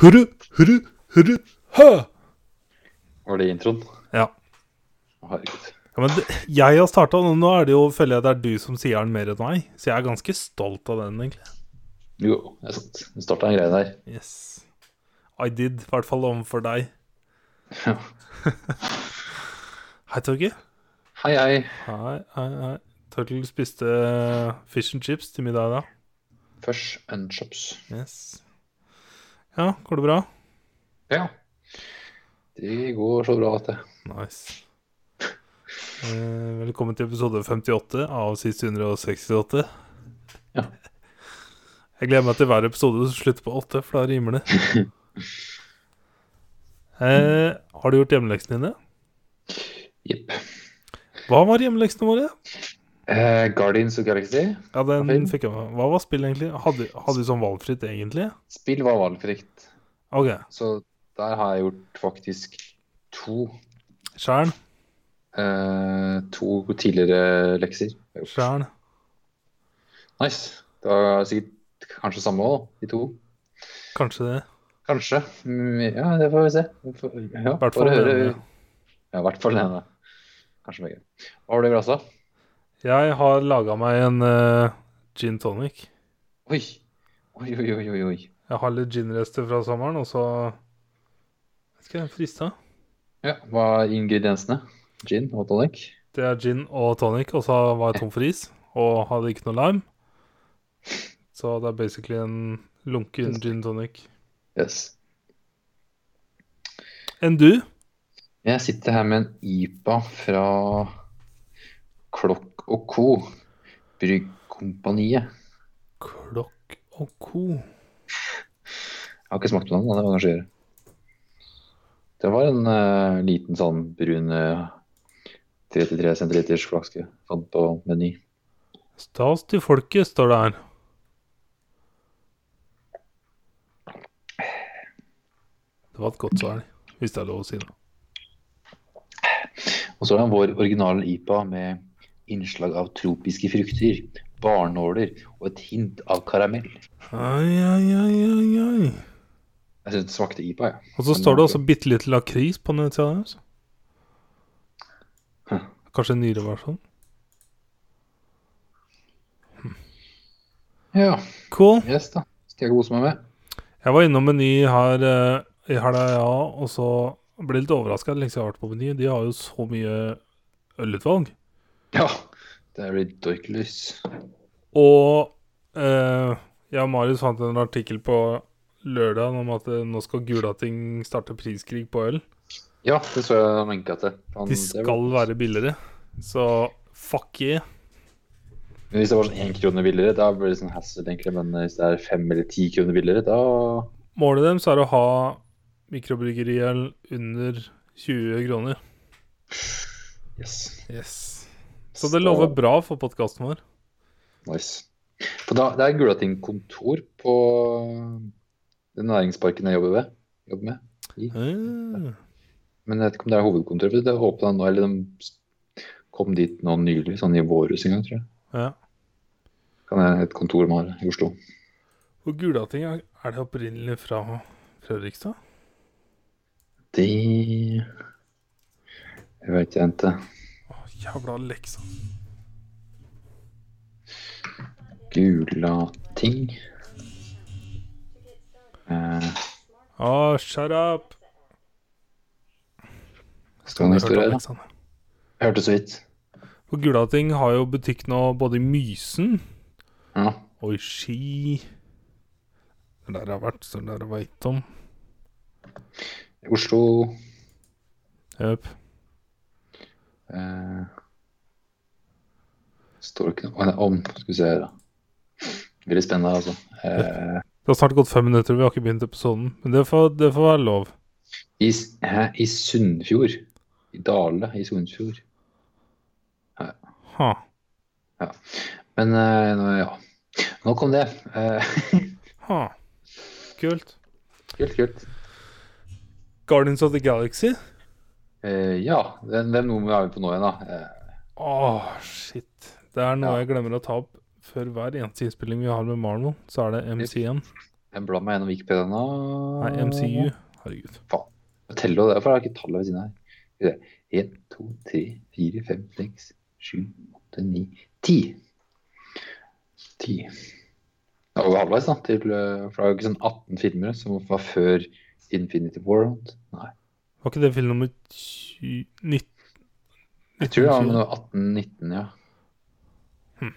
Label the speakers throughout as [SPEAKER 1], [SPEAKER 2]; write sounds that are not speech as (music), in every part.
[SPEAKER 1] Hurru, hurru, hurru, hø!
[SPEAKER 2] Var det introen?
[SPEAKER 1] Ja.
[SPEAKER 2] Å, Herregud.
[SPEAKER 1] Ja, men det, jeg har starta den, nå er det jo, føler jeg det er du som sier den mer enn meg. Så jeg er ganske stolt av den, egentlig.
[SPEAKER 2] Jo, det er sant. Vi starta en greie der.
[SPEAKER 1] Yes. I did, i hvert fall overfor deg.
[SPEAKER 2] Ja.
[SPEAKER 1] (laughs) Hei, Torgeir.
[SPEAKER 2] Hei, hei.
[SPEAKER 1] Hei, hei, hei. Turtle spiste fish and chips til middag i dag.
[SPEAKER 2] Fush and chops.
[SPEAKER 1] Yes. Ja, går det bra?
[SPEAKER 2] Ja. De går så bra, vet du.
[SPEAKER 1] Nice. Eh, velkommen til episode 58 av sist 168.
[SPEAKER 2] Ja.
[SPEAKER 1] Jeg gleder meg til hver episode som slutter på 8, for da rimer det.
[SPEAKER 2] (laughs)
[SPEAKER 1] Eh, har du gjort hjemmeleksene dine?
[SPEAKER 2] Jepp.
[SPEAKER 1] Hva var hjemmeleksene våre?
[SPEAKER 2] Eh, Guardians of Galaxy.
[SPEAKER 1] Ja, den
[SPEAKER 2] Fin.
[SPEAKER 1] fikk jeg med. Hva var spillet egentlig? Hadde, hadde du sånn valgfritt, egentlig?
[SPEAKER 2] Spill var valgfritt,
[SPEAKER 1] OK.
[SPEAKER 2] så der har jeg gjort faktisk to.
[SPEAKER 1] Skjern.
[SPEAKER 2] Eh, to tidligere lekser.
[SPEAKER 1] Skjern.
[SPEAKER 2] Nice. Det var sikkert kanskje samme òg, de to.
[SPEAKER 1] Kanskje det.
[SPEAKER 2] Kanskje. Mm, Ja, det får vi se. Vi får- Ja,
[SPEAKER 1] I hvert fall.
[SPEAKER 2] får høre.
[SPEAKER 1] den, ja.
[SPEAKER 2] Ja, i hvert fall den. da. Kanskje begge. Hva var det i glasset?
[SPEAKER 1] Jeg har laga meg en eh, gin tonic.
[SPEAKER 2] Oi! Oi, oi, oi, oi, oi.
[SPEAKER 1] Jeg har litt ginrester fra sommeren, og så Vet ikke, jeg er frista.
[SPEAKER 2] Ja, hva er ingrediensene? Gin og tonic?
[SPEAKER 1] Det er gin og tonic, og så var jeg tom for is og hadde ikke noe lime. Så det er basically en lunken gin tonic.
[SPEAKER 2] Yes.
[SPEAKER 1] Enn du?
[SPEAKER 2] Jeg sitter her med en IPA fra Klokk og Co. Bryggkompaniet.
[SPEAKER 1] Klokk og co.
[SPEAKER 2] Jeg har ikke smakt på den, da, det må jeg kanskje gjøre. Det var en eh, liten sånn brun eh, 33 centiliters flaske sånn på meny.
[SPEAKER 1] Stas til folket, står det her. Det var et godt svar, hvis det er lov å si det.
[SPEAKER 2] Og så er den vår originale IPA med innslag av tropiske frukter, barnåler og et hint av karamell.
[SPEAKER 1] Ai, ai, ai, ai, ai.
[SPEAKER 2] Jeg syns det smakte IPA, jeg.
[SPEAKER 1] Og så står det også bitte litt lakris på nettsida deres.
[SPEAKER 2] Hm.
[SPEAKER 1] altså. Kanskje en nyere versjon.
[SPEAKER 2] Ja,
[SPEAKER 1] Cool.
[SPEAKER 2] yes da. Skal jeg kose meg med?
[SPEAKER 1] Jeg var innom Meny her eh, i helga, ja, og så ble jeg litt overraska lenge siden jeg har vært på Meny. De har jo så mye ølutvalg.
[SPEAKER 2] Ja. Det er ridiculous.
[SPEAKER 1] Og eh, jeg og Marius fant en artikkel på lørdag om at eh, nå skal Gulating starte priskrig på øl.
[SPEAKER 2] Ja, det så jeg han lenka til. Han,
[SPEAKER 1] De skal være billigere, så fuck yeah.
[SPEAKER 2] Men hvis det var sånn én krone billigere, da blir det sånn hassle, tenker jeg. Men hvis det er fem eller ti kroner billigere, da
[SPEAKER 1] Målet deres er å ha mikrobryggeriøl under 20 kroner.
[SPEAKER 2] Yes.
[SPEAKER 1] Yes. Så det lover bra for podkasten vår.
[SPEAKER 2] Nice. For da, det er Gulating kontor på den næringsparken jeg jobber ved. Jobber med.
[SPEAKER 1] Eh,
[SPEAKER 2] Men jeg vet ikke om det er hovedkontoret. for Det åpna nå, eller de kom dit nå nylig, sånn i vårhus en gang, tror jeg.
[SPEAKER 1] ja.
[SPEAKER 2] Kan jeg et kontor de har i Oslo.
[SPEAKER 1] Og Gulating, er er det opprinnelig fra Fredrikstad?
[SPEAKER 2] De Jeg veit jeg ikke.
[SPEAKER 1] Å, jævla leksa.
[SPEAKER 2] Gulating eh,
[SPEAKER 1] Å, shut up!
[SPEAKER 2] Skal
[SPEAKER 1] Hørte
[SPEAKER 2] det historie
[SPEAKER 1] om
[SPEAKER 2] her?
[SPEAKER 1] leksa nå.
[SPEAKER 2] Hørte så vidt.
[SPEAKER 1] Og Gulating har jo butikk nå både i Mysen
[SPEAKER 2] Ja.
[SPEAKER 1] og i Ski. Det er der jeg har vært, så det er der jeg veit om.
[SPEAKER 2] Oslo
[SPEAKER 1] Jøp.
[SPEAKER 2] eh, Står det ikke noe Å, det er om? Skal vi se her, da. Veldig spennende, altså. Eh,
[SPEAKER 1] Det har snart gått fem minutter, og vi har ikke begynt episoden. Men det får, det får være lov.
[SPEAKER 2] i, S- hæ, I Sunnfjord. I Dale i Sunnfjord.
[SPEAKER 1] Ha.
[SPEAKER 2] Men eh, nå, ja. Nok om det. Eh, (laughs)
[SPEAKER 1] Ha. Kult.
[SPEAKER 2] kult, kult.
[SPEAKER 1] Guardians of the Galaxy.
[SPEAKER 2] Eh, ja, hvem hvem nummer er vi på nå igjen, da? Eh,
[SPEAKER 1] Åh, shit. Det er noe
[SPEAKER 2] Ja.
[SPEAKER 1] jeg glemmer å ta opp før hver eneste innspilling vi har med Marvel. Så er det MC1.
[SPEAKER 2] Jeg blar meg gjennom Wikipedia nå.
[SPEAKER 1] Nei, MCU. Herregud.
[SPEAKER 2] Telle, og derfor har jeg ikke tallet ved siden av her. 1, 2, 3, 4, 5, 6, 7, 8, 9, 10. 10. Det er over halvveis, da. Til, eh, for det er jo ikke sånn 18 filmer som var før Infinity World. Nei.
[SPEAKER 1] Var ikke det film nummer 20 19?
[SPEAKER 2] Jeg tror det var noe 18-19, ja.
[SPEAKER 1] Hm.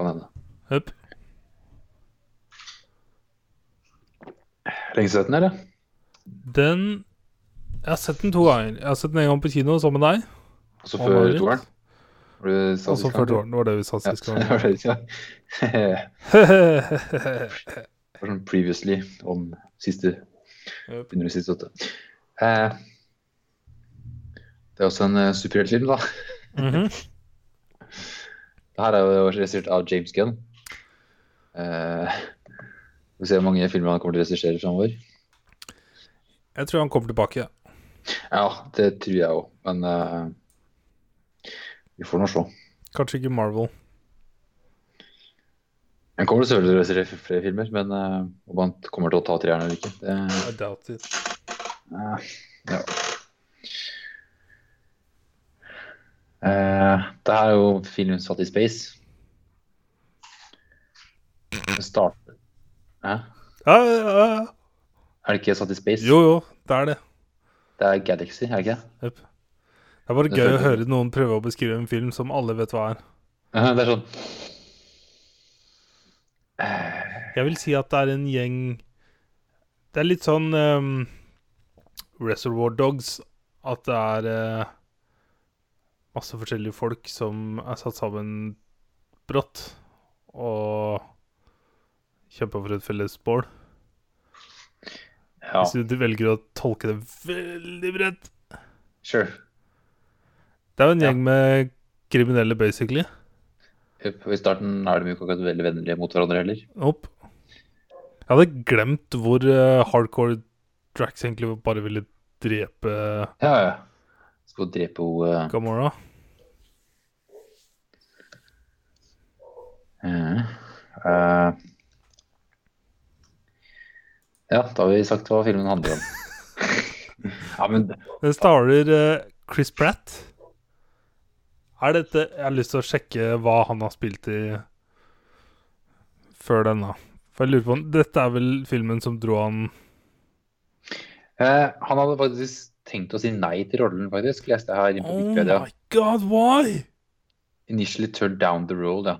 [SPEAKER 2] Kan hende.
[SPEAKER 1] Høpp.
[SPEAKER 2] Lenge siden, eller?
[SPEAKER 1] Den Jeg har sett den to ganger. Jeg har sett den en gang på kino sammen med deg.
[SPEAKER 2] Og så
[SPEAKER 1] og
[SPEAKER 2] før
[SPEAKER 1] Marit.
[SPEAKER 2] toeren? Var det du sa
[SPEAKER 1] Og så
[SPEAKER 2] sist gang,
[SPEAKER 1] før
[SPEAKER 2] eller?
[SPEAKER 1] toeren. Det var det vi sa
[SPEAKER 2] Ja, (laughs)
[SPEAKER 1] sist
[SPEAKER 2] det var det du sa. Det
[SPEAKER 1] gang.
[SPEAKER 2] var sånn previously om siste
[SPEAKER 1] Jøp.
[SPEAKER 2] begynner i siste åtte. Eh, det er også en eh, superheltfilm, da.
[SPEAKER 1] (laughs) Mhm.
[SPEAKER 2] Det her er jo regissert av James Gunn. Eh, vi får se hvor mange filmer han kommer til å regissere framover.
[SPEAKER 1] Jeg tror han kommer tilbake. ja.
[SPEAKER 2] Ja, det tror jeg òg, men eh, vi får nå se.
[SPEAKER 1] Kanskje ikke Marvel.
[SPEAKER 2] Han kommer til å regissere f- flere filmer, men eh, om han kommer til å ta treeren eller ikke det,
[SPEAKER 1] I doubt it.
[SPEAKER 2] eh, ja. Eh, det her er jo filmen satt i space. Den starter Hæ?
[SPEAKER 1] Ja, ja, ja.
[SPEAKER 2] Er det ikke satt i space?
[SPEAKER 1] Jo, jo. Det er det.
[SPEAKER 2] Det er Galaxy, er det ikke (laughs) det?
[SPEAKER 1] Jøp. Det er bare
[SPEAKER 2] Det
[SPEAKER 1] gøy å
[SPEAKER 2] følte jeg.
[SPEAKER 1] høre noen prøve å beskrive en film som alle vet hva er.
[SPEAKER 2] Det er sånn
[SPEAKER 1] Jeg vil si at det er en gjeng Det er litt sånn ehm, Reservoir Dogs. At det er eh, masse forskjellige folk som er satt sammen brått og kjemper for et felles bål.
[SPEAKER 2] Ja,
[SPEAKER 1] Hvis du velger å tolke det veldig bredt.
[SPEAKER 2] sure.
[SPEAKER 1] Det er jo en
[SPEAKER 2] Ja.
[SPEAKER 1] gjeng med kriminelle, basically.
[SPEAKER 2] Yep, og I starten er de jo ikke akkurat veldig vennlige mot hverandre heller.
[SPEAKER 1] Opp. Jeg hadde glemt hvor eh, hardcore Drax egentlig bare ville drepe eh,
[SPEAKER 2] Ja, ja. Skal drepe henne
[SPEAKER 1] Gamora.
[SPEAKER 2] eh, eh. Ja, da har vi sagt hva filmen handler om. (laughs) ja, men
[SPEAKER 1] Den starter eh, Chris Pratt. Er dette Jeg har lyst til å sjekke hva han har spilt i før den, da. For jeg lurer på om Dette er vel filmen som dro han
[SPEAKER 2] eh, han hadde faktisk tenkt å si nei til rollen, faktisk. Leste jeg her inne på
[SPEAKER 1] Oh
[SPEAKER 2] Wikipedia.
[SPEAKER 1] my god, why?
[SPEAKER 2] Initially turned down the role, ja.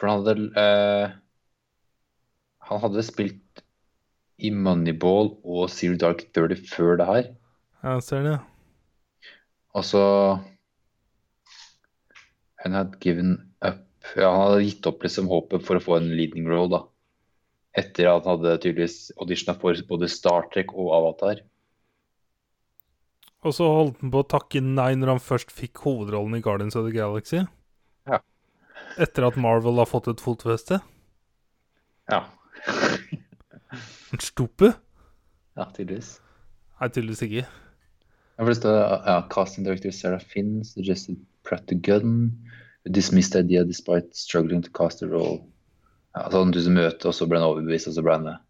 [SPEAKER 2] For han hadde eh, Han hadde spilt i Moneyball og Zero Dark Thirty før det her.
[SPEAKER 1] Jeg ser den, ja.
[SPEAKER 2] Og så And had given up ja, Han hadde gitt opp liksom håpet for å få en leading role, da. Etter at han hadde tydeligvis auditiona for både Star Trek og Avatar.
[SPEAKER 1] Og så holdt han på å takke nei når han først fikk hovedrollen i Guardians of the Galaxy.
[SPEAKER 2] Ja.
[SPEAKER 1] Etter at Marvel har fått et fotfeste.
[SPEAKER 2] Ja,
[SPEAKER 1] En stupe?
[SPEAKER 2] (laughs) ja tydeligvis.
[SPEAKER 1] Nei, tydeligvis ikke.
[SPEAKER 2] Ja, for det står ja, Casting director Sarah Finn suggested Pratt the Gun. Dismissed the idea despite struggling to cast the role. Ja, så hadde han tusen møte, og så ble han overbevist, og så ble han med.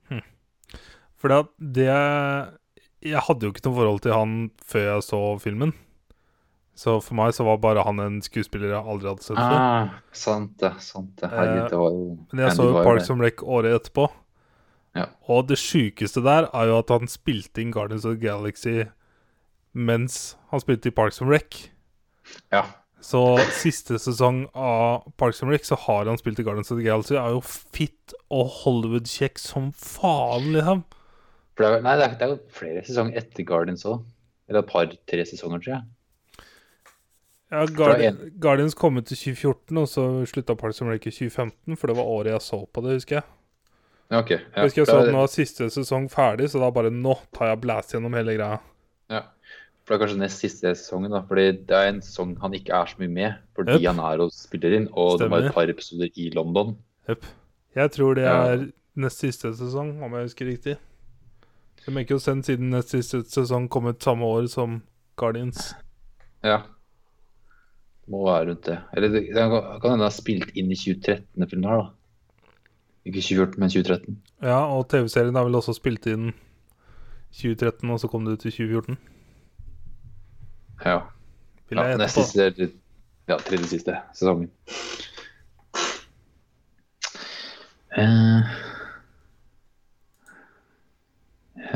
[SPEAKER 1] For det Jeg hadde jo ikke noe forhold til han før jeg så filmen. Så for meg så var bare han en skuespiller jeg aldri hadde sett før.
[SPEAKER 2] Ah, sant det. sant det. Herregud, det var jo
[SPEAKER 1] Eh, Men jeg
[SPEAKER 2] Andy
[SPEAKER 1] så jo
[SPEAKER 2] var
[SPEAKER 1] Parks
[SPEAKER 2] det.
[SPEAKER 1] and Rec året etterpå.
[SPEAKER 2] Ja.
[SPEAKER 1] Og det sjukeste der er jo at han spilte inn Guardians of the Galaxy mens han spilte i Parks and Rec.
[SPEAKER 2] Ja,
[SPEAKER 1] Så siste sesong av Parks and Rec så har han spilt i Guardians of the Galaxy. Er jo fit og Hollywood-kjekk som faen, liksom.
[SPEAKER 2] for det er, nei, det er, det er jo flere sesonger etter Guardians òg. Eller et par-tre sesonger, tror jeg.
[SPEAKER 1] Ja, Guardi Guardians kom ut i 2014, og så slutta Parks and Rec i 2015. For det var året jeg så på det, husker jeg.
[SPEAKER 2] Ja, ok. Ja,
[SPEAKER 1] jeg husker jeg
[SPEAKER 2] for
[SPEAKER 1] så at
[SPEAKER 2] det er-
[SPEAKER 1] nå var siste sesong ferdig, så da bare nå tar jeg blast gjennom hele greia.
[SPEAKER 2] Ja. For det er kanskje nest siste sesongen, da. Fordi det er en sesong han ikke er så mye med, fordi
[SPEAKER 1] Yep.
[SPEAKER 2] han er og spiller inn, og det var
[SPEAKER 1] Stemmer.
[SPEAKER 2] et par episoder i London.
[SPEAKER 1] Jøpp. Jeg tror det
[SPEAKER 2] Ja.
[SPEAKER 1] er nest siste sesong, om jeg husker riktig. Det maker jo sense siden nest siste sesong kom ut samme år som Guardians.
[SPEAKER 2] Ja. Det må være rundt det. Eller det, det kan kan hende han har spilt inn i 2013-filmen her, da. Ikke 2014, men 2013.
[SPEAKER 1] Ja, og TV-serien er vel også spilt inn 2013, og så kom det ut i 2014.
[SPEAKER 2] Ja.
[SPEAKER 1] Vil
[SPEAKER 2] ja
[SPEAKER 1] jeg
[SPEAKER 2] nest
[SPEAKER 1] gjette på.
[SPEAKER 2] siste Ja, tredje siste sesongen. Eh,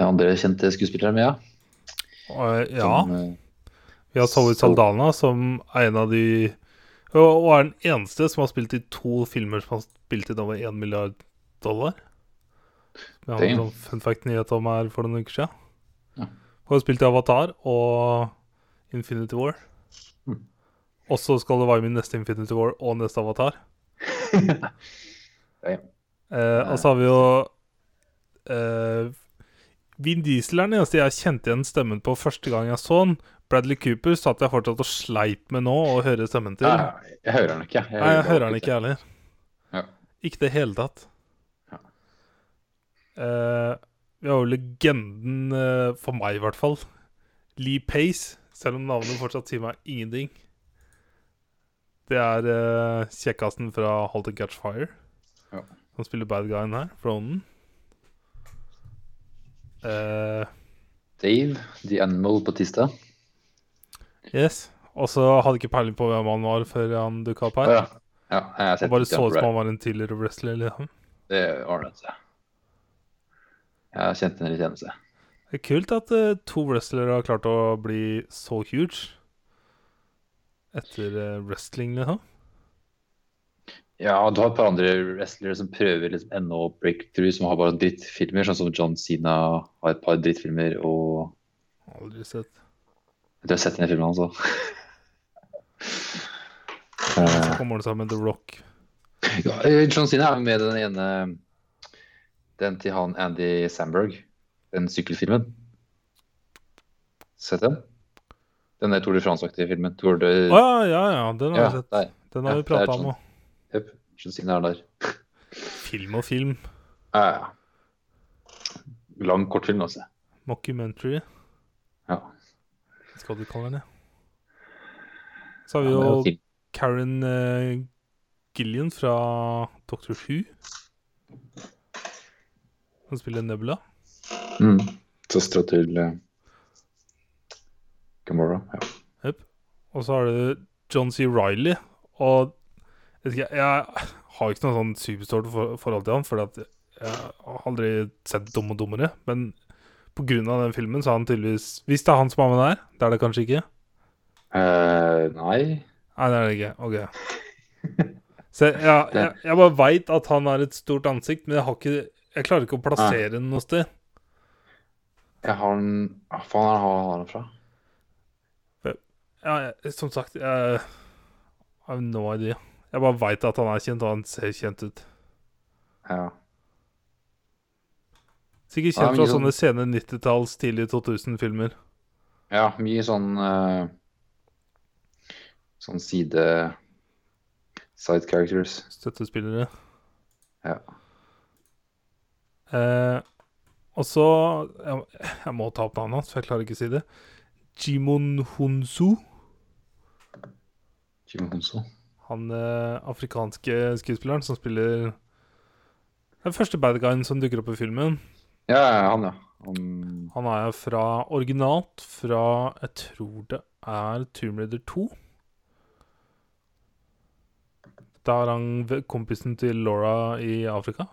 [SPEAKER 2] andre kjente skuespillere med, ja.
[SPEAKER 1] Og, eh, Ja.
[SPEAKER 2] Som, eh,
[SPEAKER 1] Vi har Zoe Saldana, som er en av de Og og er den eneste som har spilt i to filmer som har spilt inn over 1 milliard dollar. Som jeg hadde en
[SPEAKER 2] Damn.
[SPEAKER 1] sånn fun fact-nyhet om her for noen uker siden.
[SPEAKER 2] Ja.
[SPEAKER 1] Hun har spilt i Avatar og Infinity War.
[SPEAKER 2] Mm.
[SPEAKER 1] Og så skal det være min neste Infinity War og neste Avatar.
[SPEAKER 2] Damn.
[SPEAKER 1] Eh, og så har vi jo eh, Vin Diesel er den eneste jeg kjente igjen stemmen på første gang jeg så den. Bradley Cooper satt jeg fortsatt og sleip med nå å høre stemmen til.
[SPEAKER 2] ja, jeg hører han ikke.
[SPEAKER 1] Nei, jeg hører han ikke, jeg heller.
[SPEAKER 2] Ja.
[SPEAKER 1] Ikke i det hele tatt.
[SPEAKER 2] Ja.
[SPEAKER 1] Eh, vi har jo legenden, eh, for meg i hvert fall, Lee Pace. Selv om navnet fortsatt sier meg ingenting. Det er eh, kjekkasen fra Halt and Catch Fire.
[SPEAKER 2] Ja.
[SPEAKER 1] Som spiller bad guyen her, Fronen. Eh,
[SPEAKER 2] Dave, The Animal Batista.
[SPEAKER 1] yes. Og så hadde jeg ikke peiling på hvem han var før han dukka opp
[SPEAKER 2] Å
[SPEAKER 1] her.
[SPEAKER 2] ja. ja. Jeg har
[SPEAKER 1] Jeg
[SPEAKER 2] sett
[SPEAKER 1] bare
[SPEAKER 2] litt
[SPEAKER 1] så
[SPEAKER 2] av
[SPEAKER 1] ut
[SPEAKER 2] det.
[SPEAKER 1] som han var en tidligere wrestler. Liksom.
[SPEAKER 2] Det ordnet seg. Jeg har kjent en kjennelse.
[SPEAKER 1] Det er kult at eh, to wrestlere har klart å bli så huge etter eh, wrestling, liksom.
[SPEAKER 2] Ja, og du har et par andre wrestlere som prøver liksom ennå breakthrough, som har bare drittfilmer, sånn som John Sina har et par drittfilmer, og
[SPEAKER 1] Aldri sett.
[SPEAKER 2] du har sett den filmen (laughs) hans òg.
[SPEAKER 1] Så kommer det sammen med The Rock.
[SPEAKER 2] Ja, eh, John Sina er jo med i den ene Den til han Andy Sandberg, den sykkelfilmen. Sett den? Den der Tour de France-aktige filmen. Tour de...
[SPEAKER 1] Å ja, ja, ja, den har
[SPEAKER 2] ja,
[SPEAKER 1] vi sett.
[SPEAKER 2] der.
[SPEAKER 1] Den har
[SPEAKER 2] ja,
[SPEAKER 1] vi prata
[SPEAKER 2] det er sånn.
[SPEAKER 1] om òg.
[SPEAKER 2] Jep, John Sina er der.
[SPEAKER 1] Film og film.
[SPEAKER 2] Ja, ja. Lang kortfilm, altså.
[SPEAKER 1] Mockumentary.
[SPEAKER 2] Ja.
[SPEAKER 1] Hva skal du kalle den? ja. Så har vi
[SPEAKER 2] Ja, det er
[SPEAKER 1] jo
[SPEAKER 2] jo fint.
[SPEAKER 1] Karen eh, Gillian fra Doctor Who. Hun spiller Nebula.
[SPEAKER 2] Mm. Søstera til uh, Gamora. Ja.
[SPEAKER 1] Jep. Og så har du John C. Riley. Og jeg, vet ikke, jeg har ikke noe sånn superstort for, forhold til han, fordi at jeg har aldri sett Dumme og dummere. Men på grunn av den filmen så har han tydeligvis Hvis det er han som er med der, det er det kanskje ikke?
[SPEAKER 2] Eh, nei
[SPEAKER 1] Nei, det er det ikke. OK. Så jeg, jeg, jeg bare veit at han er et stort ansikt, men jeg har ikke Jeg klarer ikke å plassere den noe sted.
[SPEAKER 2] Jeg har den Hva faen er det han har den fra?
[SPEAKER 1] Ja, jeg, som sagt, jeg I have no idea. Jeg bare veit at han er kjent, og han ser kjent ut.
[SPEAKER 2] Ja.
[SPEAKER 1] Sikkert
[SPEAKER 2] Ja,
[SPEAKER 1] kjent fra
[SPEAKER 2] mye sånn.
[SPEAKER 1] sånne sene 90-talls, tidlig 2000-filmer.
[SPEAKER 2] ja, mye sånn eh, Sånn side Side characters.
[SPEAKER 1] Støttespillere.
[SPEAKER 2] Ja.
[SPEAKER 1] Eh, og så jeg, jeg må ta opp navnet hans, for jeg klarer ikke å si det. Jimon Hunsu.
[SPEAKER 2] Jim Honso.
[SPEAKER 1] Han eh, afrikanske skuespilleren som spiller den første bad guyen som dukker opp i filmen.
[SPEAKER 2] Ja, ja, han, ja. Han,
[SPEAKER 1] Han er fra originalt fra Jeg tror det er Tomb Raider 2. Da er han v- kompisen til Laura i Afrika.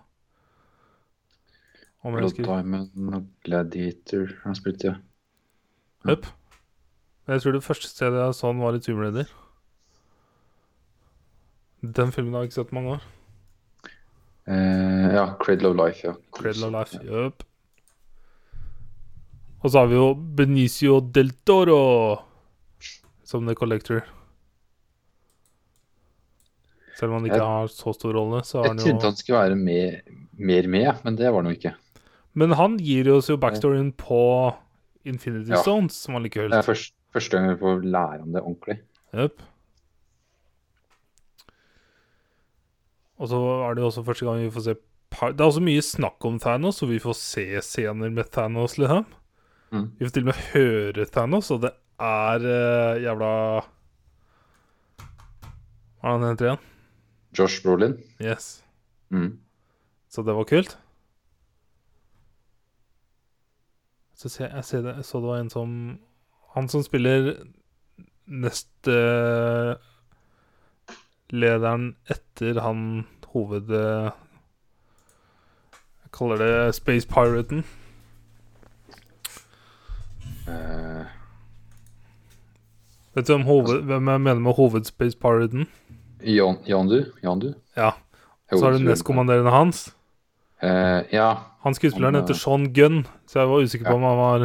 [SPEAKER 1] Om jeg
[SPEAKER 2] Blood
[SPEAKER 1] husker
[SPEAKER 2] Diamond og Gladiator han spilte, ja.
[SPEAKER 1] Jep. Men Jeg tror det første stedet jeg så han, var i Tomb Raider. Den filmen har jeg ikke sett på mange år.
[SPEAKER 2] Eh, ja, Cradle of Life, ja.
[SPEAKER 1] Cradle of Life. Jep. Og så har vi jo Benicio del Toro som The Collector. Selv om han ikke
[SPEAKER 2] Jeg-
[SPEAKER 1] har så stor rolle, så har
[SPEAKER 2] Jeg
[SPEAKER 1] han
[SPEAKER 2] trodde
[SPEAKER 1] jo
[SPEAKER 2] han skulle være med, mer med, ja, men det var han jo ikke.
[SPEAKER 1] Men han gir oss jo backstoryen på Infinity
[SPEAKER 2] Ja.
[SPEAKER 1] Stones, som var litt
[SPEAKER 2] Det er
[SPEAKER 1] kult.
[SPEAKER 2] først, første gang vi får lære om det ordentlig.
[SPEAKER 1] Jep. Og så er det jo også første gang vi får se par... Det er også mye snakk om Thanos, og vi får se scener med Thanos, liksom.
[SPEAKER 2] Mm.
[SPEAKER 1] Vi får til og med høre Thanos, og det er eh, jævla Hva er det han heter igjen?
[SPEAKER 2] Josh Brolin.
[SPEAKER 1] Yes. Så det var kult. Så ser jeg, jeg ser det, så det var en som Han som spiller neste lederen etter han hoved... Jeg kaller det Space Piraten.
[SPEAKER 2] Eh,
[SPEAKER 1] Vet du hvem, hoved, hvem jeg mener med hovedspace piraten?
[SPEAKER 2] Jan, Jandu? Jandu?
[SPEAKER 1] Ja. Så er det nestkommanderende hans.
[SPEAKER 2] Eh, ja.
[SPEAKER 1] Han skuespilleren
[SPEAKER 2] Han, eh,
[SPEAKER 1] heter Sean Gunn, så jeg var usikker på
[SPEAKER 2] Ja.
[SPEAKER 1] om han var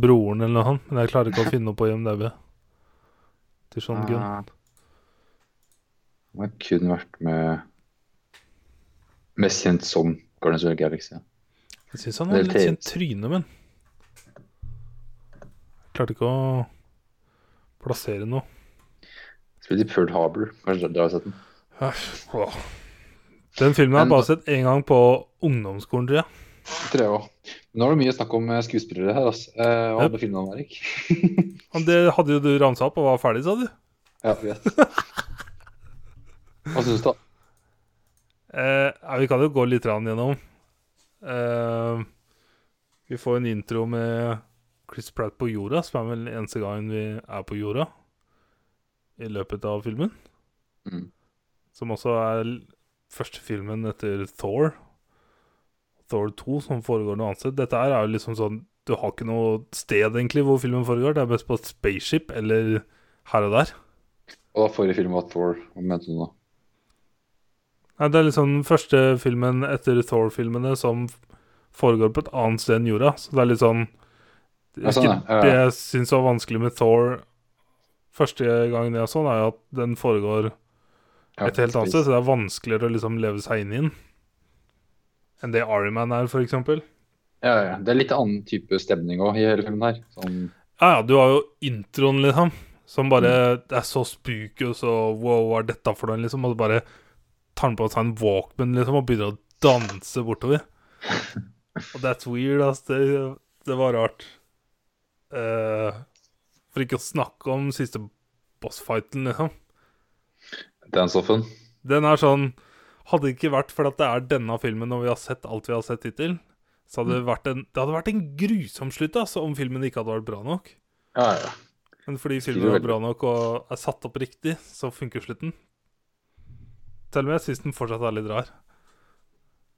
[SPEAKER 1] broren eller noe sånt. Men jeg klarer ikke
[SPEAKER 2] (laughs)
[SPEAKER 1] å finne noe på IMDb til Sean Gunn.
[SPEAKER 2] eh, Han har kun vært med Mest kjent som Guardians of the Galaxy.
[SPEAKER 1] Jeg syns han har
[SPEAKER 2] det er
[SPEAKER 1] litt kjent tryne, men jeg Klarte ikke å plassere noe.
[SPEAKER 2] Spilte i Pearl Harbor. Kanskje dere har sett den?
[SPEAKER 1] Æsj, åh. Den filmen har jeg
[SPEAKER 2] Men-
[SPEAKER 1] bare sett én gang på ungdomsskolen, tror jeg.
[SPEAKER 2] Tror jeg også. Nå er det mye snakk om eh, skuespillere her. Altså. Eh, og
[SPEAKER 1] Ja.
[SPEAKER 2] alle filmene, Erik.
[SPEAKER 1] Og det hadde jo du ramsa opp og var ferdig, sa du.
[SPEAKER 2] ja, jeg vet. (laughs) Hva syns du, da?
[SPEAKER 1] Eh, ja, vi kan jo gå litt rann gjennom. Eh, vi får en intro med Chris Pratt på jorda, som er vel eneste gangen vi er på jorda i løpet av filmen.
[SPEAKER 2] Mm.
[SPEAKER 1] Som også er l- første filmen etter Thor. Thor 2, som foregår noe annet sted. Dette her er jo liksom sånn Du har ikke noe sted egentlig hvor filmen foregår. Det er best på et spaceship eller her og der.
[SPEAKER 2] Og da forrige film var Thor. Hva mente du da?
[SPEAKER 1] Nei, det er liksom den første filmen etter Thor-filmene som foregår på et annet sted enn jorda. Så det er litt sånn Det,
[SPEAKER 2] Ja, sånn, ja. Ja, ja.
[SPEAKER 1] det jeg syns var vanskelig med Thor første gangen jeg så den, er jo at den foregår
[SPEAKER 2] Ja,
[SPEAKER 1] et helt annet sted, så det er vanskeligere å liksom leve seg inn i den enn det Ironman er, for eksempel.
[SPEAKER 2] Ja, ja. Det er litt annen type stemning òg i hele filmen her. Sånn,
[SPEAKER 1] Ja, ja, du har jo introen, liksom, som bare Det er så spooky og så wow, hva er dette for noe, liksom? Og så bare tar han på seg en walkman, liksom, og begynner å danse bortover. Og that's weird, ass. Det, det var rart. Eh, for ikke å snakke om siste bossfighten, liksom.
[SPEAKER 2] Dance-offen.
[SPEAKER 1] Den er sånn Hadde det ikke vært for at det er denne filmen og vi har sett alt vi har sett hittil, så hadde det vært en, det hadde vært en grusom slutt ass, om filmen ikke hadde vært bra nok.
[SPEAKER 2] Ja, ja.
[SPEAKER 1] Men fordi
[SPEAKER 2] Skriver
[SPEAKER 1] filmen er
[SPEAKER 2] veldig.
[SPEAKER 1] bra nok og er satt opp riktig, så funker slutten. Selv om jeg syns den fortsatt er litt rar.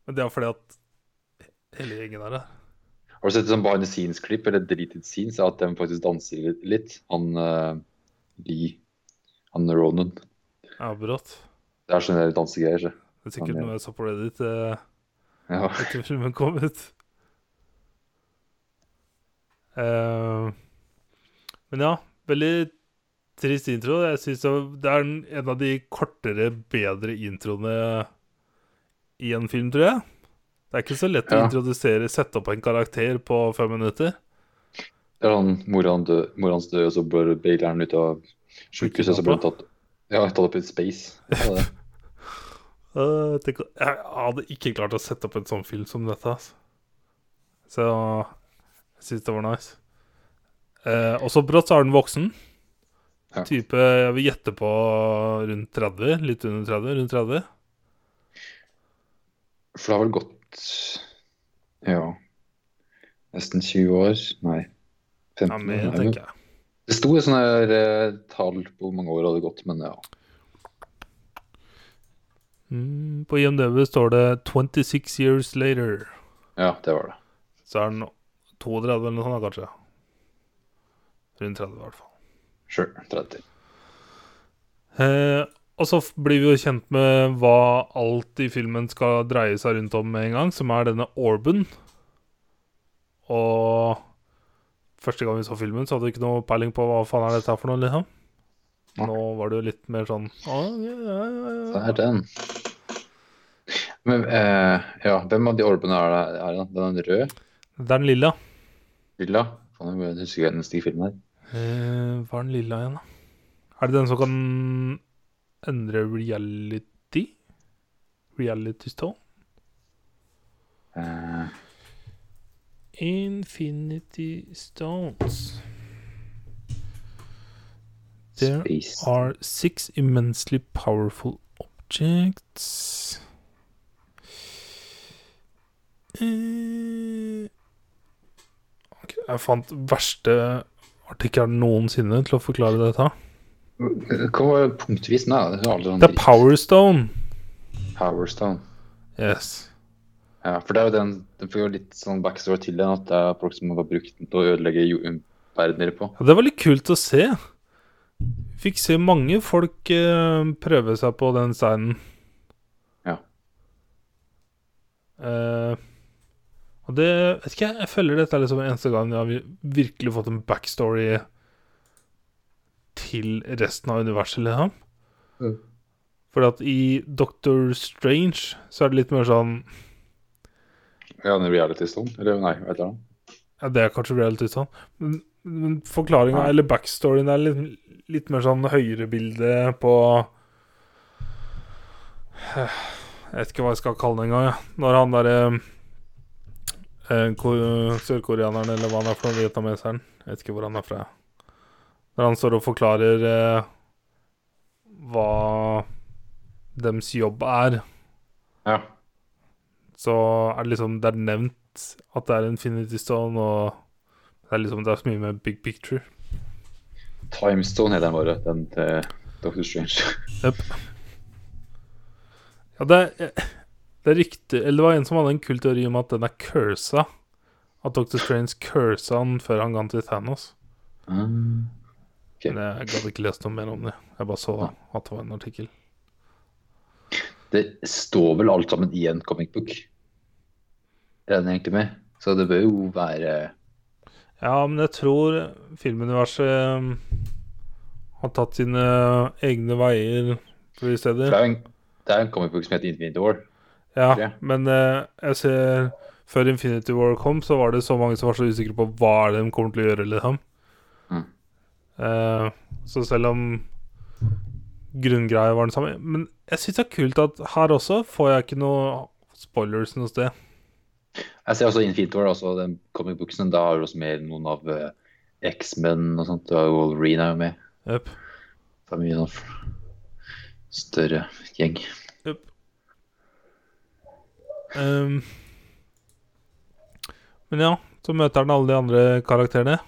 [SPEAKER 1] Men det er fordi at hele gjengen er her.
[SPEAKER 2] Har du sett sånn behind the scenes-klipp eller deleted scenes? At de faktisk danser litt? litt. Han eh, Lee Han Ronan.
[SPEAKER 1] Avbrått.
[SPEAKER 2] Det er sånne der dansegreier. så.
[SPEAKER 1] Det er sikkert
[SPEAKER 2] Han, ja.
[SPEAKER 1] noe jeg så på Reddit eh,
[SPEAKER 2] Ja.
[SPEAKER 1] etter filmen kom ut. Eh, men ja, veldig trist intro. Jeg synes det- Det er en en av de kortere, bedre introene i en film, tror jeg. Det er ikke så lett å
[SPEAKER 2] Ja.
[SPEAKER 1] introdusere, sette opp en karakter på fem minutter.
[SPEAKER 2] Det er sånn mora han dø- mora hans død, og så blir Baileren ut av sykehuset, og så blir han tatt, ja, tatt opp i space. Ja, det.
[SPEAKER 1] Eh, tenk, å- jeg hadde ikke klart å sette opp en sånn film som dette. Altså. Så jeg syns det var nice. Eh, og så brått så er den voksen.
[SPEAKER 2] Ja.
[SPEAKER 1] Type jeg vil gjette på rundt 30. Litt under 30. Rundt 30.
[SPEAKER 2] For det har vel gått ja nesten 20 år? Nei. 15
[SPEAKER 1] Ja, mer,
[SPEAKER 2] år.
[SPEAKER 1] tenker jeg.
[SPEAKER 2] Det sto et sånt her eh, tall på hvor mange år det hadde gått, men ja.
[SPEAKER 1] Mm, på IMDb står det 26 years later.
[SPEAKER 2] Ja, det var det.
[SPEAKER 1] Så er den 32 eller noe sånt, da, kanskje. Rundt 30, i hvert fall.
[SPEAKER 2] Sure. 30.
[SPEAKER 1] Eh, og så f- blir vi jo kjent med hva alt i filmen skal dreie seg rundt om med en gang, som er denne Orban. Og første gang vi så filmen, så hadde vi ikke noe peiling på hva faen er dette her for noe, liksom.
[SPEAKER 2] Nei.
[SPEAKER 1] Nå var det jo litt mer sånn «Å, ja, ja,
[SPEAKER 2] Så
[SPEAKER 1] ja,
[SPEAKER 2] er den. Men eh, ja, hvem av de orbene er det? Er det da? den røde?
[SPEAKER 1] ja. Det er den lilla.
[SPEAKER 2] Lilla? Faen, jeg husker ikke den stige filmen her.
[SPEAKER 1] Eh, hva er den lilla igjen, da? Er det den som kan endre reality? Reality stone?
[SPEAKER 2] Eh,
[SPEAKER 1] Infinity stones. There
[SPEAKER 2] space.
[SPEAKER 1] are six immensely powerful objects. Eh, ok, Jeg fant verste artikkelen noensinne til å forklare dette.
[SPEAKER 2] Hva var punktvis nå? Det er aldri sånn
[SPEAKER 1] Det er Powerstone.
[SPEAKER 2] Powerstone.
[SPEAKER 1] Yes.
[SPEAKER 2] Ja, for det er jo den, den får jo litt sånn backstory til den, at det er folk som har brukt den til å ødelegge jo- verdener på.
[SPEAKER 1] Ja, det var litt kult å se. Fikk se mange folk eh, prøve seg på den steinen.
[SPEAKER 2] Ja.
[SPEAKER 1] Eh, og det vet ikke, jeg, jeg føler dette er liksom eneste gang jeg har vi- virkelig fått en backstory til resten av universet, liksom.
[SPEAKER 2] Mm.
[SPEAKER 1] Fordi at i Doctor Strange så er det litt mer sånn
[SPEAKER 2] Ja, den reality-stolen. Eller nei, hva heter den?
[SPEAKER 1] Ja, det er kanskje reality sånn. Men, men forklaringa,
[SPEAKER 2] Ja.
[SPEAKER 1] eller backstoryen, er litt, litt mer sånn høyrebilde på Jeg vet ikke hva jeg skal kalle det engang. Ja. Når han derre eh, ko- sørkoreaneren, eller hva han er for noe, vietnameseren Jeg vet ikke hvor han er fra. Når han står og forklarer eh, hva dems jobb er,
[SPEAKER 2] Ja.
[SPEAKER 1] så er det liksom Det er nevnt at det er Infinity Stone, og det er liksom Det er så mye med big picture.
[SPEAKER 2] Timestone heter den bare, den til Dr. Strange. (laughs)
[SPEAKER 1] Ja, det er, det er riktig Eller det var en som hadde en kul teori om at den er cursa. At Dr. Strange cursa han før han ga den til Thanos.
[SPEAKER 2] Mm.
[SPEAKER 1] Men jeg gadd ikke lest noe mer om det. Jeg bare så at det var en artikkel.
[SPEAKER 2] Det står vel alt sammen i en comic book. Det er den egentlig med. Så det bør jo være
[SPEAKER 1] Ja, men jeg tror filmuniverset um, har tatt sine egne veier flere
[SPEAKER 2] For
[SPEAKER 1] steder.
[SPEAKER 2] det er jo en, det er en comic book som heter Infinity War.
[SPEAKER 1] Ja,
[SPEAKER 2] Ja.
[SPEAKER 1] men eh, jeg ser Før Infinity War kom, så var det så mange som var så usikre på hva er det de kommer til å gjøre. liksom
[SPEAKER 2] Mm.
[SPEAKER 1] Eh, Så selv om grunngreia var den samme Men jeg syns det er kult at her også får jeg ikke noe spoilers noe sted.
[SPEAKER 2] Jeg ser også Infinity War, altså den comic booksen. Da har du også med noen av eh, X-Men og sånt. Du har jo Wolverine er jo med.
[SPEAKER 1] Jep.
[SPEAKER 2] Det er mye sånn f- større gjeng.
[SPEAKER 1] Ehm, men ja, så møter han alle de andre karakterene.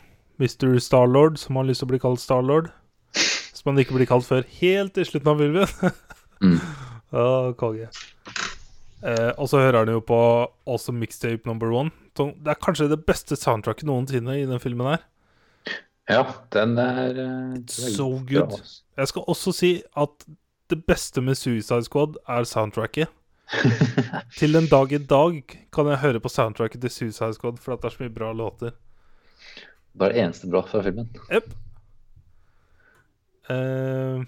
[SPEAKER 1] Mr. Starlord, som har lyst til å bli kalt Starlord. Som han ikke blir kalt før helt i slutten av filmen. (laughs)
[SPEAKER 2] Mm.
[SPEAKER 1] Ja, konge. Eh, og så hører han jo på Awesome Mixtape Number One. Så Det er kanskje det beste soundtracket noensinne i den filmen her.
[SPEAKER 2] Ja, den er eh,
[SPEAKER 1] So
[SPEAKER 2] veldig
[SPEAKER 1] good.
[SPEAKER 2] bra, altså.
[SPEAKER 1] Jeg skal også si at det beste med Suicide Squad er soundtracket. Til den dag i dag kan jeg høre på soundtracket til Suicide Squad, for at det er så mye bra låter.
[SPEAKER 2] Det er det eneste bra fra filmen.
[SPEAKER 1] Jepp. Eh,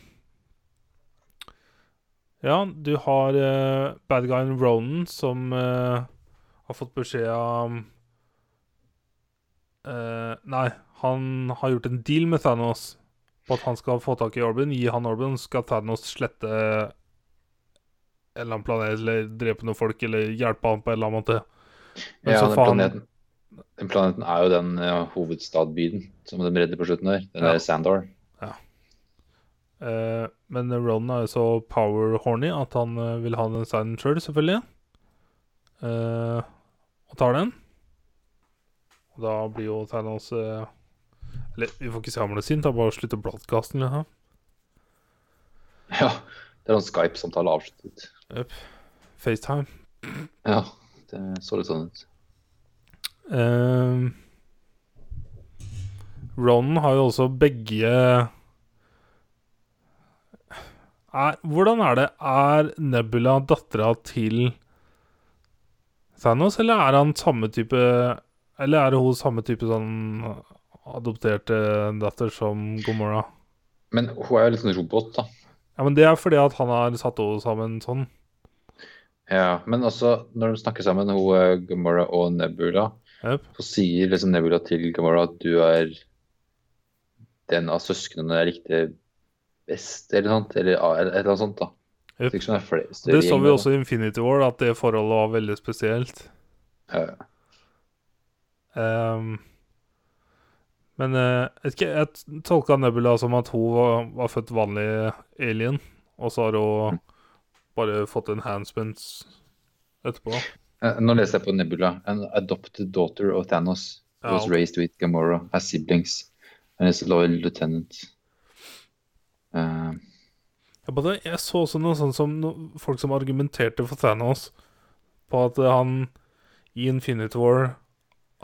[SPEAKER 1] ja, du har eh, bad guyen Ronan, som eh, har fått beskjed av eh, Nei, han har gjort en deal med Thanos på at han skal få tak i Orban, gi han Orban, så skal Thanos slette en eller annen planet, eller drepe noen folk, eller hjelpe han på en eller annen måte. Men
[SPEAKER 2] Ja,
[SPEAKER 1] så
[SPEAKER 2] den
[SPEAKER 1] faen-
[SPEAKER 2] planeten, den planeten er jo den eh, hovedstadbyen som de redder på slutten der. Den
[SPEAKER 1] Ja.
[SPEAKER 2] der Sandar.
[SPEAKER 1] Eh, men Ronan er jo så power-horny at han eh, vil ha den steinen sjøl, selv, selvfølgelig. Eh, og tar den. Og da blir jo Thanos eh, Eller vi får ikke se ham bli sint, han bare slutter broadcasten. Liksom.
[SPEAKER 2] Ja, det er sånn Skype-samtale avsluttet.
[SPEAKER 1] FaceTime.
[SPEAKER 2] Ja, det så litt sånn ut.
[SPEAKER 1] Um, Ronan har jo også begge er, Hvordan er det? Er Nebula dattera til Thanos, eller er han samme type Eller er hun samme type sånn adopterte datter som Gomorra?
[SPEAKER 2] Men hun er jo litt sånn robot, da.
[SPEAKER 1] Ja, men det er fordi at han har satt henne sammen sånn.
[SPEAKER 2] Ja, Men også når de snakker sammen, hun eh, Gamora og Nebula,
[SPEAKER 1] Jep.
[SPEAKER 2] så sier liksom Nebula til Gamora at du er den av søsknene jeg likte best, eller noe sånt. Eller ah, eller et eller annet sånt, da.
[SPEAKER 1] Jep.
[SPEAKER 2] Det virker som det er flere større
[SPEAKER 1] Det så vi
[SPEAKER 2] gjenger,
[SPEAKER 1] også i Infinity War, at det forholdet var veldig spesielt.
[SPEAKER 2] da. Ja, ja.
[SPEAKER 1] Ehm, men eh, jeg, vet ikke, jeg tolka Nebula som at hun var, var født vanlig alien, og så har hun bare fått en handspence etterpå.
[SPEAKER 2] Eh, Nå leser jeg på Nebula. An adopted daughter of Thanos
[SPEAKER 1] Ja.
[SPEAKER 2] was raised with Gamora as siblings and is a loyal lieutenant. Eh,
[SPEAKER 1] Jeg, bare, jeg så også noe sånn som no, folk som argumenterte for Thanos på at eh, han i Infinity War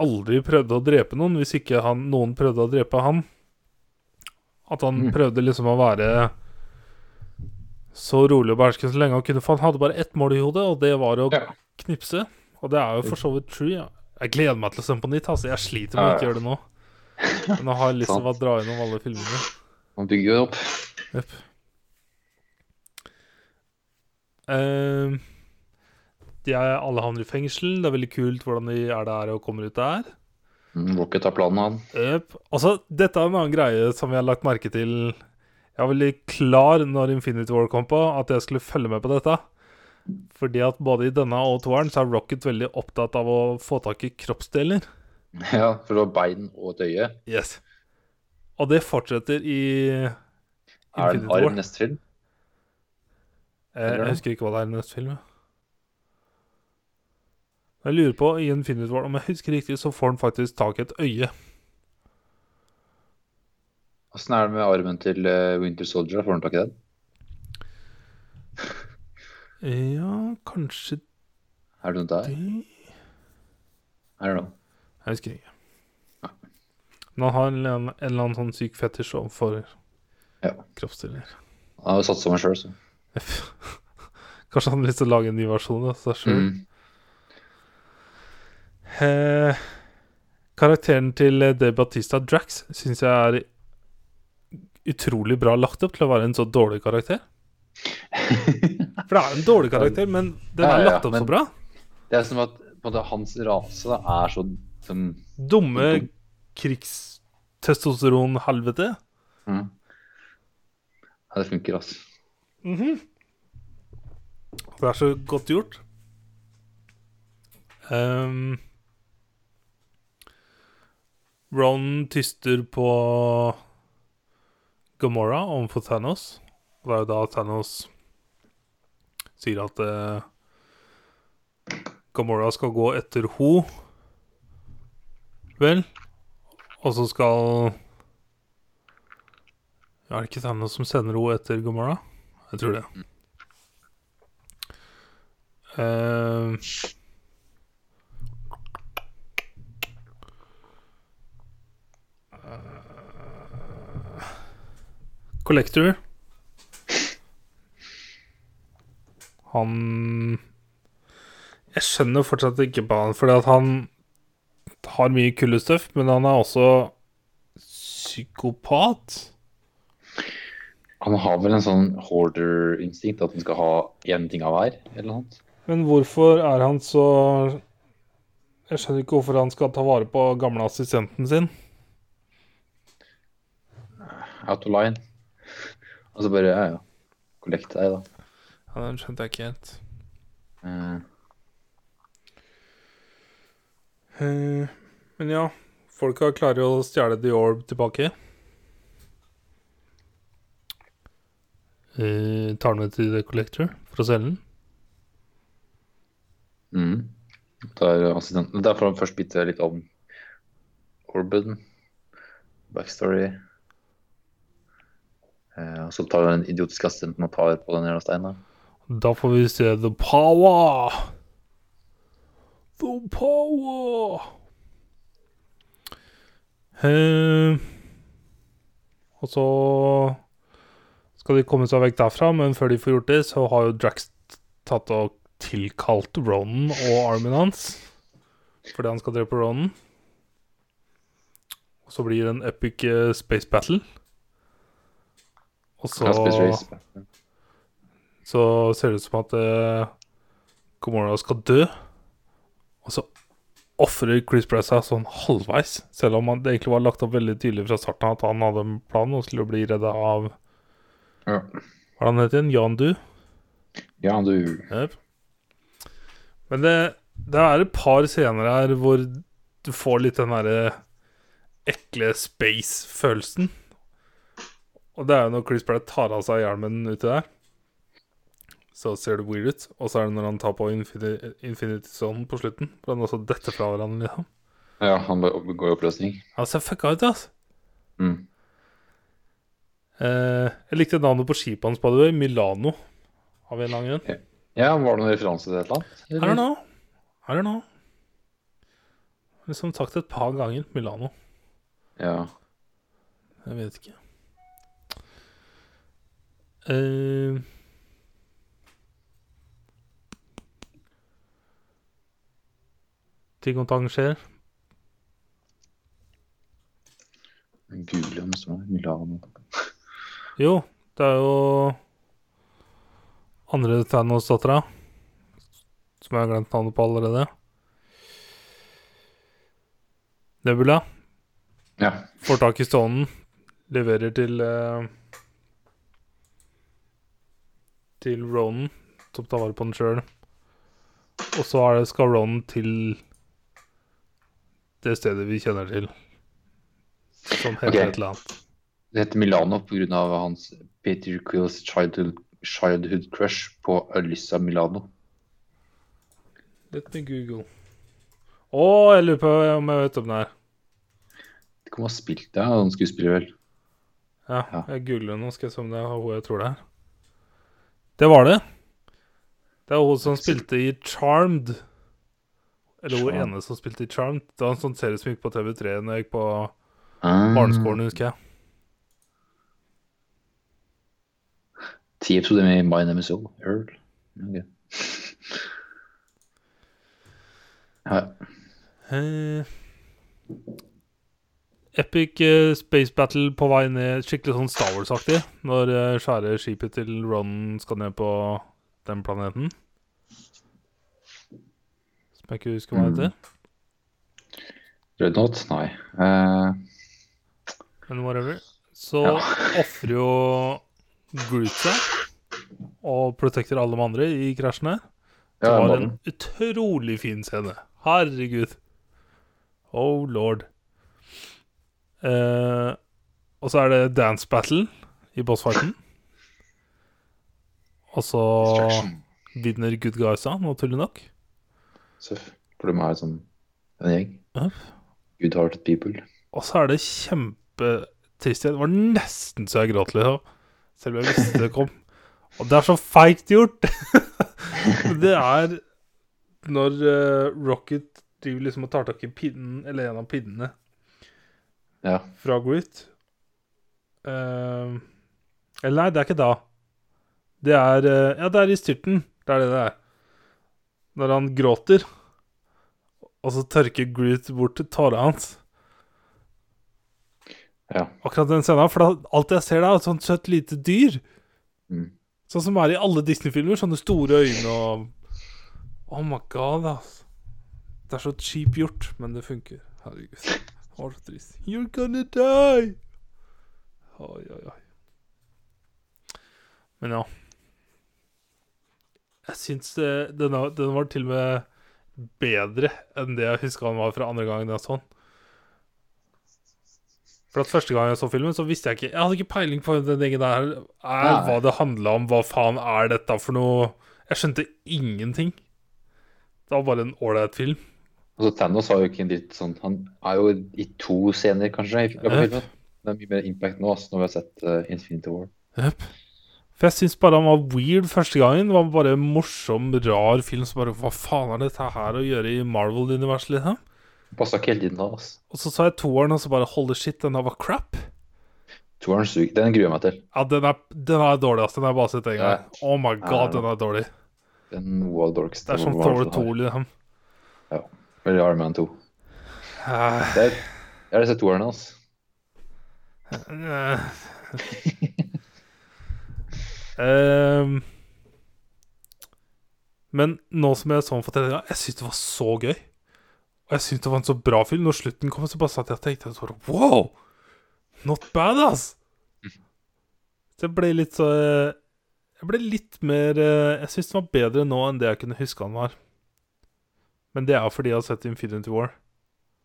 [SPEAKER 1] aldri prøvde å drepe noen hvis ikke han, noen prøvde å drepe han. At han
[SPEAKER 2] Mm.
[SPEAKER 1] prøvde liksom å være så rolig og behersket så lenge han kunne, for han hadde bare ett mål i hodet, og det var å
[SPEAKER 2] Ja.
[SPEAKER 1] knipse. Og det er jo for så vidt true. Ja. Jeg gleder meg til å se den på nytt, altså. Jeg sliter med å
[SPEAKER 2] Ja,
[SPEAKER 1] ikke
[SPEAKER 2] ja.
[SPEAKER 1] gjøre
[SPEAKER 2] (laughs)
[SPEAKER 1] det nå. Men nå har jeg lyst til å
[SPEAKER 2] Sant.
[SPEAKER 1] bare dra gjennom alle filmene.
[SPEAKER 2] man bygger jo opp.
[SPEAKER 1] Jepp. Ehm, de er, alle havner i fengsel. Det er veldig kult hvordan de er der og kommer ut der.
[SPEAKER 2] Mm, Rocket har planen, han. (laughs)
[SPEAKER 1] Jepp. Altså, dette er en annen greie som jeg har lagt merke til Jeg var veldig klar når Infinity War kom på, at jeg skulle følge med på dette. Fordi at både i denne og toeren så er Rocket veldig opptatt av å få tak i kroppsdeler.
[SPEAKER 2] Ja, for å ha bein og et øye.
[SPEAKER 1] Yes. Og det fortsetter i
[SPEAKER 2] Er det en
[SPEAKER 1] Infinity War.
[SPEAKER 2] arm neste film?
[SPEAKER 1] Eh, Jeg,
[SPEAKER 2] Eller
[SPEAKER 1] jeg
[SPEAKER 2] noe?
[SPEAKER 1] husker ikke hva det er i neste film. jeg. Jeg lurer på i Infinity War Om jeg husker riktig, så får han faktisk tak i et øye.
[SPEAKER 2] Åssen er det med armen til eh, Winter Soldier? da? Får han tak i den?
[SPEAKER 1] Ja, kanskje
[SPEAKER 2] Er det noe der?
[SPEAKER 1] det
[SPEAKER 2] I don't know.
[SPEAKER 1] Jeg husker ikke. Men han har en, eller annen- en eller annen sånn syk fetisj overfor
[SPEAKER 2] Ja.
[SPEAKER 1] kroppsdeler. (laughs)
[SPEAKER 2] Han har jo satsa meg sjøl, så.
[SPEAKER 1] Kanskje han har lyst til å lage en ny versjon av seg sjøl.
[SPEAKER 2] Mm.
[SPEAKER 1] Eh, karakteren til eh, De Batista Drax syns jeg er utrolig bra lagt opp til å være en så dårlig
[SPEAKER 2] (laughs)
[SPEAKER 1] karakter. For det er en dårlig karakter, men den
[SPEAKER 2] Ja,
[SPEAKER 1] er
[SPEAKER 2] ja,
[SPEAKER 1] lagt opp
[SPEAKER 2] men-
[SPEAKER 1] så bra.
[SPEAKER 2] Det er som at på en måte, hans rase da, er så som,
[SPEAKER 1] Dumme
[SPEAKER 2] dum.
[SPEAKER 1] krigstestosteron-helvete.
[SPEAKER 2] mm. Ja, det funker, altså.
[SPEAKER 1] Det er så godt gjort. Ehm, Ron tyster på Gamora overfor Thanos. Og det er jo da Thanos sier at eh, Gamora skal gå etter ho Vel? Og så skal Er det ikke Thanos som sender henne etter Gamora? Jeg tror det. Eh, eh, Collector Han Jeg skjønner fortsatt ikke på han, fordi at han har mye kullestøff, men han er også psykopat.
[SPEAKER 2] Han har vel en sånn hoarder-instinkt, at han skal ha én ting av hver, eller noe annet.
[SPEAKER 1] Men hvorfor er han så Jeg skjønner ikke hvorfor han skal ta vare på gamle assistenten sin.
[SPEAKER 2] Out of line. Og så bare ja, ja. Collect deg, da.
[SPEAKER 1] Ja, Den skjønte jeg ikke helt.
[SPEAKER 2] Eh,
[SPEAKER 1] Eh, Men ja, folka klarer jo å stjele The Orb tilbake. Eh, tar den med til The Collector for å selge den.
[SPEAKER 2] mm. Der, assistenten. Der får han først bitte litt om Orban. Backstory. Eh, og så tar den idiotiske assistenten og tar på den jævla steinen.
[SPEAKER 1] Da får vi se The Power. The Power. Eh, og så skal de komme seg vekk derfra, men før de får gjort det, så har jo Drax tatt og tilkalt Ronan og armen hans fordi han skal drepe Ronan. Og så blir det en epic eh, space battle. Og så
[SPEAKER 2] Ja, Space Race.
[SPEAKER 1] så ser det ut som at eh, Gamora skal dø. Og så ofrer Chris Pratt seg sånn halvveis, selv om han, det egentlig var lagt opp veldig tydelig fra starten av at han hadde en plan og skulle bli redda av
[SPEAKER 2] Ja.
[SPEAKER 1] Hva er det han heter igjen? Jan Du?
[SPEAKER 2] ja, du
[SPEAKER 1] Yep. Men det, det er et par scener her hvor du får litt den derre ekle space-følelsen. Og det er jo når Chris Pratt tar av seg hjelmen uti der. så ser det weird ut. Og så er det når han tar på Infinity, Infinity Stone på slutten, hvor han også detter fra hverandre. liksom.
[SPEAKER 2] Ja, han bare opp- går i oppløsning.
[SPEAKER 1] Han ser fucka ut, altså.
[SPEAKER 2] Mm.
[SPEAKER 1] Eh, jeg likte navnet på skipet hans, by the way. Milano. Av en eller annen grunn.
[SPEAKER 2] Ja, var det noen referanse til et eller annet?
[SPEAKER 1] I don't know. I don't know. Liksom sagt et par ganger Milano.
[SPEAKER 2] Ja.
[SPEAKER 1] Jeg vet ikke. Eh, ting og tang skjer.
[SPEAKER 2] Google om det står noe. Milano.
[SPEAKER 1] Jo, det er jo andre Thanos-dattera. Som jeg har glemt navnet på allerede. Nebula
[SPEAKER 2] Ja.
[SPEAKER 1] får tak i stålen, leverer til eh, Til Ronan, som tar vare på den sjøl. Og så er det, skal Ronan til det stedet vi kjenner til. Som heter
[SPEAKER 2] Ok.
[SPEAKER 1] et eller annet.
[SPEAKER 2] Det heter Milano pga. hans Peter Quills childhood, childhood crush på Alyssa Milano.
[SPEAKER 1] Let me google. Å, jeg lurer på om jeg vet om det er.
[SPEAKER 2] Det kan ha spilt det, han skuespiller vel.
[SPEAKER 1] Ja,
[SPEAKER 2] Ja.
[SPEAKER 1] jeg googler nå, skal jeg se om det er hun jeg tror det er. Det var det. Det er hun som spilte i Charmed. Eller hun
[SPEAKER 2] Charmed.
[SPEAKER 1] ene som spilte i Charmed. Det var en sånn serie som gikk på TV3 når jeg gikk på
[SPEAKER 2] Ah,
[SPEAKER 1] barneskolen, husker jeg.
[SPEAKER 2] Ti episoder med My Name Is All. Earl. Ok. (laughs) Ja,
[SPEAKER 1] Eh, epic eh, space battle på vei ned, skikkelig sånn Star Wars-aktig, når eh, svære skipet til Ron skal ned på den planeten. Som jeg ikke husker hva
[SPEAKER 2] Mm.
[SPEAKER 1] heter.
[SPEAKER 2] Red Knot? Nei. Eh,
[SPEAKER 1] Men whatever. Så
[SPEAKER 2] Ja.
[SPEAKER 1] ofrer jo Groot seg og protecter alle de andre i krasjen her. Det
[SPEAKER 2] ja,
[SPEAKER 1] var
[SPEAKER 2] mannen.
[SPEAKER 1] en utrolig fin scene. Herregud. Oh lord. Eh, og så er det dance battle i bossfighten. Og så
[SPEAKER 2] Distraction.
[SPEAKER 1] vinner good guysa, naturlig nok.
[SPEAKER 2] Seff. For de er sånn en gjeng.
[SPEAKER 1] Ja.
[SPEAKER 2] Good-hearted people.
[SPEAKER 1] Og så er det kjempetrist igjen. Det var nesten så jeg gråt, liksom. Selv om jeg visste det kom. Og det er så feigt gjort! (laughs) det er når eh, Rocket driver liksom og tar tak i pinnen, eller en av pinnene
[SPEAKER 2] Ja.
[SPEAKER 1] fra Groot. Eh, eller nei, det er ikke da. Det er eh, Ja, det er i styrten. Det er det det er. Når han gråter, og så tørker Groot bort tåra hans.
[SPEAKER 2] ja.
[SPEAKER 1] akkurat den scenen. For da, alt jeg ser da, er et sånt søtt lite dyr.
[SPEAKER 2] Mm.
[SPEAKER 1] Sånn som er i alle Disney-filmer. Sånne store øyne og Oh my god, ass. Det er så cheap gjort, men det funker. Herregud. Det var så trist. You're gonna die! Oi, oi, oi. Men ja. Jeg syns eh, den, var- den var til og med bedre enn det jeg huska den var fra andre gangen jeg så den. For at Første gang jeg så filmen, så visste jeg ikke Jeg hadde ikke peiling på den egen der er,
[SPEAKER 2] Nei.
[SPEAKER 1] hva det handla om. Hva faen er dette for noe? Jeg skjønte ingenting. Det var bare en ålreit film.
[SPEAKER 2] Altså, Thanos har jo ikke en dritt sånn Han er jo i to scener, kanskje. I, i,
[SPEAKER 1] Ja.
[SPEAKER 2] filmen. Det er mye mer impact nå altså, når vi har sett eh, Infinity War.
[SPEAKER 1] Jep. For jeg syns bare han var weird første gangen. Det var bare en morsom, rar film. Så bare, Hva faen er dette her å gjøre i Marvel-universet? liksom?
[SPEAKER 2] Passa ikke hele tiden da. Altså.
[SPEAKER 1] Og så sa jeg toeren, og så bare Holy shit, den der var crap.
[SPEAKER 2] Toeren suger. Den gruer jeg meg til.
[SPEAKER 1] Ja, den er, den er dårlig, ass. Den har jeg bare sett en gang. Oh my god, den er dårlig.
[SPEAKER 2] Den var dårligst.
[SPEAKER 1] Det er som
[SPEAKER 2] Den var-
[SPEAKER 1] Thor 2, liksom.
[SPEAKER 2] Eller Iron Man 2.
[SPEAKER 1] Eh,
[SPEAKER 2] Det er, jeg har sett toeren hans.
[SPEAKER 1] eh. (laughs) Ehm. men nå som jeg så den for tredje gang, jeg syns det var så gøy. Og jeg syns det var en så bra film. Når slutten kom, så bare satt jeg og tenkte bare, Wow! Not bad, ass! Så jeg ble litt så eh, Jeg ble litt mer eh, Jeg syns den var bedre nå enn det jeg kunne huske han var. Men det er jo fordi jeg har sett Infinity War.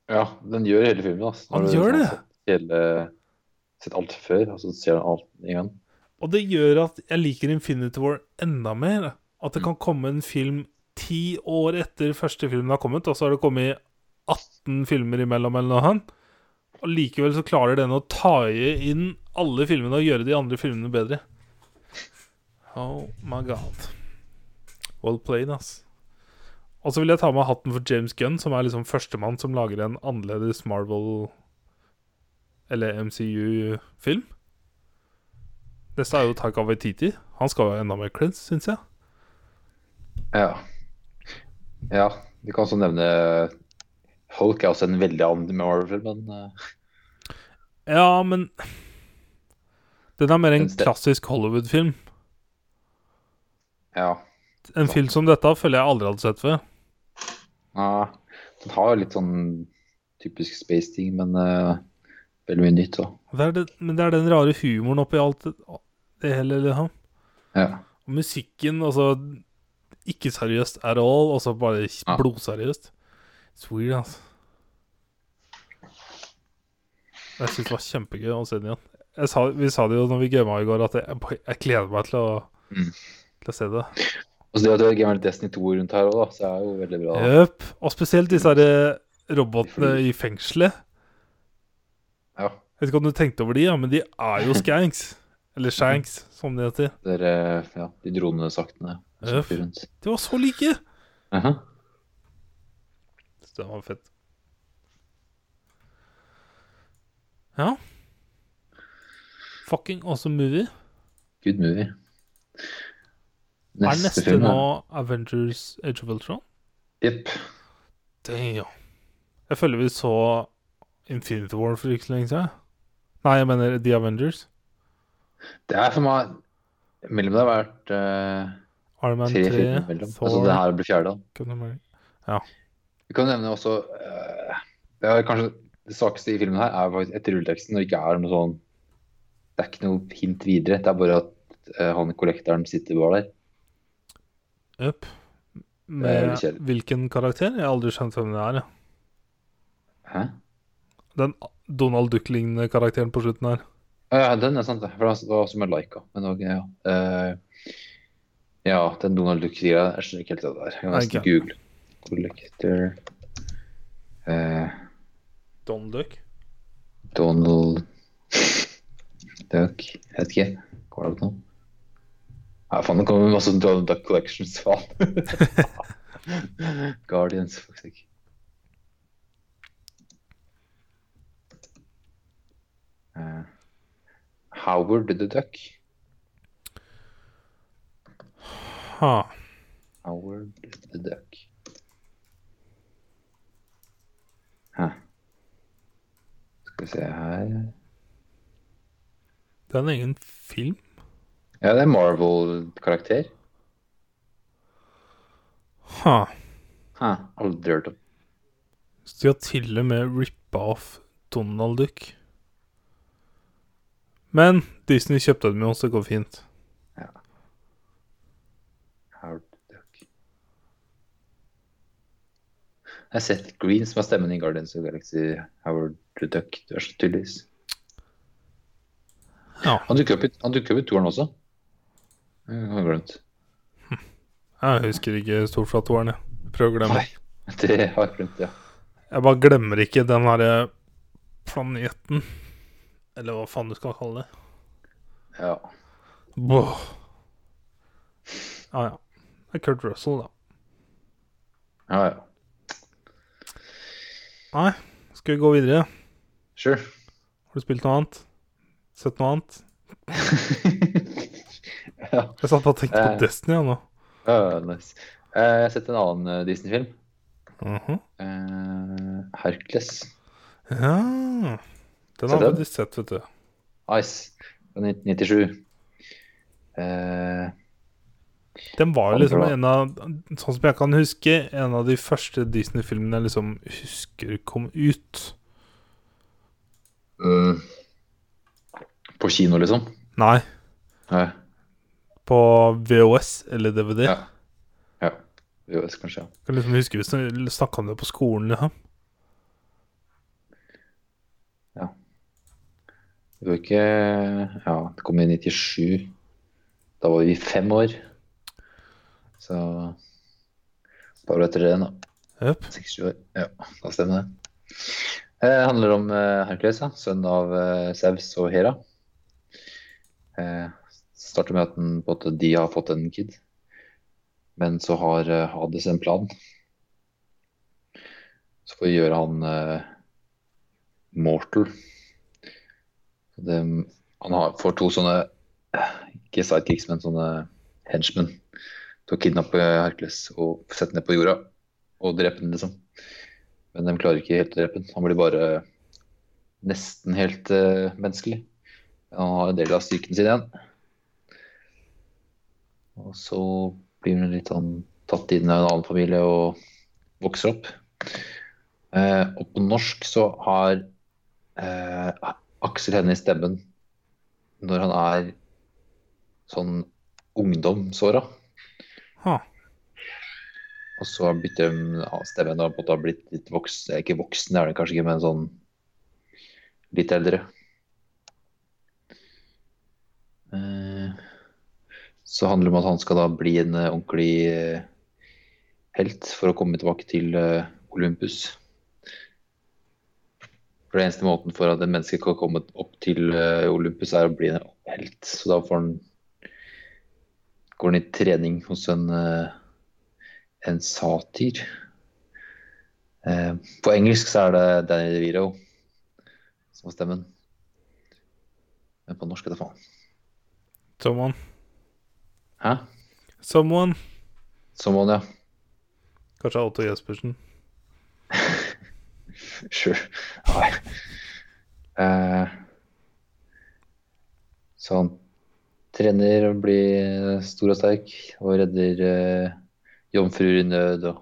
[SPEAKER 2] Ja, den gjør hele filmen. Altså.
[SPEAKER 1] Han gjør det!
[SPEAKER 2] Hele, sett alt før, og så ser han alt en gang.
[SPEAKER 1] Og det gjør at jeg liker Infinity War enda mer. At det kan komme en film ti år etter første filmen har kommet, og så har det kommet 18 filmer imellom eller noe annet. Og likevel så klarer den å taie inn alle filmene og gjøre de andre filmene bedre. Oh my god. Well played, ass. Og så vil jeg ta med hatten for James Gunn, som er liksom førstemann som lager en annerledes Marvel- eller MCU-film. Neste er jo Taika Waititi. Han skal jo ha enda mer creds, syns jeg.
[SPEAKER 2] Ja. ja. Du kan også nevne eh, Hulk er også en veldig annen Marvel-film, men eh,
[SPEAKER 1] Ja, men Den er mer en
[SPEAKER 2] Den ste-
[SPEAKER 1] klassisk Hollywood-film.
[SPEAKER 2] ja. Sånn.
[SPEAKER 1] En film som dette føler jeg aldri hadde sett før.
[SPEAKER 2] Ja, den har jo litt sånn typisk space-ting, men eh, veldig mye nytt. da.
[SPEAKER 1] Det er det, men det er den rare humoren oppi alt det, det hele, liksom.
[SPEAKER 2] Ja.
[SPEAKER 1] Og musikken, altså Ikke seriøst at all, og så bare
[SPEAKER 2] Ja.
[SPEAKER 1] blodseriøst. It's weird, altså. Jeg syns det var kjempegøy å se den igjen. Jeg sa, vi sa det jo når vi gama i går, at jeg, bare- jeg gleder meg til å,
[SPEAKER 2] Mm.
[SPEAKER 1] til å se det.
[SPEAKER 2] Og så det at det er Gamer Destiny 2 rundt her òg, så er jo veldig bra. da.
[SPEAKER 1] Jøp. Og spesielt disse her eh, robotene i fengselet.
[SPEAKER 2] Ja.
[SPEAKER 1] Jeg vet ikke om du tenkte over de, ja, men de er jo skanks. Eller shanks, som de heter.
[SPEAKER 2] Der, eh, ja, de dronesaktene som
[SPEAKER 1] Øff.
[SPEAKER 2] flyr rundt.
[SPEAKER 1] De var så like!
[SPEAKER 2] Aha.
[SPEAKER 1] Så det var fett. Ja. Fucking awesome movie.
[SPEAKER 2] Good movie.
[SPEAKER 1] er neste
[SPEAKER 2] film,
[SPEAKER 1] nå
[SPEAKER 2] da.
[SPEAKER 1] Avengers Age of Ultron?
[SPEAKER 2] Jepp.
[SPEAKER 1] Damn. Jeg føler vi så Infinity War for ikke så lenge siden. Nei, jeg mener The Avengers.
[SPEAKER 2] Det er for meg Mellom det har vært eh,
[SPEAKER 1] Iron Man
[SPEAKER 2] tre
[SPEAKER 1] 3,
[SPEAKER 2] filmer mellom.
[SPEAKER 1] Thor
[SPEAKER 2] Altså, det her blir fjerde. da.
[SPEAKER 1] Captain America.
[SPEAKER 2] Vi kan nevne også eh, Det er kanskje det svakeste i filmen her er faktisk etter rulleteksten når det ikke er noe sånn Det er ikke noe hint videre. Det er bare at eh, han kollektoren sitter bare der.
[SPEAKER 1] Jøp.
[SPEAKER 2] veldig
[SPEAKER 1] Med
[SPEAKER 2] kjedelig.
[SPEAKER 1] hvilken karakter? Jeg har aldri skjønt hvem det er. jeg.
[SPEAKER 2] Hæ?
[SPEAKER 1] Den Donald Duck-lignende karakteren på slutten her.
[SPEAKER 2] Å ja, den er sant. det. For det var også med Laika. Men ok, ja. Eh, ja, den Donald Duck-greia Jeg skjønner ikke helt hva det der. Jeg må nesten
[SPEAKER 1] Ok.
[SPEAKER 2] google. Collector eh,
[SPEAKER 1] Donald Duck?
[SPEAKER 2] Donald Duck Jeg vet ikke. Går det opp nå? Nei, faen, det kommer masse Donald Duck Collections, faen. Guardians, faktisk. Eh, Howard the Duck.
[SPEAKER 1] Ha.
[SPEAKER 2] Howard the Duck. Hæ. Skal vi se her
[SPEAKER 1] Det er en egen film?
[SPEAKER 2] Ja, det er Marvel-karakter.
[SPEAKER 1] Ha.
[SPEAKER 2] Hæ, aldri hørt om.
[SPEAKER 1] Så de har til og med rippa off Donald Duck. Men Disney kjøpte dem jo, så det går fint.
[SPEAKER 2] Howard the Duck. Jeg har sett Green som har stemmen i Guardians of the Galaxy. Howard the Duck. Du er så tydeligvis.
[SPEAKER 1] Ja.
[SPEAKER 2] Han dukker opp i, han dukker opp i toeren også. Jeg har glemt. (laughs)
[SPEAKER 1] Jeg husker ikke stort fra toeren, jeg. Prøver å glemme.
[SPEAKER 2] Nei, det har jeg glemt, ja.
[SPEAKER 1] Jeg bare glemmer ikke den herre planeten. Eller hva faen du skal kalle det.
[SPEAKER 2] ja.
[SPEAKER 1] Boh. Ja, ja. Det er Kurt Russell, da.
[SPEAKER 2] Ja, ja.
[SPEAKER 1] Nei, skal vi gå videre?
[SPEAKER 2] Sure. (laughs)
[SPEAKER 1] Har du spilt noe annet? Sett noe annet?
[SPEAKER 2] ja,
[SPEAKER 1] Jeg satt bare og tenkte på
[SPEAKER 2] Eh.
[SPEAKER 1] Destiny ja, nå.
[SPEAKER 2] ja, nice. Eh, Jeg har sett en annen eh, Disney-film.
[SPEAKER 1] Mhm.
[SPEAKER 2] Eh, Hercules.
[SPEAKER 1] Ja Den har
[SPEAKER 2] Sett
[SPEAKER 1] jeg
[SPEAKER 2] den?
[SPEAKER 1] faktisk sett, vet du.
[SPEAKER 2] Ice. Fra 1997. Eh,
[SPEAKER 1] Den var jo
[SPEAKER 2] Andre
[SPEAKER 1] liksom
[SPEAKER 2] da.
[SPEAKER 1] en av Sånn som jeg kan huske, en av de første Disney-filmene jeg liksom husker kom ut.
[SPEAKER 2] Mm. På kino, liksom?
[SPEAKER 1] Nei,
[SPEAKER 2] Ja.
[SPEAKER 1] på VHS eller DVD.
[SPEAKER 2] Ja. ja. Jo, det skal kanskje, ja.
[SPEAKER 1] Jeg kan liksom huske vi snakka om det på skolen. Liksom.
[SPEAKER 2] Det var ikke Ja, det kom i 97. Da var vi fem år. Så et par år etter det, da.
[SPEAKER 1] Jøp.
[SPEAKER 2] 60 år. Ja, da stemmer det. Det handler om eh, Hercules, da, sønn av eh, Zeus og Hera. Eh, starter med at den, på en måte, de har fått en kid, men så har eh, Hades en plan. Så får vi gjøre han eh, mortal. Så Det, han har, får to sånne eh, Ikke sidekicks, men sånne henchmen til å kidnappe Hercules og sette ned på jorda og drepe den, liksom. Men de klarer ikke helt å drepe den. Han blir bare nesten helt eh, menneskelig. Han har en del av styrken sin igjen. Og så blir han litt sånn tatt inn av en annen familie og vokser opp. Eh, og på norsk så har eh, Aksel Hennie stemmen når han er sånn ungdomsåra.
[SPEAKER 1] Ha.
[SPEAKER 2] Og så bytter de ja, stemmen og på en måte har blitt litt voksen, eh, ikke voksen, det er den kanskje ikke, men sånn litt eldre. Eh, Så handler det om at han skal da bli en eh, ordentlig eh, helt for å komme tilbake til eh, Olympus. For det eneste måten for at en menneske kan komme opp til eh, Olympus, er å bli en helt. Så da får han går han i trening hos en eh, en satyr. Eh, På engelsk så er det Danny DeVito som har stemmen. Men på norsk er det faen.
[SPEAKER 1] Someone.
[SPEAKER 2] Hæ?
[SPEAKER 1] Someone.
[SPEAKER 2] Someone, ja.
[SPEAKER 1] Kanskje Otto Jespersen.
[SPEAKER 2] Sure. Nei. Eh, så han trener og blir eh, stor og sterk og redder eh, jomfruer i nød. Og,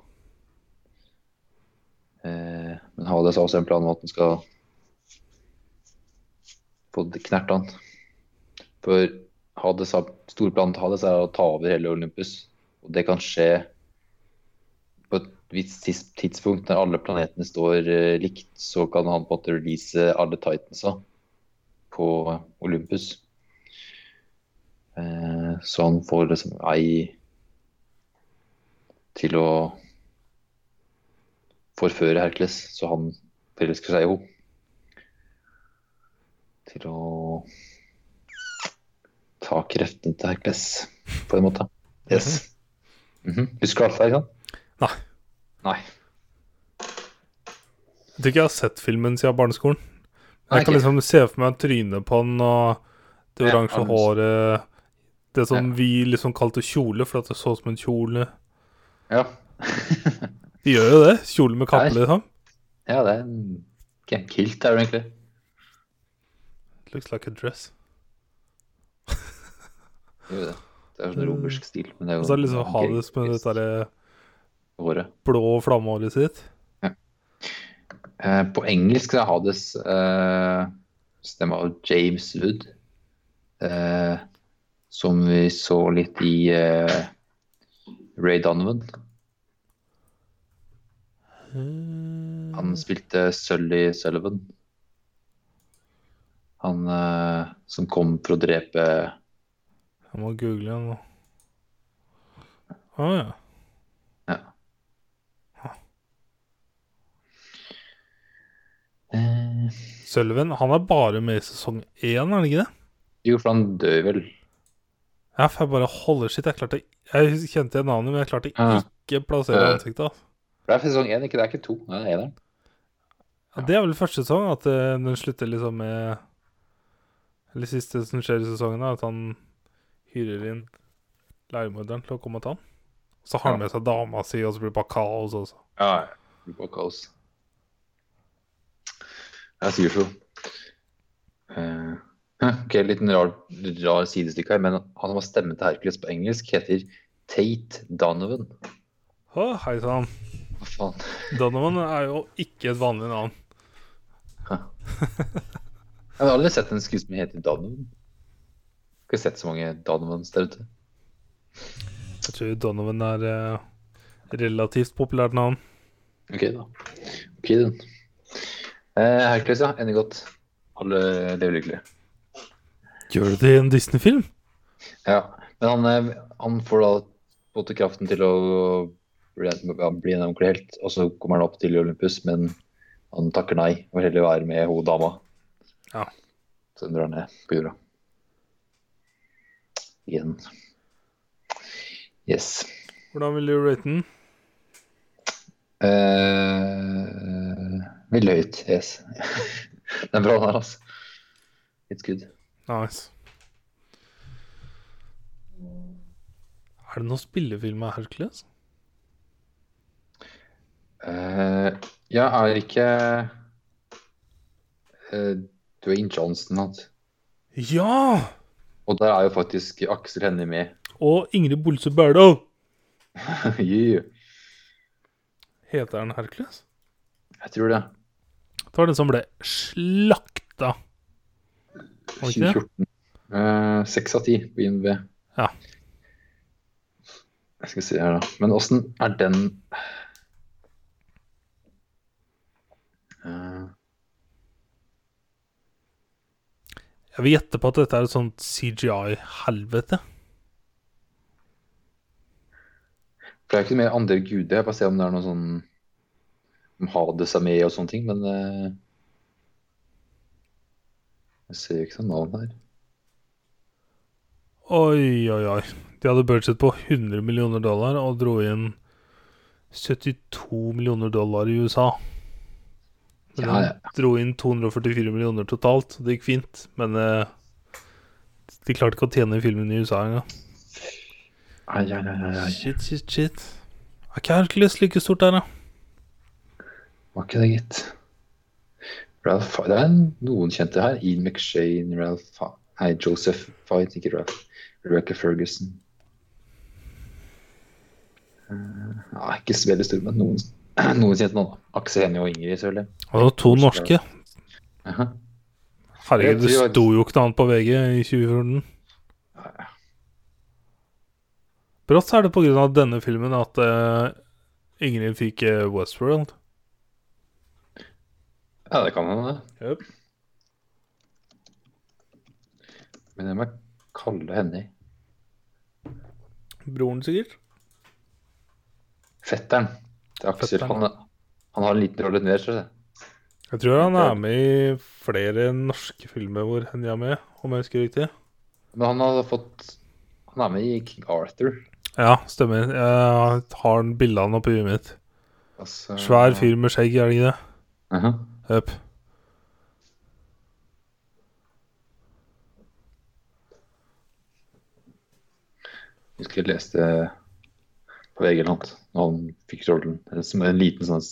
[SPEAKER 2] eh, men Hades har også en plan om at han skal få knert han. For Hades har, storplanen til Hades er å ta over hele Olympus. Og det kan skje på et visst tids- tidspunkt når alle planetene står eh, likt, så kan han på en måte release alle titansa på Olympus. Eh, så han får liksom ei til å forføre Hercules, så han forelsker seg i henne. Til å ta kreftene til Hercules, på en måte. Yes. Mhm. Husker du alt det her, ikke sant?
[SPEAKER 1] Nei.
[SPEAKER 2] Nei.
[SPEAKER 1] Jeg tror ikke jeg har sett filmen siden barneskolen.
[SPEAKER 2] Nei,
[SPEAKER 1] Men jeg kan
[SPEAKER 2] ikke.
[SPEAKER 1] liksom se for meg trynet på den og det
[SPEAKER 2] Ja,
[SPEAKER 1] oransje
[SPEAKER 2] arms.
[SPEAKER 1] håret Det som
[SPEAKER 2] Ja.
[SPEAKER 1] vi liksom kalte kjole, for at det så ut som en kjole.
[SPEAKER 2] Ja.
[SPEAKER 1] De gjør jo det. Kjole med kappe,
[SPEAKER 2] Nei.
[SPEAKER 1] liksom.
[SPEAKER 2] ja, det er en ikke en kilt, er det egentlig.
[SPEAKER 1] Looks like a dress.
[SPEAKER 2] Det er jo det. Det er sånn romersk stil. Men det er jo
[SPEAKER 1] Og så er det liksom
[SPEAKER 2] en
[SPEAKER 1] Hades med det
[SPEAKER 2] grekisk
[SPEAKER 1] derre
[SPEAKER 2] håret.
[SPEAKER 1] blå flammehåret sitt.
[SPEAKER 2] Eh, på engelsk så er Hades eh, stemma av James Wood. Eh, som vi så litt i eh, Ray Donovan. Han
[SPEAKER 1] Han
[SPEAKER 2] spilte Sully Sullivan. Han eh, som kom for å drepe
[SPEAKER 1] Jeg må google han nå. Å ja.
[SPEAKER 2] Ja.
[SPEAKER 1] Huh.
[SPEAKER 2] Eh,
[SPEAKER 1] Sølven, han er bare med i sesong én, er han ikke det?
[SPEAKER 2] jo, for han dør vel.
[SPEAKER 1] Ja, for jeg bare holder sitt. Jeg klarte Jeg hus- kjente igjen navnet, men jeg klarte
[SPEAKER 2] Ja.
[SPEAKER 1] ikke plassere
[SPEAKER 2] Ja.
[SPEAKER 1] ansiktet. altså.
[SPEAKER 2] For Det er sesong én, ikke, det er ikke to. Nei, det er eneren.
[SPEAKER 1] Ja, det er vel første sesong, at eh, den slutter liksom med Eller siste som skjer i sesongen, er at han hyrer inn leiemorderen til å komme og ta han. Så har han
[SPEAKER 2] Ja.
[SPEAKER 1] med seg dama si, og så blir det bare kaos også.
[SPEAKER 2] Ja, ja. Det var kaos. Det er sikkert så. Eh, (laughs) ok, liten rar, rar sidestykke her, men han som har stemmen til Hercules på engelsk, heter Tate Donovan.
[SPEAKER 1] Å, hei sann.
[SPEAKER 2] Hva faen?
[SPEAKER 1] Donovan er jo ikke et vanlig navn.
[SPEAKER 2] Jeg har aldri sett en skuespiller hete Donovan. Ikke sett så mange Donovans der ute.
[SPEAKER 1] Jeg tror Donovan er eh, relativt populært navn.
[SPEAKER 2] Ok, da. Ok, den. Eh, Hercules, ja. Ender godt. Alle lever lykkelige.
[SPEAKER 1] Gjør du det i en Disney-film?
[SPEAKER 2] Ja, men han, eh, han får da på en måte kraften til å bli ja, bli en ordentlig helt, og så kommer han opp til Olympus, men han takker nei og vil heller være med hun dama.
[SPEAKER 1] Ja.
[SPEAKER 2] Så den drar ned på jorda. Igjen. Yes.
[SPEAKER 1] Hvordan vil du rate den?
[SPEAKER 2] Eh, veldig høyt, yes. (laughs) den er bra den her, altså. It's good.
[SPEAKER 1] Nice. Er det noen spillefilm av Hercules?
[SPEAKER 2] Eh, ja, er ikke eh, Dwayne Johnson hatt?
[SPEAKER 1] Ja!
[SPEAKER 2] Og der er jo faktisk Aksel Hennie med. (laughs)
[SPEAKER 1] Og Ingrid Bolse Berdal.
[SPEAKER 2] yeah.
[SPEAKER 1] Heter den Hercules?
[SPEAKER 2] Jeg tror det.
[SPEAKER 1] Det var den som ble slakta. Var det ikke det?
[SPEAKER 2] 2014. Eh, Seks av ti på IMV.
[SPEAKER 1] Ja.
[SPEAKER 2] Jeg skal se her, da. Men åssen er den Eh,
[SPEAKER 1] Jeg vil gjette på at dette er et sånt CGI-helvete.
[SPEAKER 2] For det er ikke mer andre guder. Jeg bare ser om det er noe sånn Om Hades er med og sånne ting, men eh, Jeg ser jo ikke noe navn her.
[SPEAKER 1] Oi, oi, oi. De hadde budsjett på 100 millioner dollar og dro inn 72 millioner dollar i USA. Men
[SPEAKER 2] Ja, ja.
[SPEAKER 1] de dro inn 244 millioner totalt, og det gikk fint. Men eh, de klarte ikke å tjene filmen i USA engang.
[SPEAKER 2] Ai, ai, ai, ai, ai.
[SPEAKER 1] Shit, shit, shit. Er ikke Hercules like stort der, da?
[SPEAKER 2] Var ikke det, gitt. Ralph, Fi- det er noen kjente her. Ian McShane, Ralph Fi- Nei, Joseph Fight, ikke Ralph. Rebecca Ferguson. Eh, Nei, ikke så veldig stor, men noen, (clears throat) noen kjente nå, da. Aksel Hennie og Ingrid, selvfølgelig.
[SPEAKER 1] Og det var to norske.
[SPEAKER 2] Aha.
[SPEAKER 1] Herregud, det
[SPEAKER 2] Jeg tror-
[SPEAKER 1] sto jo ikke noe annet på VG i 2014.
[SPEAKER 2] Nei.
[SPEAKER 1] Brått så er det på grunn av denne filmen at eh, Ingrid fikk eh, Westworld.
[SPEAKER 2] Ja, det kan hende, det.
[SPEAKER 1] Yep.
[SPEAKER 2] Men jeg må kalle Hennie.
[SPEAKER 1] Broren, sikkert.
[SPEAKER 2] Fetteren til Aksel.
[SPEAKER 1] Fetteren.
[SPEAKER 2] Han, han har en liten rolle mer, tror jeg.
[SPEAKER 1] Jeg tror han er med i flere norske filmer hvor Henny er med, om jeg husker riktig.
[SPEAKER 2] Men han har fått Han er med i King Arthur.
[SPEAKER 1] Ja, stemmer. Jeg har en bilde av han oppi huet mitt.
[SPEAKER 2] Altså,
[SPEAKER 1] Svær fyr med skjegg, er det ikke det?
[SPEAKER 2] Aha.
[SPEAKER 1] Jep.
[SPEAKER 2] Jeg husker jeg leste på VG eller noe, når han fikk rollen. Som en liten sånn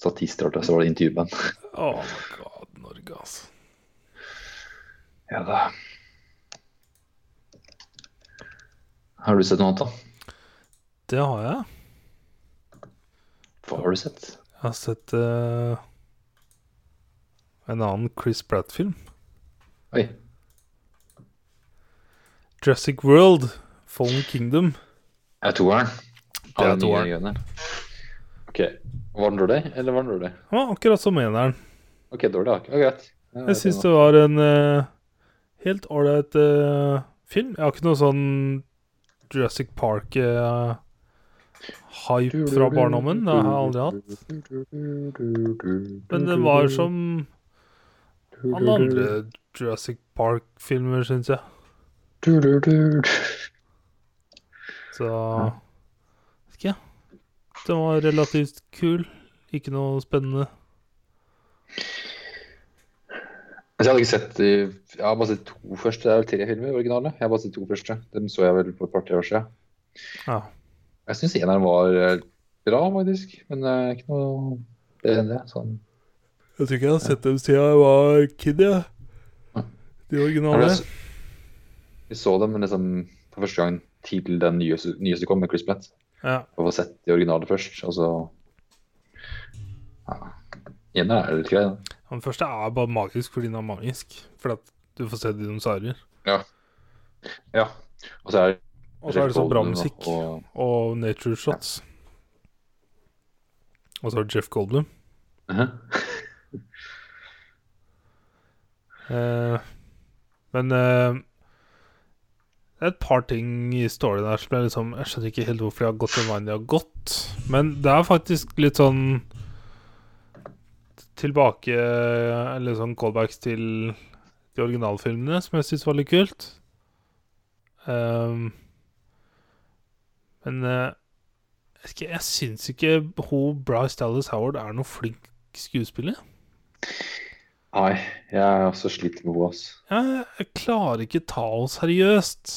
[SPEAKER 2] statistrolle, så var det intervju med han.
[SPEAKER 1] Oh my god, Norge, altså.
[SPEAKER 2] Ja da. Har du sett noe annet, da?
[SPEAKER 1] Det har jeg.
[SPEAKER 2] Hva har du sett?
[SPEAKER 1] Jeg har sett eh, en annen Chris Pratt-film.
[SPEAKER 2] Oi.
[SPEAKER 1] Jurassic World, Fallen Kingdom.
[SPEAKER 2] Er det toeren?
[SPEAKER 1] Det er
[SPEAKER 2] Av de nye
[SPEAKER 1] toeren.
[SPEAKER 2] greiene. OK. Var den dårlig, eller var den dårlig?
[SPEAKER 1] Ja, akkurat som eneren.
[SPEAKER 2] OK, dårlig. ja. Ja, greit. Ja,
[SPEAKER 1] Jeg syns det var en eh, helt ålreit eh, film. Jeg har ikke noe sånn Jurassic Park-hype fra barndommen. Det har jeg aldri hatt. Men den var som alle andre Jurassic Park-filmer, syns jeg. Så vet ikke jeg. Den var relativt kul. Ikke noe spennende.
[SPEAKER 2] Altså, Jeg hadde ikke sett de, Jeg har bare sett to første. Det er vel tre filmer originale. Jeg har bare sett to første. Dem så jeg vel for et par-tre år siden.
[SPEAKER 1] Ja.
[SPEAKER 2] Jeg syns eneren var eh, bra, faktisk. Men eh, ikke noe bedre enn det. Sånn.
[SPEAKER 1] Jeg tror ikke jeg har sett dem siden jeg var kid, jeg. De
[SPEAKER 2] Har du
[SPEAKER 1] originale.
[SPEAKER 2] s- Vi så dem men liksom for første gang til den nye, s- nye som kom med Chris Platt.
[SPEAKER 1] Ja.
[SPEAKER 2] Og få sett de originale først, og så ja. Eneren er litt grei, da.
[SPEAKER 1] Den første er bare magisk fordi den er magisk. Fordi at du får se dinosaurer.
[SPEAKER 2] Ja. Og så er det
[SPEAKER 1] Og så er det sånn bra musikk
[SPEAKER 2] Og,
[SPEAKER 1] og nature shots. Og så er det Jeff Goldblum.
[SPEAKER 2] Mhm.
[SPEAKER 1] Eh, Men eh, det er et par ting i storyen her som jeg liksom Jeg skjønner ikke helt hvorfor de har gått den veien de har gått. Men det er faktisk litt sånn tilbake Eller sånn callbacks til de originalfilmene, som jeg syns var litt kult. Ehm, men eh, jeg vet ikke, jeg syns ikke hun Bryce Dallas Howard er noen flink skuespiller.
[SPEAKER 2] Nei, jeg er også slitt med henne, ass.
[SPEAKER 1] Jeg, jeg klarer ikke ta henne seriøst.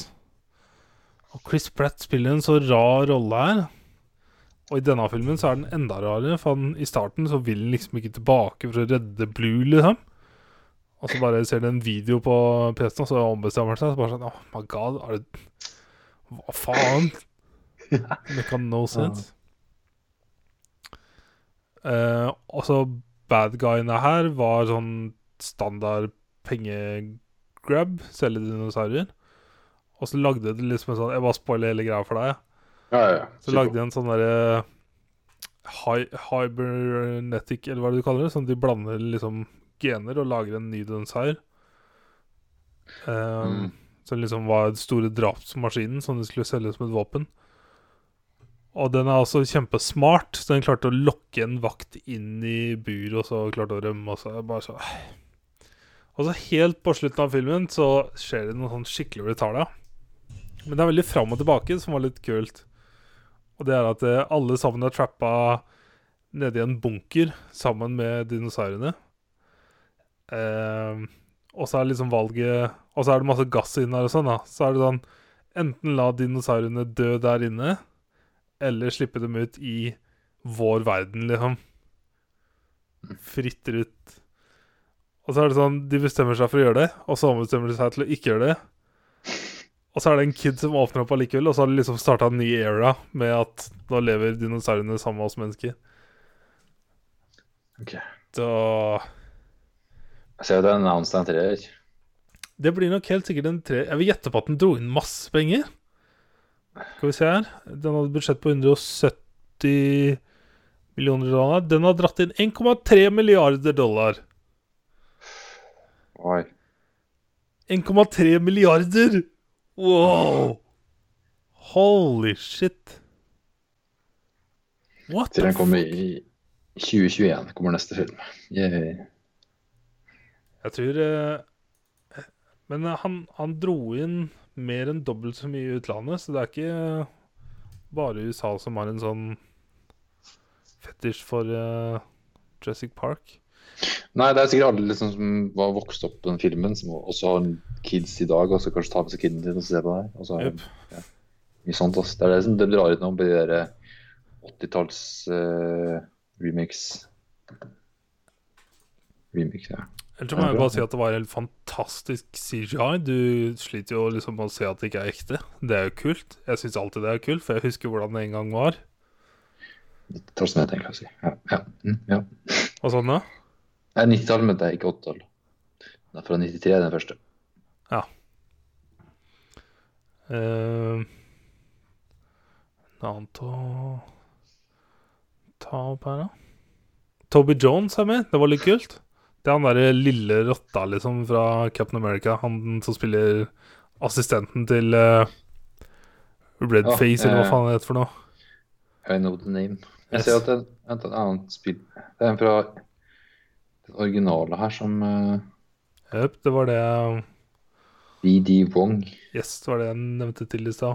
[SPEAKER 1] Og Chris Pratt spiller en så rar rolle her. Og i denne filmen så er den enda rarere, for han, i starten så vil han liksom ikke tilbake for å redde Blue, liksom. Og så bare ser du en video på PC-en, og så ombestemmer han seg. Så bare sånn Oh my god, er det Hva faen? Make no sense. Eh, og så bad guyene her var sånn standard pengegrab, selge dinosaurer. Og så lagde de liksom en sånn Jeg bare spoiler hele greia for deg.
[SPEAKER 2] Ja, ja, ja.
[SPEAKER 1] Så lagde de en sånn derre eh, hy- Hybernetic, eller hva er det du kaller det? Sånn at de blander liksom gener og lager en ny dinosaur. Um,
[SPEAKER 2] Mm.
[SPEAKER 1] Som liksom var den store drapsmaskinen som de skulle selge som et våpen. Og den er også kjempesmart, så den klarte å lokke en vakt inn i buret, og så klarte å rømme. Og så er det bare så Og så helt på slutten av filmen så skjer det noe sånn skikkelig brutalt. ja. Men det er veldig fram og tilbake, som var litt kult. Og det er at eh, alle sammen er trappa nedi en bunker sammen med dinosaurene. Eh, og så er liksom valget Og så er det masse gass inn her og sånn, da. Så er det sånn Enten la dinosaurene dø der inne, eller slippe dem ut i vår verden, liksom. Fritt ut. Og så er det sånn De bestemmer seg for å gjøre det, og så ombestemmer de seg til å ikke gjøre det. Og så er det en kid som åpner opp allikevel, og så har de liksom starta en ny era med at nå lever dinosaurene sammen med oss mennesker.
[SPEAKER 2] Ok.
[SPEAKER 1] Så
[SPEAKER 2] Jeg ser jo det er en annonse en treer.
[SPEAKER 1] Det blir nok helt sikkert en tre... Jeg vil gjette på at den dro inn masse penger. Skal vi se her. Den hadde budsjett på 170 millioner dollar. Den har dratt inn 1,3 milliarder dollar.
[SPEAKER 2] Oi.
[SPEAKER 1] 1,3 milliarder! Wow! Holy shit. What
[SPEAKER 2] Til
[SPEAKER 1] the
[SPEAKER 2] den
[SPEAKER 1] f-
[SPEAKER 2] kommer i 2021, kommer neste film. Yay.
[SPEAKER 1] Jeg tror eh, Men han, han dro inn mer enn dobbelt så mye i utlandet, så det er ikke eh, bare USA som har en sånn fetisj for eh, Jurassic Park.
[SPEAKER 2] Nei, det er sikkert alle liksom som var vokst opp på den filmen, som også har kids i dag, og så kanskje tar med seg kiden sin og ser på det her. Og så,
[SPEAKER 1] Jep.
[SPEAKER 2] ja. Mye sånt, ass. Det er det som det drar ut nå på de der eh, 80-talls eh, remix. Remix, ja.
[SPEAKER 1] Ellers så må jeg bare si at det var helt fantastisk CGI. Du sliter jo liksom med å se at det ikke er ekte. Det er jo kult. Jeg syns alltid det er kult, for jeg husker hvordan det en gang var.
[SPEAKER 2] 90-tallet, mente jeg egentlig å si. Ja. ja. Mm, ja.
[SPEAKER 1] Og sånn, ja.
[SPEAKER 2] Nei, 90-tallet mente jeg, ikke 80-tallet. Den er fra 93, den første.
[SPEAKER 1] Eh, Noe annet å ta opp her, da? Toby Jones er med. Det var litt kult. Det er han derre lille rotta liksom fra Captain America. Han som spiller assistenten til eh,
[SPEAKER 2] Ja,
[SPEAKER 1] Redface, eller
[SPEAKER 2] eh,
[SPEAKER 1] hva faen det heter for noe.
[SPEAKER 2] I know the name. Jeg
[SPEAKER 1] Yes.
[SPEAKER 2] ser at det vent, det er et annet spill Det er en fra den originale her som eh,
[SPEAKER 1] Jøp, det var det jeg-
[SPEAKER 2] DD Wong.
[SPEAKER 1] Yes, det var det jeg nevnte til i stad.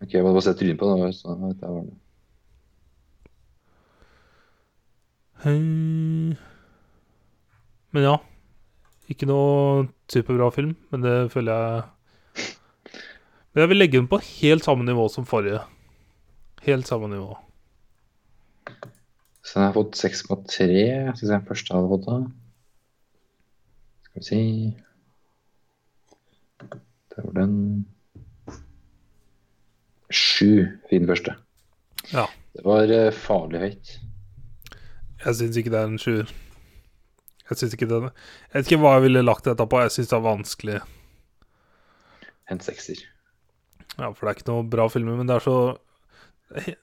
[SPEAKER 2] Ok, jeg må bare se trynet på den. Så, vet jeg hva det er.
[SPEAKER 1] Hei. Men ja. Ikke noe superbra film, men det føler jeg Men jeg vil legge den på helt samme nivå som forrige. Helt samme nivå.
[SPEAKER 2] så den har fått 6,3. Skal vi se den første jeg hadde fått da. Skal vi si Der var den. Sju fin første.
[SPEAKER 1] Ja.
[SPEAKER 2] Det var eh, farlig høyt.
[SPEAKER 1] Jeg syns ikke det er en sjuer. Jeg syns ikke den Jeg vet ikke hva jeg ville lagt dette på. Jeg syns det er vanskelig.
[SPEAKER 2] En sekser.
[SPEAKER 1] Ja, for det er ikke noe bra filmer, men det er så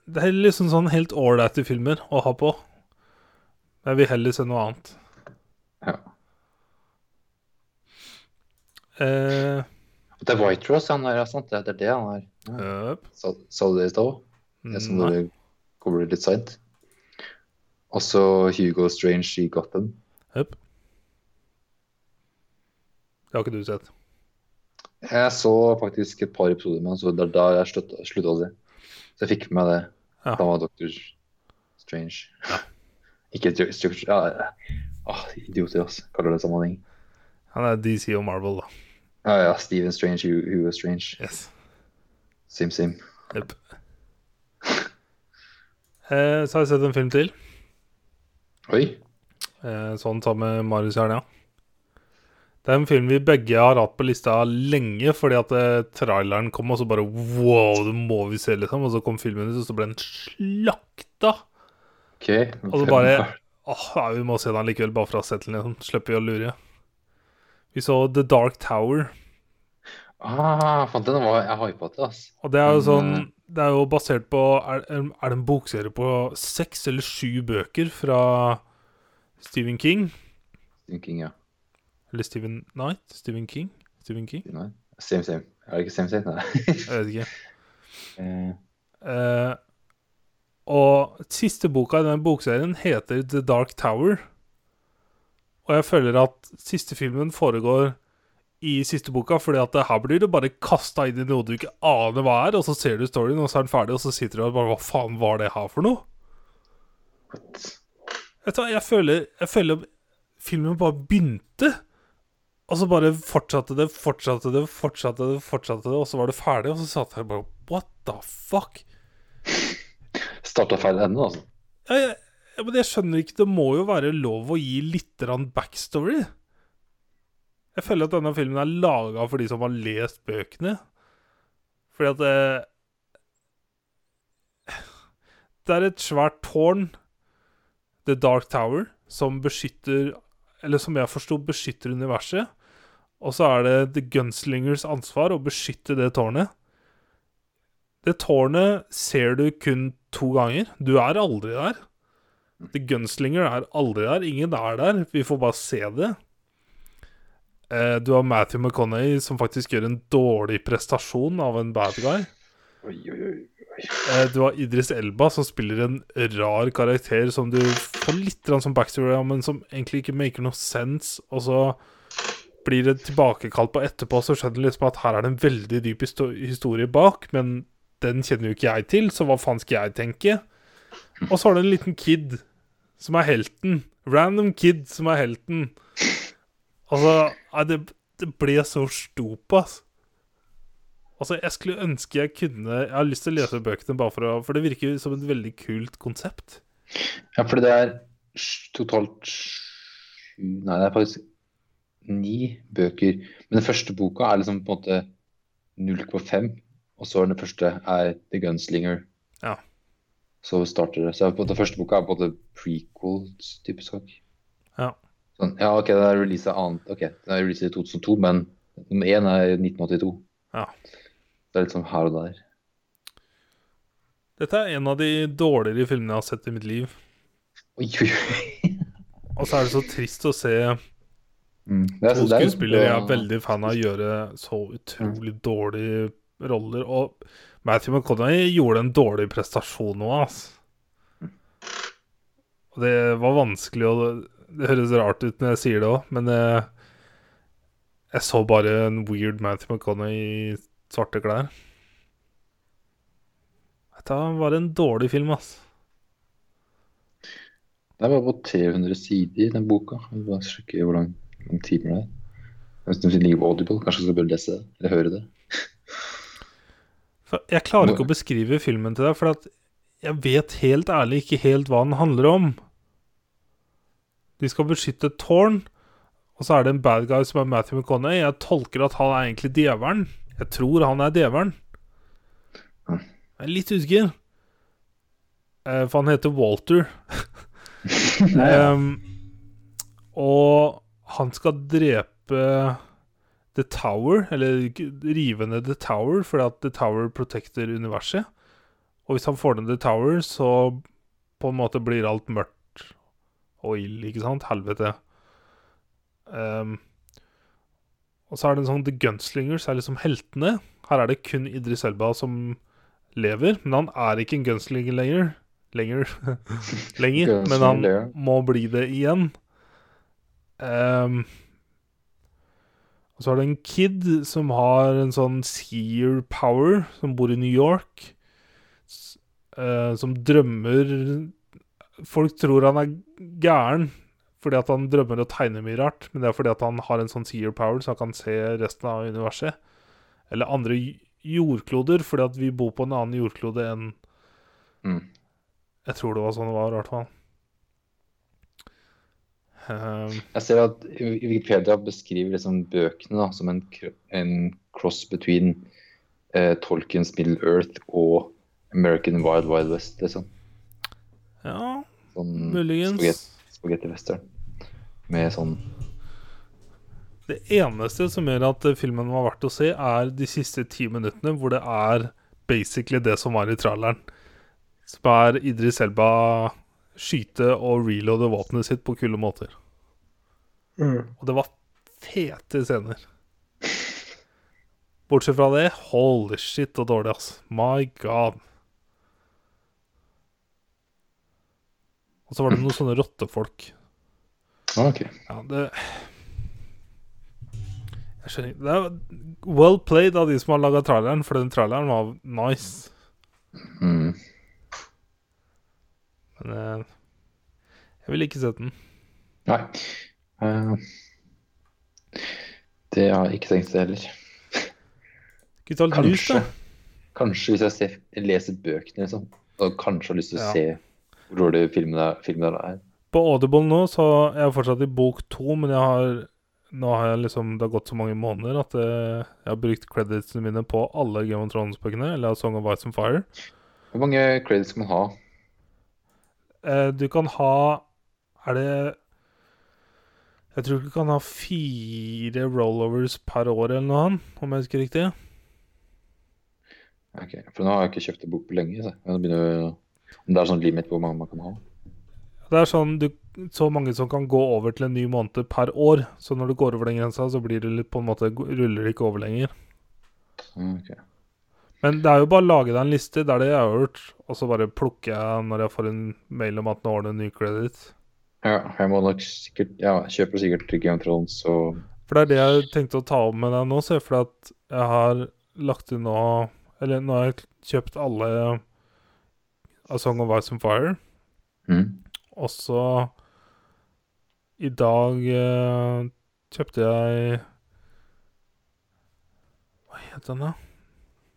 [SPEAKER 1] Det er liksom sånn helt ålreite filmer å ha på. Men jeg vil heller se noe annet.
[SPEAKER 2] Ja.
[SPEAKER 1] Eh,
[SPEAKER 2] Det er White Rose han er, ja, sant? Det er det han er. Ja.
[SPEAKER 1] øp.
[SPEAKER 2] Sa, sa du det i stad? Det som
[SPEAKER 1] Nei.
[SPEAKER 2] bare kommer litt seint. Og så Hugo Strange i Gotham.
[SPEAKER 1] Øp. Det har ikke du sett.
[SPEAKER 2] Jeg så faktisk et par episoder med han, så det er da jeg slutta slutta å se. Så jeg fikk med meg det.
[SPEAKER 1] Ja.
[SPEAKER 2] Da var Dr. Strange. (laughs) Ikke Dr. Strange ja, ja. Åh, Idioter, ass. Kaller det sammenheng.
[SPEAKER 1] Han er DC og Marvel, da.
[SPEAKER 2] Ja, ja. Steven Strange, Hu- Hugo Strange.
[SPEAKER 1] Yes.
[SPEAKER 2] Sim Sim. (laughs)
[SPEAKER 1] Jep. Eh, så har jeg sett en film til.
[SPEAKER 2] Oi.
[SPEAKER 1] Eh, sånn sammen med Marius i helga. Det er en film vi begge har hatt på lista lenge, fordi at eh, traileren kom, og så bare wow, det må vi se, liksom. Og så kom filmen ut, og så ble den slakta.
[SPEAKER 2] OK.
[SPEAKER 1] Og så bare Åh, ja, vi må se den likevel, bare for å ha sett den, liksom. Slipper vi å lure. Vi så The Dark Tower.
[SPEAKER 2] Ah, fant den var Jeg hypa til, ass.
[SPEAKER 1] Og det er jo
[SPEAKER 2] Men,
[SPEAKER 1] sånn
[SPEAKER 2] eh,
[SPEAKER 1] Det er jo basert på Er, er det en bokserie på seks eller sju bøker fra Stephen King?
[SPEAKER 2] Thinking, ja.
[SPEAKER 1] Eller Stephen Knight? Stephen King? Stephen King?
[SPEAKER 2] Nei. Same, same. Er det ikke same, same? Nei. (laughs)
[SPEAKER 1] Jeg vet ikke.
[SPEAKER 2] Eh,
[SPEAKER 1] Eh, og siste boka i den bokserien heter The Dark Tower. Og jeg føler at siste filmen foregår i siste boka, fordi at det her blir du bare kasta inn i noe du ikke aner hva er, og så ser du storyen, og så er den ferdig, og så sitter du og bare Hva faen var det her for noe?
[SPEAKER 2] what?
[SPEAKER 1] Vet du hva, jeg føler, jeg føler filmen bare begynte, og så bare fortsatte det, fortsatte det, fortsatte det, fortsatte det, og så var det ferdig, og så satt jeg bare What the fuck?
[SPEAKER 2] Starta feil ende, altså.
[SPEAKER 1] Ja, jeg, ja, men jeg skjønner ikke, det må jo være lov å gi litt grann backstory. Jeg føler at denne filmen er laga for de som har lest bøkene. Fordi at eh, det, det er et svært tårn, The Dark Tower, som beskytter Eller som jeg forsto, beskytter universet. Og så er det The Gunslingers ansvar å beskytte det tårnet. Det tårnet ser du kun to ganger. Du er aldri der. The Gunslinger er aldri der. Ingen er der. Vi får bare se det. Eh, Du har Matthew McConaughey som faktisk gjør en dårlig prestasjon av en bad guy.
[SPEAKER 2] Oi, oi, oi.
[SPEAKER 1] Eh, Du har Idris Elba som spiller en rar karakter som du får litt grann som backstory av, men som egentlig ikke maker noe sense. Og så blir det tilbakekalt på etterpå, så skjønner du liksom at her er det en veldig dyp histo- historie bak, men den kjenner jo ikke jeg til, så hva faen skal jeg tenke? Og så har du en liten kid som er helten. Random kid som er helten. Altså, nei, det, det ble så stop, ass. Altså, jeg skulle ønske jeg kunne Jeg har lyst til å lese bøkene, bare for å For det virker jo som et veldig kult konsept.
[SPEAKER 2] Ja, fordi det er sj- totalt sju Nei, det er faktisk ni bøker. Men den første boka er liksom på en måte 0,5, og så er den første er The Gunslinger.
[SPEAKER 1] Ja.
[SPEAKER 2] Så starter det. Så på en måte, den første boka er på en måte prequel-type sak.
[SPEAKER 1] Ja.
[SPEAKER 2] Sånn, ja, OK, den er releaset annet Ok, den er releaset i 2002, men nummer én er 1982.
[SPEAKER 1] Ja.
[SPEAKER 2] Det er litt sånn her og der.
[SPEAKER 1] Dette er en av de dårligere filmene jeg har sett i mitt liv.
[SPEAKER 2] Oi, oi, oi.
[SPEAKER 1] Og så er det så trist å se
[SPEAKER 2] Mm. Det er-
[SPEAKER 1] to
[SPEAKER 2] det er jo
[SPEAKER 1] skuespillere jeg er
[SPEAKER 2] bra-
[SPEAKER 1] veldig fan av, gjøre så utrolig dårlige roller. Og Matthew McConaughey gjorde en dårlig prestasjon nå, altså. Og det var vanskelig å Det høres rart ut når jeg sier det òg, men eh, jeg så bare en weird Matthew McConaughey i svarte klær. Dette var en dårlig film, ass.
[SPEAKER 2] Det er bare på 300 sider, den boka. Jeg vil bare sjekke hvor lang, lang tid den er. Hvis den ligger på Audible, kanskje jeg skal bare lese det, eller høre det.
[SPEAKER 1] For jeg klarer ikke å beskrive filmen til deg, for at jeg vet helt ærlig ikke helt hva den handler om. De skal beskytte et tårn, og så er det en bad guy som er Matthew McConaughey. Jeg tolker at han er egentlig djevelen. Jeg tror han er djevelen.
[SPEAKER 2] Mm.
[SPEAKER 1] Jeg er litt usikker. Eh, For han heter Walter. Ehm, og han skal drepe The Tower, eller g- rive ned The Tower, fordi at The Tower protekter universet. Og hvis han får ned The Tower, så på en måte blir alt mørkt og ild, ikke sant? Helvete. Ehm, Og så er det en sånn The Gunslingers er liksom heltene. Her er det kun Idris Elba som lever, men han er ikke en gunslinger lenger. Lenger. (laughs) lenger men han
[SPEAKER 2] Gunslinger.
[SPEAKER 1] må bli det igjen. Ehm, og så er det en kid som har en sånn seer power, som bor i New York. s- eh, som drømmer Folk tror han er gæren fordi at han drømmer og tegner mye rart, men det er fordi at han har en sånn seer power, så han kan se resten av universet. Eller andre j- jordkloder, fordi at vi bor på en annen jordklode enn
[SPEAKER 2] Mm.
[SPEAKER 1] Jeg tror det var sånn det var, i hvert fall. Ehm,
[SPEAKER 2] Jeg ser at i- i Wikipedia beskriver liksom bøkene da, som en, kr- en cross between eh, Tolkiens Middle Earth og American Wild Wild West. Liksom.
[SPEAKER 1] ja,
[SPEAKER 2] Sånn
[SPEAKER 1] muligens.
[SPEAKER 2] spagetti- Spagetti western. Med sånn
[SPEAKER 1] Det eneste som gjør at eh, filmen var verdt å se, er de siste ti minuttene, hvor det er basically det som var i traileren. Som er Idris Elba skyte og reloade våpenet sitt på kule måter. Og det var fete scener. Bortsett fra det, holy shit og dårlig, ass. My god. Og så var det noen sånne rottefolk.
[SPEAKER 2] ah, OK.
[SPEAKER 1] Ja, det Jeg skjønner ikke Det er well played av de som har laga traileren, for den traileren var nice.
[SPEAKER 2] Mm.
[SPEAKER 1] Men eh, jeg ville ikke sett den.
[SPEAKER 2] Nei. Eh, det har jeg ikke tenkt det heller.
[SPEAKER 1] Skal vi ta litt lys,
[SPEAKER 2] Kanskje,
[SPEAKER 1] da?
[SPEAKER 2] kanskje hvis jeg ser, leser bøkene, liksom. Da kanskje har lyst til å
[SPEAKER 1] Ja.
[SPEAKER 2] se hvor dårlig filmen er. Filmen er.
[SPEAKER 1] På Audible nå, så jeg er fortsatt i bok to, men jeg har nå har jeg liksom, det har gått så mange måneder at eh, jeg har brukt creditsene mine på alle Game of Thrones-bøkene, eller Song of Ice and Fire.
[SPEAKER 2] Hvor mange credits skal man ha?
[SPEAKER 1] Eh, du kan ha Er det Jeg tror du kan ha fire rollovers per år eller noe annet, om jeg husker riktig.
[SPEAKER 2] Ok, For nå har jeg ikke kjøpt en bok på lenge. Så. Jeg begynner, å- om det er sånn limit på hvor mange man kan ha.
[SPEAKER 1] Det er sånn du, så mange som kan gå over til en ny måned per år. Så når du går over den grensa, så blir det litt, på en måte, ruller det ikke over lenger.
[SPEAKER 2] Ah, ok.
[SPEAKER 1] Men det er jo bare å lage deg en liste, det er det jeg har gjort. Og så bare plukker jeg når jeg får en mail om at nå har du en ny credit.
[SPEAKER 2] Ja, jeg må nok sikkert Ja, jeg kjøper sikkert Game of Thrones og
[SPEAKER 1] For det er det jeg tenkte å ta opp med deg nå, ser jeg, for at jeg har lagt inn nå Eller nå har jeg kjøpt alle A Song of Ice and Fire.
[SPEAKER 2] mm.
[SPEAKER 1] Og så i dag eh, kjøpte jeg Hva het den, da?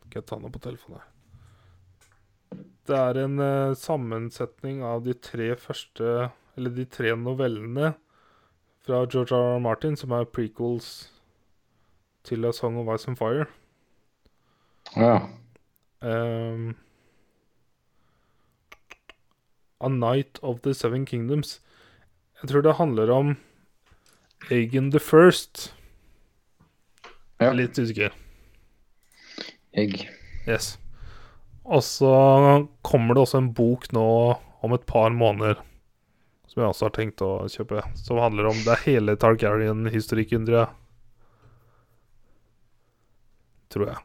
[SPEAKER 1] Skal jeg ta den opp på telefonen her. Det er en eh, sammensetning av de tre første Eller de tre novellene fra George R. R. Martin, som er prequels til A Song of Ice and Fire.
[SPEAKER 2] Ja.
[SPEAKER 1] Ehm, A Night of the Seven Kingdoms. Jeg tror det handler om Aegon the First.
[SPEAKER 2] Ja.
[SPEAKER 1] Litt usikker.
[SPEAKER 2] Jeg
[SPEAKER 1] Yes. Og så kommer det også en bok nå om et par måneder. Som jeg også har tenkt å kjøpe. Som handler om det er hele Targaryen-historikken, tror jeg. Tror jeg.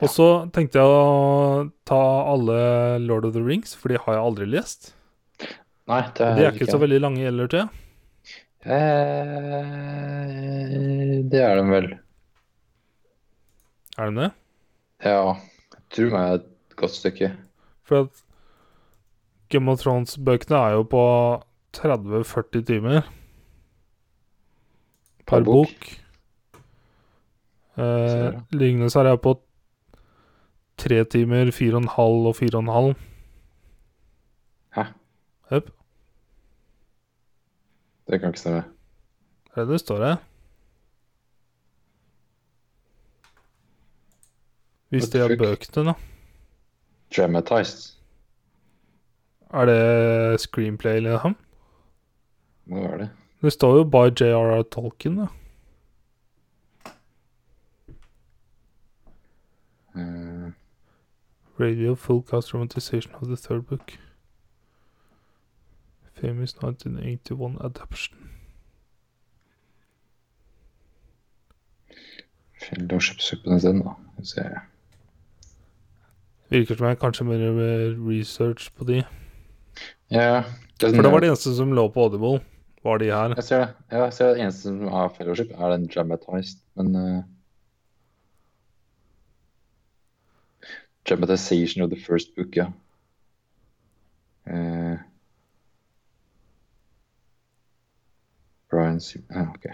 [SPEAKER 1] Og så tenkte jeg å ta alle Lord of the Rings, for de har jeg aldri lest.
[SPEAKER 2] Nei, det
[SPEAKER 1] De er ikke så veldig lange heller, tror jeg.
[SPEAKER 2] eh, Det er den vel.
[SPEAKER 1] Er de det?
[SPEAKER 2] Ja. Jeg tror meg er et godt stykke.
[SPEAKER 1] For at Game of Thrones-bøkene er jo på 30-40 timer
[SPEAKER 2] Per
[SPEAKER 1] per
[SPEAKER 2] bok.
[SPEAKER 1] bok. Eh,
[SPEAKER 2] Ser det.
[SPEAKER 1] Lignes her er på tre timer, fire og en halv og fire og en halv.
[SPEAKER 2] Hæ?
[SPEAKER 1] Jøp.
[SPEAKER 2] Det kan ikke stemme.
[SPEAKER 1] Det er det det står her. Hvis
[SPEAKER 2] What
[SPEAKER 1] det
[SPEAKER 2] the
[SPEAKER 1] er
[SPEAKER 2] fuck?
[SPEAKER 1] bøkene, da.
[SPEAKER 2] Dramatized.
[SPEAKER 1] Er det screenplay eller noe?
[SPEAKER 2] Må jo være det.
[SPEAKER 1] Det står jo by J.R.R. Tolkien, da.
[SPEAKER 2] Eh,
[SPEAKER 1] Radio full cast romantisation of the third book. Famous 1981 adaption.
[SPEAKER 2] Eller å kjøpe suppen isteden, da. Skal vi se.
[SPEAKER 1] Virker som jeg kanskje mer eh, research på de.
[SPEAKER 2] Ja, det er sånn-
[SPEAKER 1] For det var det eneste som lå på Audible, var de her.
[SPEAKER 2] Jeg ser det. Ja, jeg ser det eneste som har fellowship, er den dramatized, men eh, Dramatization of the first book, ja. Eh, Brian Sim... Ja, ok.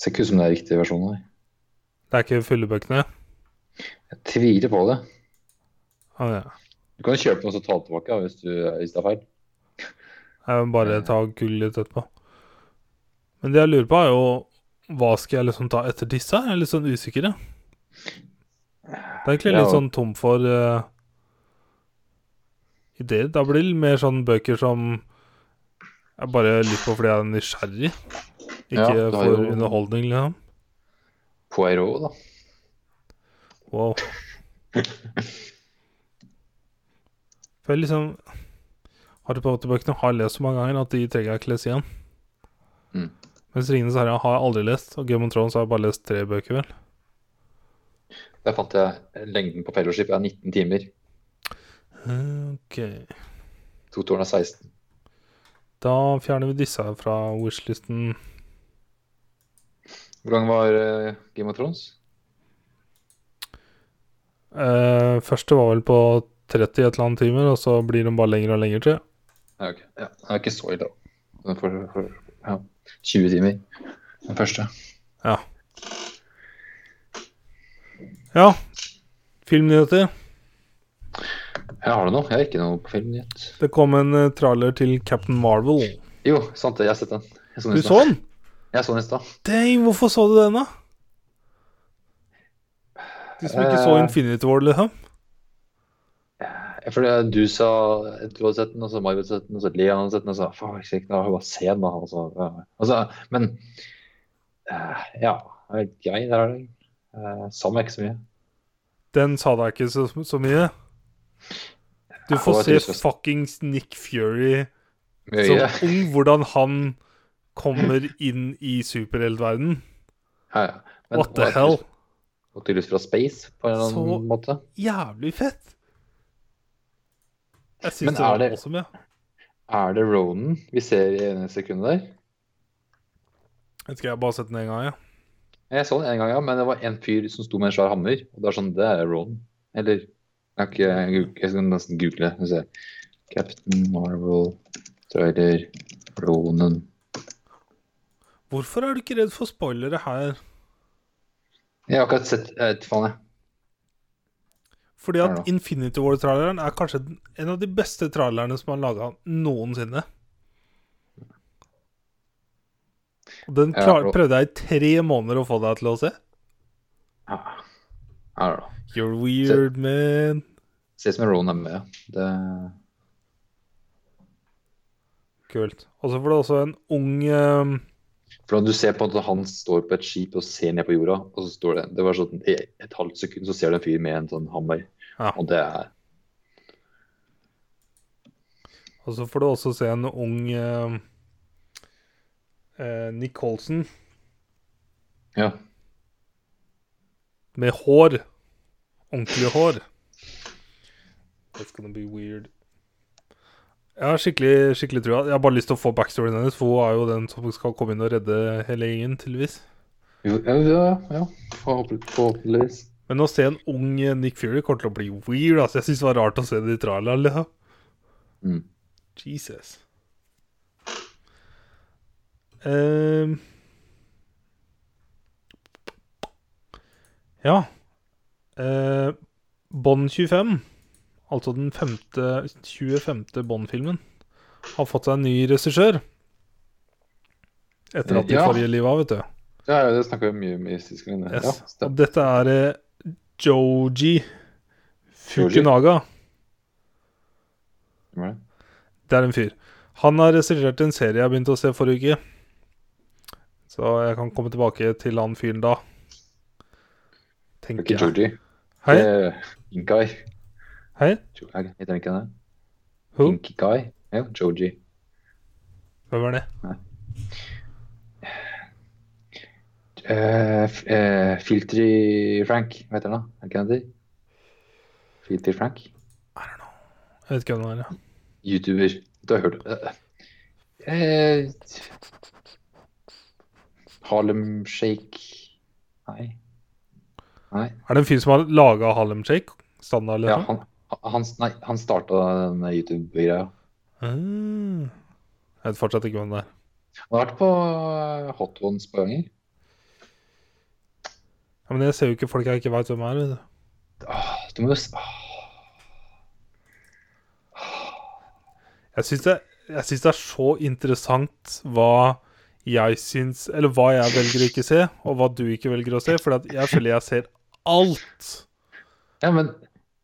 [SPEAKER 2] Ser ikke ut som det er riktig versjon, nei.
[SPEAKER 1] Det er ikke fyllebøkene.
[SPEAKER 2] Jeg tviler på det.
[SPEAKER 1] Ah, ja.
[SPEAKER 2] Du kan jo kjøpe den og så ta den tilbake ja, hvis, du, hvis det er feil.
[SPEAKER 1] Jeg vil
[SPEAKER 2] Mm.
[SPEAKER 1] bare ta gull litt etterpå. Men det jeg lurer på, er jo hva skal jeg liksom ta etter disse? her? Jeg er litt sånn usikker, jeg. Det er egentlig litt
[SPEAKER 2] Ja.
[SPEAKER 1] sånn tom for eh, ideer. Da blir det mer sånn bøker som jeg bare lytter på fordi jeg er nysgjerrig.
[SPEAKER 2] Ja,
[SPEAKER 1] Ikke
[SPEAKER 2] du har
[SPEAKER 1] for
[SPEAKER 2] jo-
[SPEAKER 1] underholdning, liksom.
[SPEAKER 2] Poirot, da.
[SPEAKER 1] Wow. (laughs) For jeg liksom Harry Potter-bøkene har jeg lest så mange ganger at de trenger jeg ikke lese igjen.
[SPEAKER 2] Mm.
[SPEAKER 1] Mens Ringenes herre har jeg aldri lest, og Game of Thrones har jeg bare lest tre bøker, vel.
[SPEAKER 2] Der fant jeg lengden på fellowship er 19 timer.
[SPEAKER 1] Eh, Ok.
[SPEAKER 2] To tårn er 16.
[SPEAKER 1] Da fjerner vi disse her fra wishlisten.
[SPEAKER 2] Hvor lang var eh, Game of Thrones?
[SPEAKER 1] Eh, første var vel på 30 et eller annet timer, og så blir de bare lenger og lenger til.
[SPEAKER 2] Ja, ok. Ja, det er ikke så ille, da. Den får får- ja, 20 timer, den første.
[SPEAKER 1] Ja. Ja. Filmnyheter.
[SPEAKER 2] Jeg har det nå. Jeg har ikke noe på film yet.
[SPEAKER 1] Det kom en eh, trailer til Captain Marvel.
[SPEAKER 2] Jo, sant det. Jeg har sett den. Jeg så den
[SPEAKER 1] Du
[SPEAKER 2] i
[SPEAKER 1] så
[SPEAKER 2] stad.
[SPEAKER 1] den?
[SPEAKER 2] Jeg så den i stad.
[SPEAKER 1] Dang, hvorfor så du den, da? Du som ikke så
[SPEAKER 2] Eh.
[SPEAKER 1] Infinity War, liksom?
[SPEAKER 2] Jeg føler du sa du hadde sett den, og så Marvel hadde sett den, og så Leon hadde sett den, og så Faen, jeg da har jeg bare se den, da. Og så, ja. altså, men eh, Ja. Det er grei, der er den. Uh, sa meg ikke så mye.
[SPEAKER 1] Den sa deg ikke så, så mye. Du
[SPEAKER 2] Ja,
[SPEAKER 1] får
[SPEAKER 2] det var
[SPEAKER 1] se
[SPEAKER 2] trist.
[SPEAKER 1] fuckings Nick Fury
[SPEAKER 2] Mye
[SPEAKER 1] som
[SPEAKER 2] øye.
[SPEAKER 1] ung, hvordan han kommer inn i superheltverden.
[SPEAKER 2] Ja, ja. Men-
[SPEAKER 1] What the
[SPEAKER 2] og-
[SPEAKER 1] hell?
[SPEAKER 2] Og til lyst fra space, på en eller annen
[SPEAKER 1] Så-
[SPEAKER 2] måte.
[SPEAKER 1] Jævlig fett! Jeg
[SPEAKER 2] Men
[SPEAKER 1] syns det
[SPEAKER 2] er
[SPEAKER 1] var
[SPEAKER 2] det-
[SPEAKER 1] awesome, ja.
[SPEAKER 2] Er det Ronan vi ser i ene sekundet der?
[SPEAKER 1] Jeg tror jeg bare har sett den én gang, ja.
[SPEAKER 2] Jeg så den en gang, ja, men det var en fyr som sto med en svær hammer. Og det er sånn, det er Ronan. Eller jeg, kan ikke, jeg, jeg skal nesten google det. Skal vi se. Captain Marvel, trailer, Ronan
[SPEAKER 1] Hvorfor er du ikke redd for spoilere her?
[SPEAKER 2] Jeg har akkurat sett Jeg vet faen, jeg.
[SPEAKER 1] Fordi
[SPEAKER 2] Her
[SPEAKER 1] at
[SPEAKER 2] da.
[SPEAKER 1] Infinity War-traileren er kanskje den- en av de beste trailerne som er laga noensinne. Og den
[SPEAKER 2] Ja,
[SPEAKER 1] klar,
[SPEAKER 2] og-
[SPEAKER 1] prøvde jeg i tre måneder å få deg til å se.
[SPEAKER 2] Ja. I don't know.
[SPEAKER 1] You're weird, man.
[SPEAKER 2] Ser ut som Ronan er med, ja. Det,
[SPEAKER 1] Kult. Og så får du også en ung ehm,
[SPEAKER 2] for når du ser på at han står på et skip og ser ned på jorda, og så står det Det var sånn i et halvt sekund så ser du en fyr med en sånn hammer,
[SPEAKER 1] Ja.
[SPEAKER 2] og det er
[SPEAKER 1] Og så får du også se en ung ehm, eh, Nick Holson
[SPEAKER 2] Ja.
[SPEAKER 1] med hår. Ordentlig hår. That's gonna be weird. Jeg har skikkelig, skikkelig trua. Jeg har bare lyst til å få backstoryen hennes, for hun er jo den som skal komme inn og redde hele gjengen, tydeligvis.
[SPEAKER 2] Jo, Ja, ja, ja. Forhåpentlig- Forhåpentligvis.
[SPEAKER 1] Men å se en ung eh, Nick Fury kommer til å bli weird. Altså, jeg syns det var rart å se det i traileren. Liksom.
[SPEAKER 2] Mm.
[SPEAKER 1] Jesus. Ehm. ja. Uh, Bond 25, altså den femte, 25. Bond-filmen, har fått seg en ny regissør. Etter at de
[SPEAKER 2] Ja.
[SPEAKER 1] forrige livet av, vet du.
[SPEAKER 2] Ja, ja, det snakker vi mye om i siste gang.
[SPEAKER 1] Yes.
[SPEAKER 2] Ja, stemmer.
[SPEAKER 1] Og dette er eh, Joji Fukunaga.
[SPEAKER 2] det.
[SPEAKER 1] Det er en fyr. Han har regissert en serie jeg begynte å se forrige uke. Så jeg kan komme tilbake til han fyren da.
[SPEAKER 2] Det er
[SPEAKER 1] Tenker
[SPEAKER 2] ikke
[SPEAKER 1] jeg.
[SPEAKER 2] Georgie.
[SPEAKER 1] Hei.
[SPEAKER 2] Det er Inkai.
[SPEAKER 1] Hei.
[SPEAKER 2] Jo- jeg Heter han ikke det?
[SPEAKER 1] Who?
[SPEAKER 2] Inkai? Ja, Georgie.
[SPEAKER 1] Hvem er det?
[SPEAKER 2] Eh, Eh, f- eh, Filtry Frank, vet du hva? Er det ikke det han heter? Filtry Frank?
[SPEAKER 1] Jeg vet ikke hva den er. ja.
[SPEAKER 2] YouTuber. Du har hørt det. Eh, Harlem Shake Nei. Nei.
[SPEAKER 1] Er det en fyr som har laga Harlem Shake? Standard,
[SPEAKER 2] Ja,
[SPEAKER 1] liksom?
[SPEAKER 2] han, han, nei, han starta den YouTube-greia.
[SPEAKER 1] Mm. Jeg vet fortsatt ikke hvem det er.
[SPEAKER 2] Han har vært på eh, Hot Ones på ganger.
[SPEAKER 1] Ja, men jeg ser jo ikke folk jeg ikke veit hvem er. vet du.
[SPEAKER 2] Åh, du må jo s- ah, åh.
[SPEAKER 1] Jeg syns det, jeg syns det er så interessant hva jeg syns Eller hva jeg velger å ikke se, og hva du ikke velger å se, for at jeg føler jeg ser alt.
[SPEAKER 2] Ja, men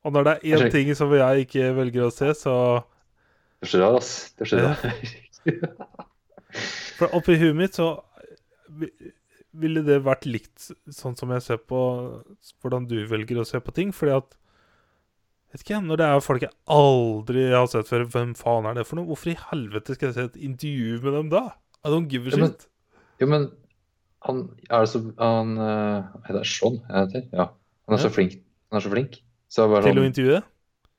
[SPEAKER 1] Og når det er én ting som jeg ikke velger å se, så
[SPEAKER 2] det skjer rar, ass. Det skjer rar.
[SPEAKER 1] For oppi huet mitt så vi- ville det vært likt sånn som jeg ser på hvordan du velger å se på ting. Fordi at Vet ikke, når det er folk jeg aldri har sett før, hvem faen er det for noe? Hvorfor i helvete skal jeg se et intervju med dem da? I don't give a
[SPEAKER 2] Ja, men-
[SPEAKER 1] shit.
[SPEAKER 2] (laughs) Jo, men han er det så Han eh, heter han Sean, er det det heter? Ja. Han er
[SPEAKER 1] Ja.
[SPEAKER 2] så flink. Han er så flink. Så jeg bare
[SPEAKER 1] Til å
[SPEAKER 2] sånn
[SPEAKER 1] intervjue?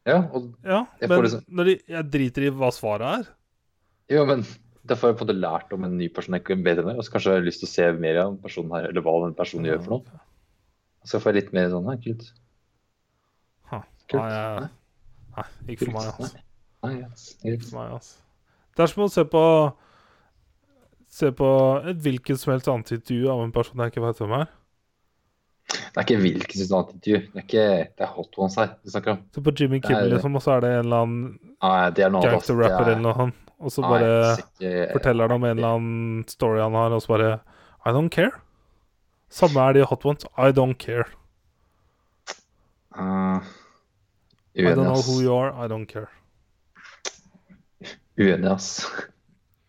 [SPEAKER 2] Ja, og
[SPEAKER 1] Ja,
[SPEAKER 2] Jeg
[SPEAKER 1] men
[SPEAKER 2] får liksom-
[SPEAKER 1] når de, jeg driter i hva svaret er.
[SPEAKER 2] Jo, men derfor har jeg på en måte lært om en ny person jeg ikke bedre med, og så kanskje jeg har lyst til å se mer av den personen her, eller hva den personen gjør for noe. Og så får jeg litt mer sånn her, kult.
[SPEAKER 1] Huh.
[SPEAKER 2] Kult.
[SPEAKER 1] Nei, jeg- nei, ikke for
[SPEAKER 2] Kult.
[SPEAKER 1] meg, altså.
[SPEAKER 2] Nei, ja, greit.
[SPEAKER 1] for meg, altså. Det er som å se på Se på et hvilket som helst annet intervju av en person jeg ikke vet hvem er.
[SPEAKER 2] Det er ikke hvilket som helst intervju. Det er ikke det er hot ones her vi snakker om.
[SPEAKER 1] Se på Jimmy Kimmel,
[SPEAKER 2] Nei, det-
[SPEAKER 1] liksom, og så er det en eller annen
[SPEAKER 2] Nei, det er noe annet. ass. Det
[SPEAKER 1] gangster-rapper
[SPEAKER 2] er-
[SPEAKER 1] eller noe sånt, og så
[SPEAKER 2] Nei,
[SPEAKER 1] bare
[SPEAKER 2] sikkert-
[SPEAKER 1] forteller han om en eller annen story han har, og så bare I don't care. Samme er det i Hot Ones. I don't care.
[SPEAKER 2] Eh,
[SPEAKER 1] I
[SPEAKER 2] Uenig,
[SPEAKER 1] don't know
[SPEAKER 2] ass.
[SPEAKER 1] who you are. I don't care.
[SPEAKER 2] Uenig, ass.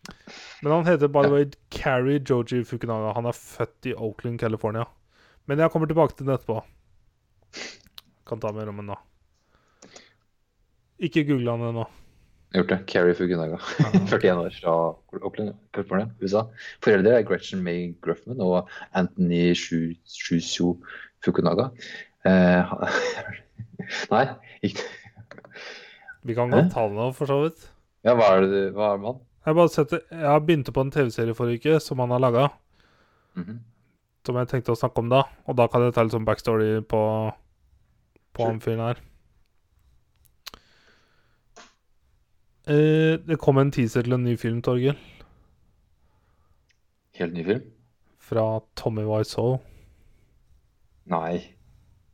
[SPEAKER 2] (laughs)
[SPEAKER 1] Men han heter by the way Carrie Joji Fukunaga. Han er født i Oakland, California. Men jeg kommer tilbake til den etterpå. Kan ta mer om den da. Ikke google han ennå.
[SPEAKER 2] Jeg har Gjort det. Carrie Fugunaga.
[SPEAKER 1] Ja, ok.
[SPEAKER 2] 41 år fra Oakland, California, USA. Foreldre er Gretchen May Gruffman og Anthony Shu- Shushu Fukunaga. Eh, (laughs) nei, ikke
[SPEAKER 1] Vi kan
[SPEAKER 2] Hæ?
[SPEAKER 1] godt ta den nå, for så vidt.
[SPEAKER 2] Ja, hva er det hva er det med han?
[SPEAKER 1] Jeg bare setter, jeg begynte på en TV-serie forrige uke som han har laga,
[SPEAKER 2] Mhm.
[SPEAKER 1] som jeg tenkte å snakke om da. Og da kan jeg ta litt sånn backstory på, på
[SPEAKER 2] Sure.
[SPEAKER 1] han fyren her. Eh, det kom en teaser til en ny film, Torgil.
[SPEAKER 2] Helt ny film?
[SPEAKER 1] Fra Tommy Wiseau.
[SPEAKER 2] Nei.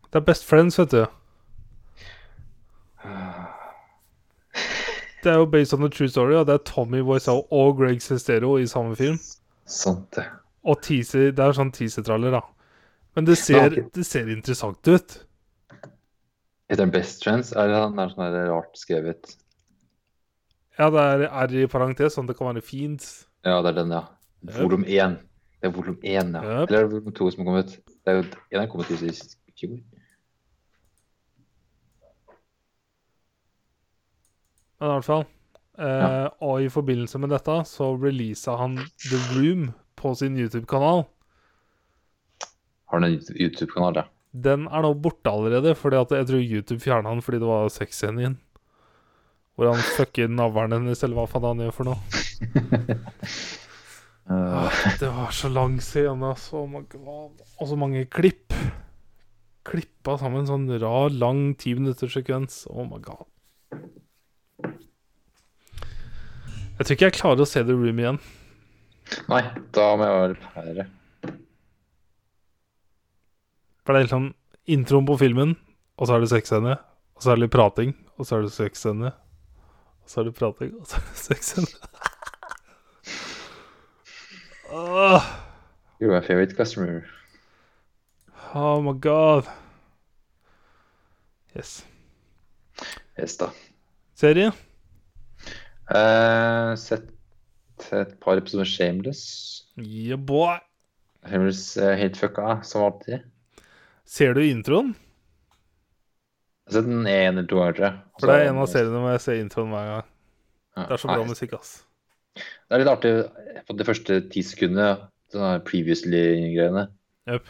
[SPEAKER 1] Det er Best Friends, vet du.
[SPEAKER 2] Ah,
[SPEAKER 1] Det er jo based on a true story, og det er Tommy Wiseau og Greg Sestero i samme film.
[SPEAKER 2] Sant det.
[SPEAKER 1] Og teaser, det er sånn teaser-traller, da. Men det ser,
[SPEAKER 2] Ja, ok.
[SPEAKER 1] det ser interessant ut.
[SPEAKER 2] Heter han Best Trends? Er det han er sånn der rart skrevet?
[SPEAKER 1] Ja, det er R i parentes, sånn at det kan være fint.
[SPEAKER 2] Ja, det er den, ja.
[SPEAKER 1] Yep.
[SPEAKER 2] Volum 1. Det er volum 1, ja.
[SPEAKER 1] Yep.
[SPEAKER 2] Eller er det volum 2 som har kommet? Det er jo en har kommet ut i fjor.
[SPEAKER 1] Men i hvert fall. Eh,
[SPEAKER 2] Ja.
[SPEAKER 1] Og i forbindelse med dette så releasa han The Room på sin YouTube-kanal.
[SPEAKER 2] Har han en YouTube-kanal, da?
[SPEAKER 1] Den er nå borte allerede, fordi at jeg tror YouTube fjerna den fordi det var sexscenen igjen. Hvor han fucker navlen hennes, eller hva faen han gjør for noe.
[SPEAKER 2] Eh,
[SPEAKER 1] Ah, Det var så lang scene, altså. Oh my God. Og så mange klipp. Klippa sammen sånn rar, lang ti minutters sekvens. Oh my god. Jeg tror ikke jeg klarer å se The Room igjen.
[SPEAKER 2] Nei, da må jeg være pære.
[SPEAKER 1] For det er liksom introen på filmen, og så er det sexscene, og så er det litt prating, og så er det sexscene, og så er det prating, og så er det sexscene. Åh,
[SPEAKER 2] You're my favorite customer.
[SPEAKER 1] oh my god. Yes.
[SPEAKER 2] Yes, da.
[SPEAKER 1] Serie?
[SPEAKER 2] Eh, sett et par episoder med Shameless.
[SPEAKER 1] Yeah, boy.
[SPEAKER 2] Shameless er helt fucka, som alltid. Jeg
[SPEAKER 1] Ser du introen?
[SPEAKER 2] har sett den en eller to ganger, tror jeg.
[SPEAKER 1] For det er en av seriene hvor jeg ser introen hver gang.
[SPEAKER 2] Ja.
[SPEAKER 1] Det er så bra
[SPEAKER 2] Altså, Nei,
[SPEAKER 1] musikk, ass.
[SPEAKER 2] Det er litt artig på de første ti sekundene, sånne sånn previously-greiene.
[SPEAKER 1] Jøp.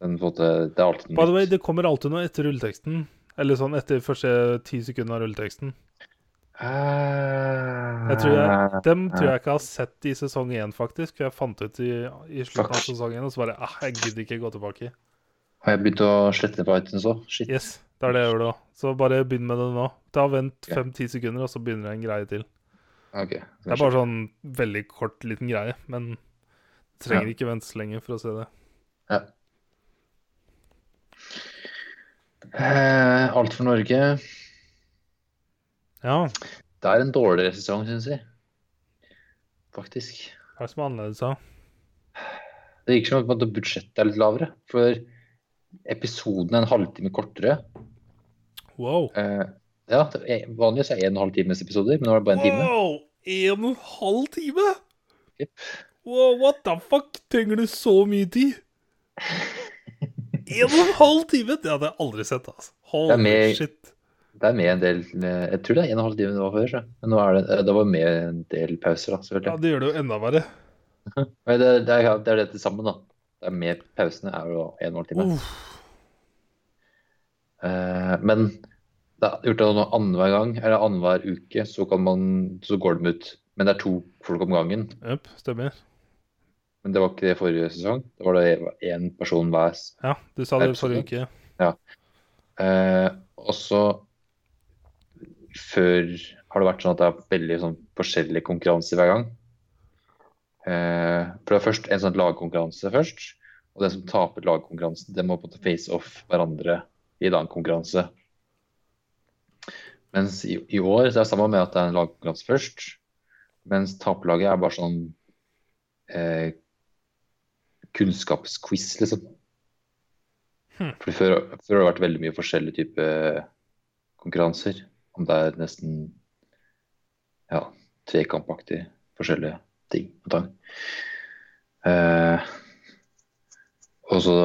[SPEAKER 2] Den på en måte, det er alltid
[SPEAKER 1] By the way, det kommer alltid noe etter rulleteksten. Eller sånn etter første ti sekundene av rulleteksten. Jeg tror
[SPEAKER 2] Ah,
[SPEAKER 1] jeg- Dem tror jeg ikke jeg har sett i sesong én, faktisk. For jeg fant ut i, i slutten av
[SPEAKER 2] Fuck.
[SPEAKER 1] sesongen, og så bare ah, Jeg gidder ikke gå tilbake.
[SPEAKER 2] Har jeg begynt å slette på iTunes òg? Shit.
[SPEAKER 1] Yes, det er det jeg gjør da. Så bare begynn med det nå. Ta Vent
[SPEAKER 2] Ja.
[SPEAKER 1] fem-ti sekunder, og så begynner det en greie til.
[SPEAKER 2] Ok.
[SPEAKER 1] Det er bare sånn veldig kort, liten greie, men trenger
[SPEAKER 2] Ja.
[SPEAKER 1] ikke vente så lenge for å se det.
[SPEAKER 2] Eh, Alt for Norge.
[SPEAKER 1] Ja,
[SPEAKER 2] Det er en dårligere sesong, syns jeg. Faktisk.
[SPEAKER 1] hva er det som er annerledes da?
[SPEAKER 2] Det virker som at budsjettet er litt lavere. For episoden er en halvtime kortere.
[SPEAKER 1] Wow.
[SPEAKER 2] Eh, ja, det er- Vanligvis er det en og en halv times episoder, men nå er det bare en time.
[SPEAKER 1] Wow! En og en halv time?
[SPEAKER 2] Jep.
[SPEAKER 1] Wow, what the fuck? Trenger du så mye tid? En og en halv time? Det hadde jeg aldri sett, altså.
[SPEAKER 2] Det er
[SPEAKER 1] Holy
[SPEAKER 2] mer-
[SPEAKER 1] shit.
[SPEAKER 2] Det er med en del eh, Jeg tror det er en og en halv time det var før. Så. Men nå er det, eh, det var med en del pauser, da,
[SPEAKER 1] Ja,
[SPEAKER 2] selvfølgelig.
[SPEAKER 1] det gjør det jo enda verre.
[SPEAKER 2] Men det, det, er, det er det til sammen, da. Det er med pausene er jo en og en halv time.
[SPEAKER 1] Uff.
[SPEAKER 2] Eh, men det er gjort av noe annenhver gang, eller annenhver uke, så, kan man, så går de ut. Men det er to folk om gangen.
[SPEAKER 1] Jøp, stemmer.
[SPEAKER 2] Men det var ikke det forrige sesong. Det var da én person hver.
[SPEAKER 1] Ja, du sa det forrige
[SPEAKER 2] sånn?
[SPEAKER 1] uke.
[SPEAKER 2] Eh, og så før har det vært sånn at det er veldig sånn forskjellige konkurranser hver gang. Eh, for det er først en sånn lagkonkurranse først. Og den som taper lagkonkurransen, den må på en måte face off hverandre i en annen konkurranse. Mens i, i år så er det samme med at det er en lagkonkurranse først. Mens taperlaget er bare sånn eh, kunnskapsquiz, liksom.
[SPEAKER 1] Hm.
[SPEAKER 2] For før, før har det vært veldig mye forskjellige typer konkurranser. Om det er nesten ja, tvekampaktig forskjellige ting og tang. Eh, og så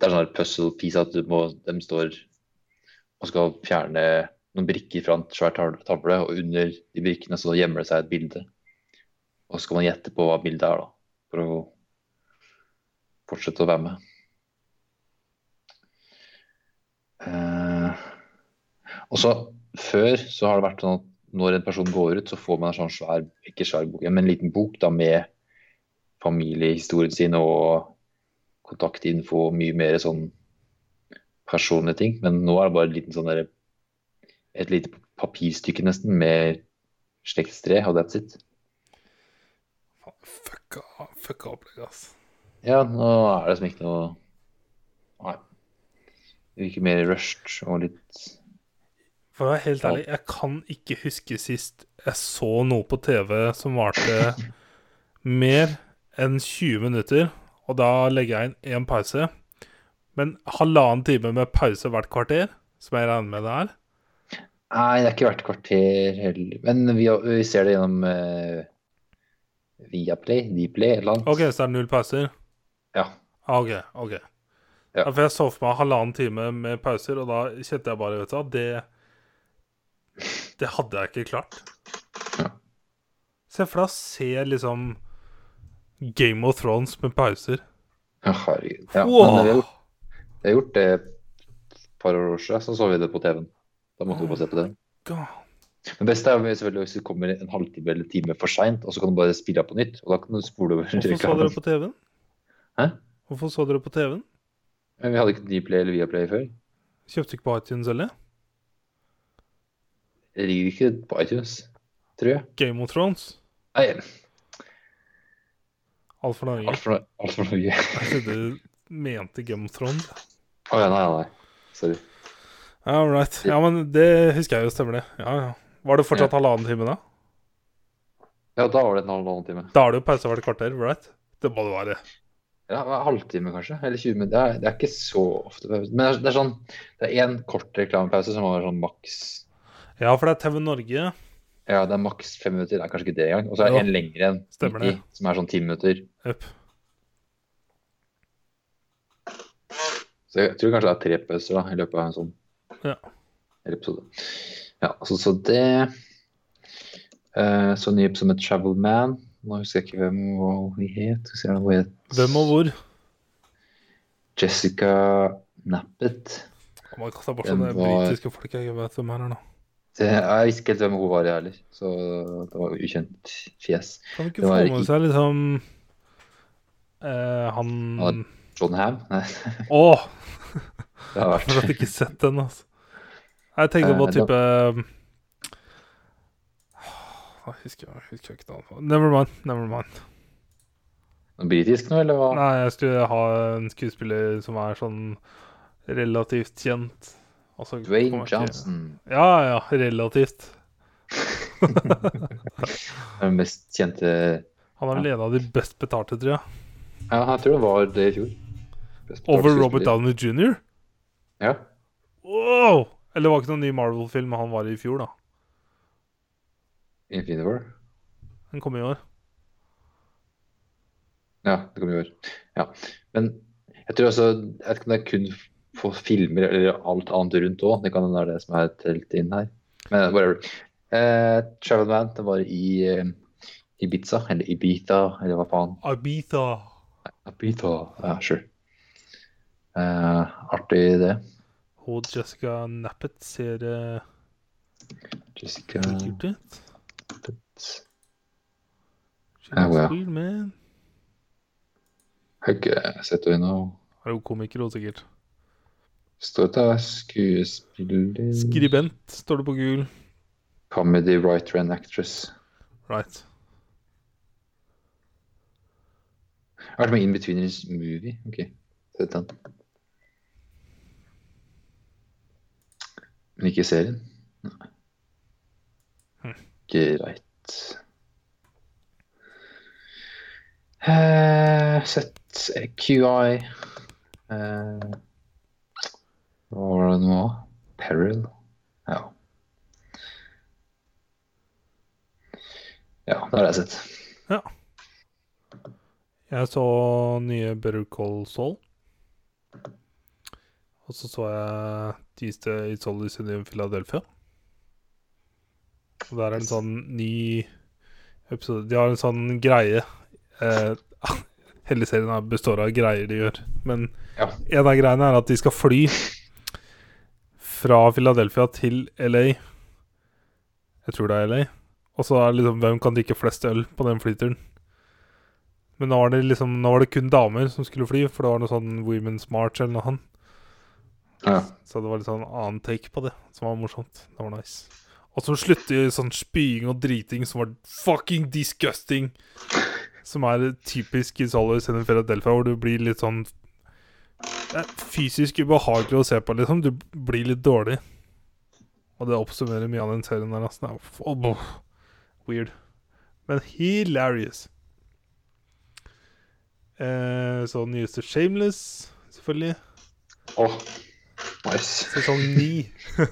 [SPEAKER 2] Det er sånn her puzzle piece at du må, de står og skal fjerne noen brikker fra en svær tal- tavle, og under de brikkene så gjemmer det seg et bilde. Og så skal man gjette på hva bildet er, da, for å fortsette å være med. Eh, og så Før så har det vært sånn at når en person går ut, så får man en sånn svær, ikke svær bok, men en liten bok da med familiehistorien sin og kontaktinfo og mye mer sånn personlige ting. Men nå er det bare en liten sånn der, et lite papirstykke nesten med slektstre, og that's it.
[SPEAKER 1] Faen, Fucka, fucka opplegget, ass.
[SPEAKER 2] Ja, nå er det liksom ikke noe Nei. Det virker mer rushed og litt
[SPEAKER 1] For å være helt ærlig, jeg kan ikke huske sist jeg så noe på TV som varte mer enn 20 minutter, og da legger jeg inn én pause. Men halvannen time med pause hvert kvarter, som jeg regner med det er
[SPEAKER 2] Nei, det er ikke hvert kvarter heller. Men vi, vi ser det gjennom eh, Viaplay, Dplay, et eller annet.
[SPEAKER 1] OK, så det er null pauser?
[SPEAKER 2] Ja.
[SPEAKER 1] Ah, OK. ok.
[SPEAKER 2] Ja.
[SPEAKER 1] Ja, for jeg så for meg halvannen time med pauser, og da kjente jeg bare vet du, hva, det, det hadde jeg ikke klart.
[SPEAKER 2] Ja.
[SPEAKER 1] Se for deg å se liksom Game of Thrones med pauser.
[SPEAKER 2] Ja, Herregud. Ja,
[SPEAKER 1] Wow.
[SPEAKER 2] men vi har, gjort- vi har gjort det et par år siden, så så vi det på TV-en. Da måtte vi bare se på det.
[SPEAKER 1] God.
[SPEAKER 2] Men best er jo selvfølgelig hvis du kommer en halvtime eller time for seint, og så kan du bare spille av på nytt. Og da kan du spole over
[SPEAKER 1] Hvorfor så dere
[SPEAKER 2] reklamen.
[SPEAKER 1] på TV-en?
[SPEAKER 2] Hæ?
[SPEAKER 1] Hvorfor så dere på TV-en?
[SPEAKER 2] Men vi hadde ikke Dplay eller Viaplay før.
[SPEAKER 1] Kjøpte ikke på iTunes heller?
[SPEAKER 2] Det ligger ikke på iTunes, tror jeg.
[SPEAKER 1] Game of Thrones?
[SPEAKER 2] Nei,
[SPEAKER 1] Alt for Norge.
[SPEAKER 2] alt for, alt for Norge.
[SPEAKER 1] Jeg trodde du mente Game of Thrones.
[SPEAKER 2] Å ja, nei, nei. Sorry.
[SPEAKER 1] All right. Ja, men det husker jeg jo stemmer, det. Ja, ja. Var det fortsatt halvannen time da?
[SPEAKER 2] Ja, da var det en halvannen time.
[SPEAKER 1] Da er det jo pause hvert kvarter, right? Det må det være.
[SPEAKER 2] Ja, hva- halvtime kanskje, eller 20 minutter. Det er, det er ikke så ofte. Men det er, det er sånn, det er én kort reklamepause som var sånn maks
[SPEAKER 1] Ja, for det er TV Norge.
[SPEAKER 2] ja, det er maks fem minutter. Det er kanskje ikke det engang. Og så er
[SPEAKER 1] Jo,
[SPEAKER 2] det en lengre en,
[SPEAKER 1] stemmer det.
[SPEAKER 2] midt i, som er sånn ti minutter.
[SPEAKER 1] Jøp.
[SPEAKER 2] Så jeg tror kanskje det er tre pauser da, i løpet av en sånn
[SPEAKER 1] Ja.
[SPEAKER 2] episode. Ja, så, så det eh, Så ny episode med Travel Man. Nå husker jeg ikke hvem og hva hun het. Skal vi se hva hun het.
[SPEAKER 1] Hvem og hvor?
[SPEAKER 2] Jessica Nappet.
[SPEAKER 1] Å, Man kaster bort
[SPEAKER 2] Den
[SPEAKER 1] sånne
[SPEAKER 2] var-
[SPEAKER 1] britiske folk jeg ikke vet hvem er her nå.
[SPEAKER 2] Det, Eh, jeg visste ikke helt hvem hun var, jeg heller. Så det var ukjent fjes.
[SPEAKER 1] Kan vi ikke
[SPEAKER 2] Det var
[SPEAKER 1] få med
[SPEAKER 2] i-
[SPEAKER 1] seg liksom eh, Han Å!
[SPEAKER 2] Han- John Ham? Nei, det har
[SPEAKER 1] (laughs) Jeg har
[SPEAKER 2] vært
[SPEAKER 1] ikke sett den, altså. Jeg tenkte på
[SPEAKER 2] Eh,
[SPEAKER 1] type Åh, (sighs) Jeg husker, jeg husker ikke noe annet. Never mind. Never mind.
[SPEAKER 2] noe britisk nå, eller hva?
[SPEAKER 1] Nei, jeg skulle ha en skuespiller som er sånn relativt kjent. og så kom
[SPEAKER 2] Dwayne
[SPEAKER 1] jeg ikke-
[SPEAKER 2] Johnson.
[SPEAKER 1] Ja, ja. Relativt.
[SPEAKER 2] Den mest kjente
[SPEAKER 1] Han er vel en av de best betalte, tror jeg.
[SPEAKER 2] Ja, jeg tror det var det i fjor. Best
[SPEAKER 1] Over
[SPEAKER 2] betalt
[SPEAKER 1] Robert Downey jr.?
[SPEAKER 2] skuespiller. Ja.
[SPEAKER 1] Wow! Eller det var ikke noen ny Marvel-film han var i i fjor, da.
[SPEAKER 2] Infinity War.
[SPEAKER 1] Den kom i år.
[SPEAKER 2] Ja, det kan vi gjøre. Ja. Men jeg tror altså Jeg vet ikke om det er kun på filmer eller alt annet rundt òg. Det kan hende det er det som er telt inn her. Men whatever. Eh, Travel Man, det var i eh, Ibiza, eller Ibita, eller hva faen.
[SPEAKER 1] Ibiza.
[SPEAKER 2] Ibiza, ja, sure. Eh, artig det.
[SPEAKER 1] Og Jessica Nappet ser eh,
[SPEAKER 2] Jessica
[SPEAKER 1] kult ut. She's
[SPEAKER 2] Ja, hun, ja.
[SPEAKER 1] cool, man.
[SPEAKER 2] Har ikke sett henne nå.
[SPEAKER 1] Er hun komiker også, sikkert?
[SPEAKER 2] Står det der skuespiller
[SPEAKER 1] Skribent, står det på Google.
[SPEAKER 2] Comedy writer and actress.
[SPEAKER 1] Right.
[SPEAKER 2] Har vært med i In Betweeners Movie. Ok, sett den. Men ikke i serien? Nei.
[SPEAKER 1] Hm.
[SPEAKER 2] Greit. Eh, sett eh, QI. Eh, hva var det nå? Peril? Ja. Ja, det har jeg sett.
[SPEAKER 1] Jeg så nye Better Call Saul. Og så så jeg Tuesday i Solid i Philadelphia. Og der er en sånn ny episode De har en sånn greie eh, (laughs) Hele serien er- består av greier de gjør. Men
[SPEAKER 2] Ja.
[SPEAKER 1] en av greiene er at de skal fly fra Philadelphia til LA. Jeg tror det er LA. Og så er det liksom hvem kan drikke flest øl på den flyturen. Men nå var det liksom Nå var det kun damer som skulle fly, for det var noe sånn Women's March eller noe annet.
[SPEAKER 2] ja.
[SPEAKER 1] Så det var litt sånn annen take på det, som var morsomt. Det var nice. Og så slutter sånn spying og driting som var fucking disgusting. Som er typisk i Solis i Philadelphia, hvor du blir litt sånn det er Fysisk ubehagelig å se på, liksom. Du blir litt dårlig. Og det oppsummerer mye av den serien der. Altså. Det er oh, oh, weird. Men hilarious. Eh, så den nyeste Shameless, selvfølgelig.
[SPEAKER 2] Åh, nice.
[SPEAKER 1] Sesong ni. (laughs)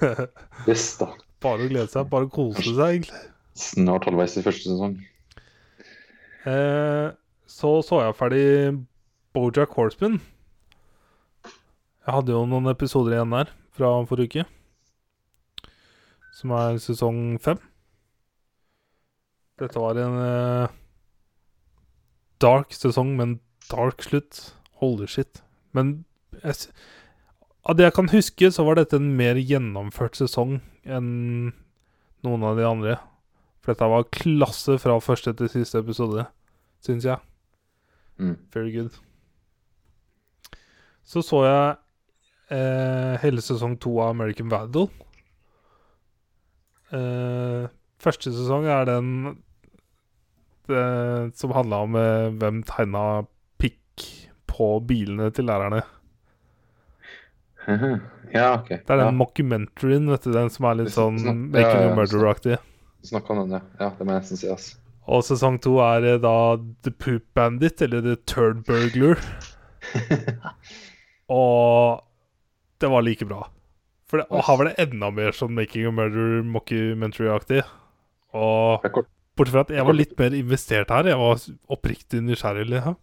[SPEAKER 2] Yes, da.
[SPEAKER 1] Bare å glede seg, bare å kose seg, egentlig.
[SPEAKER 2] Snart halvveis i første sesong. (laughs)
[SPEAKER 1] Eh, så så jeg ferdig Bojack Horseman. Jeg hadde jo noen episoder igjen der fra forrige uke. Som er sesong fem. Dette var en eh, dark sesong, men dark slutt. Holy shit. Men jeg, s- av det jeg kan huske, så var dette en mer gjennomført sesong enn noen av de andre. For dette var klasse fra første til siste episode, syns jeg.
[SPEAKER 2] Mm.
[SPEAKER 1] Very good. Så så jeg eh, hele sesong to av American Vandal. Eh, første sesong er den det, som handla om eh, hvem tegna pikk på bilene til lærerne.
[SPEAKER 2] Ja, ok.
[SPEAKER 1] Det er den
[SPEAKER 2] ja,
[SPEAKER 1] mockumentaryen, vet du, den som er litt
[SPEAKER 2] Det-
[SPEAKER 1] sånn
[SPEAKER 2] sånn- ja,
[SPEAKER 1] Making
[SPEAKER 2] ja,
[SPEAKER 1] a
[SPEAKER 2] ja,
[SPEAKER 1] Murderer-aktig.
[SPEAKER 2] Snakk om den, ja. ja. Det må jeg nesten si, ass.
[SPEAKER 1] Og sesong to er eh, da The Poop Bandit, eller The Turd Burglar. og det var like bra. For det, og her var det enda mer sånn Making a Murder mockumentary-aktig. Og
[SPEAKER 2] Det er kort,
[SPEAKER 1] bortsett fra at jeg var litt mer investert her. Jeg var oppriktig nysgjerrig. Liksom.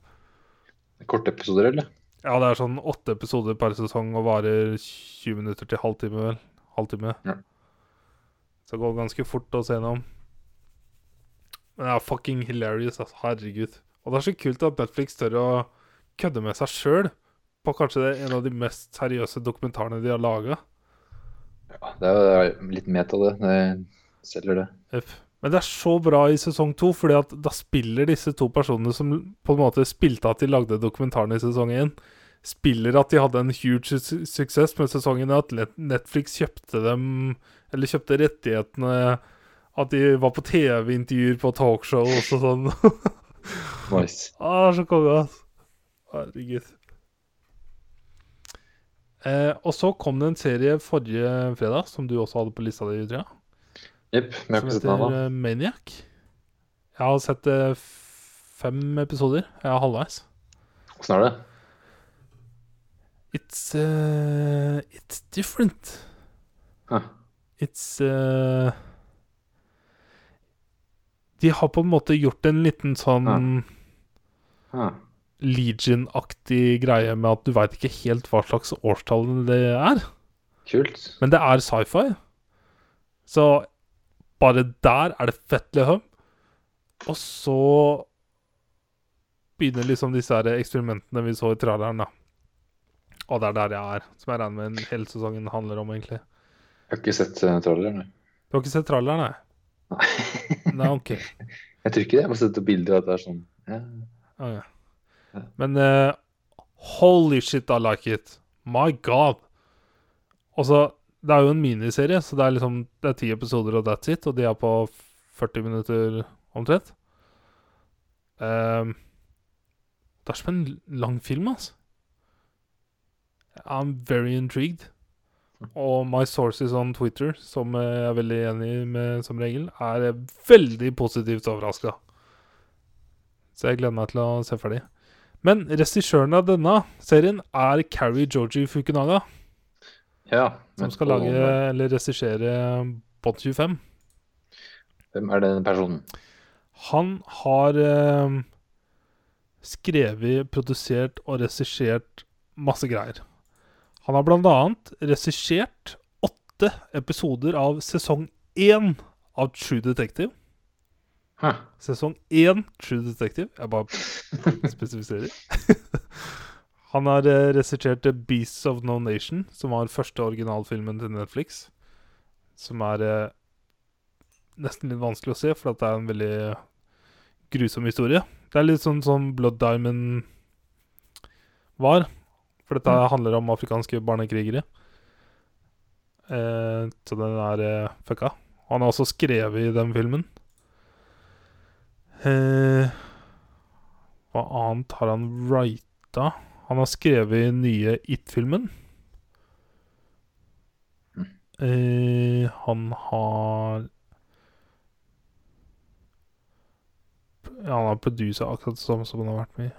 [SPEAKER 2] korte episoder, eller?
[SPEAKER 1] Ja, det er sånn åtte episoder per sesong og varer 20 minutter til halvtime, vel. Halvtime.
[SPEAKER 2] Ja.
[SPEAKER 1] Så det går ganske fort å se gjennom. Men det er fucking hilarious, altså. Herregud. Og det er så kult at Netflix tør å kødde med seg sjøl på kanskje det en av de mest seriøse dokumentarene de har laga.
[SPEAKER 2] Ja, det er jo litt meta, det. Det selger, det.
[SPEAKER 1] F. Men det er så bra i sesong to, fordi at da spiller disse to personene som på en måte spilte at de lagde dokumentaren i sesong én, spiller at de hadde en huge su suksess med sesongen, at Let- Netflix kjøpte dem Eller kjøpte rettighetene, at de var på TV-intervjuer på talkshow og sånn. (laughs)
[SPEAKER 2] Nice.
[SPEAKER 1] Ah, så konge, ass. Herregud. Eh, og så kom det en serie forrige fredag, som du også hadde på lista di, Utria.
[SPEAKER 2] Jepp. Men
[SPEAKER 1] Som
[SPEAKER 2] jeg har ikke sett den
[SPEAKER 1] heter
[SPEAKER 2] ennå.
[SPEAKER 1] eh, Maniac. Jeg har sett eh, f- fem episoder. Jeg er halvveis.
[SPEAKER 2] Åssen er det?
[SPEAKER 1] It's eh, It's different.
[SPEAKER 2] Huh.
[SPEAKER 1] It's eh, De har på en måte gjort en liten sånn
[SPEAKER 2] Huh.
[SPEAKER 1] Legion-aktig greie med at du veit ikke helt hva slags årstall det er.
[SPEAKER 2] Kult.
[SPEAKER 1] Men det er sci-fi. Så bare der er det fett, liksom. Og så begynner liksom disse her eksperimentene vi så i traileren, da. Og det er der jeg er, som jeg regner med en hele sesongen handler om, egentlig.
[SPEAKER 2] Jeg har ikke sett uh, traileren, nei.
[SPEAKER 1] Du har ikke sett traileren, nei? Nei, ok.
[SPEAKER 2] (laughs) Jeg tror ikke det. Jeg må sette bilder av at det er sånn. Ja.
[SPEAKER 1] Ok.
[SPEAKER 2] Ja.
[SPEAKER 1] Men eh, holy shit, I like it. My god. Og så, det er jo en miniserie, så det er liksom Det er ti episoder og that's it, og de er på 40 minutter omtrent. Ehm, det er som en lang film, altså. I'm very intrigued. Og my sources on Twitter, som eh, jeg er veldig enig med som regel, er eh, veldig positivt overraska. Så jeg gleder meg til å se ferdig. Men regissøren av denne serien er Carrie Georgie Fukunaga,
[SPEAKER 2] ja.
[SPEAKER 1] som
[SPEAKER 2] men-
[SPEAKER 1] skal lage, eller regissere Bond 25.
[SPEAKER 2] Hvem er den personen?
[SPEAKER 1] Han har eh, skrevet, produsert og regissert masse greier. Han har blant annet regissert åtte episoder av sesong én av True Detective.
[SPEAKER 2] Huh.
[SPEAKER 1] Sesong 1, True Detective. Jeg bare spesifiserer. (laughs) Han har eh, regissert The Beasts of No Nation, som var første originalfilmen til Netflix. Som er eh, nesten litt vanskelig å se, for at det er en veldig grusom historie. Det er litt sånn som Blood Diamond var. For dette handler om afrikanske barnekrigere. Eh, så den er eh, fucka. Han har også skrevet i den filmen. Eh, hva annet har han writa? Han har skrevet i nye It-filmen. Eh, han har ja, Han har produsa akkurat det samme som han har vært med i.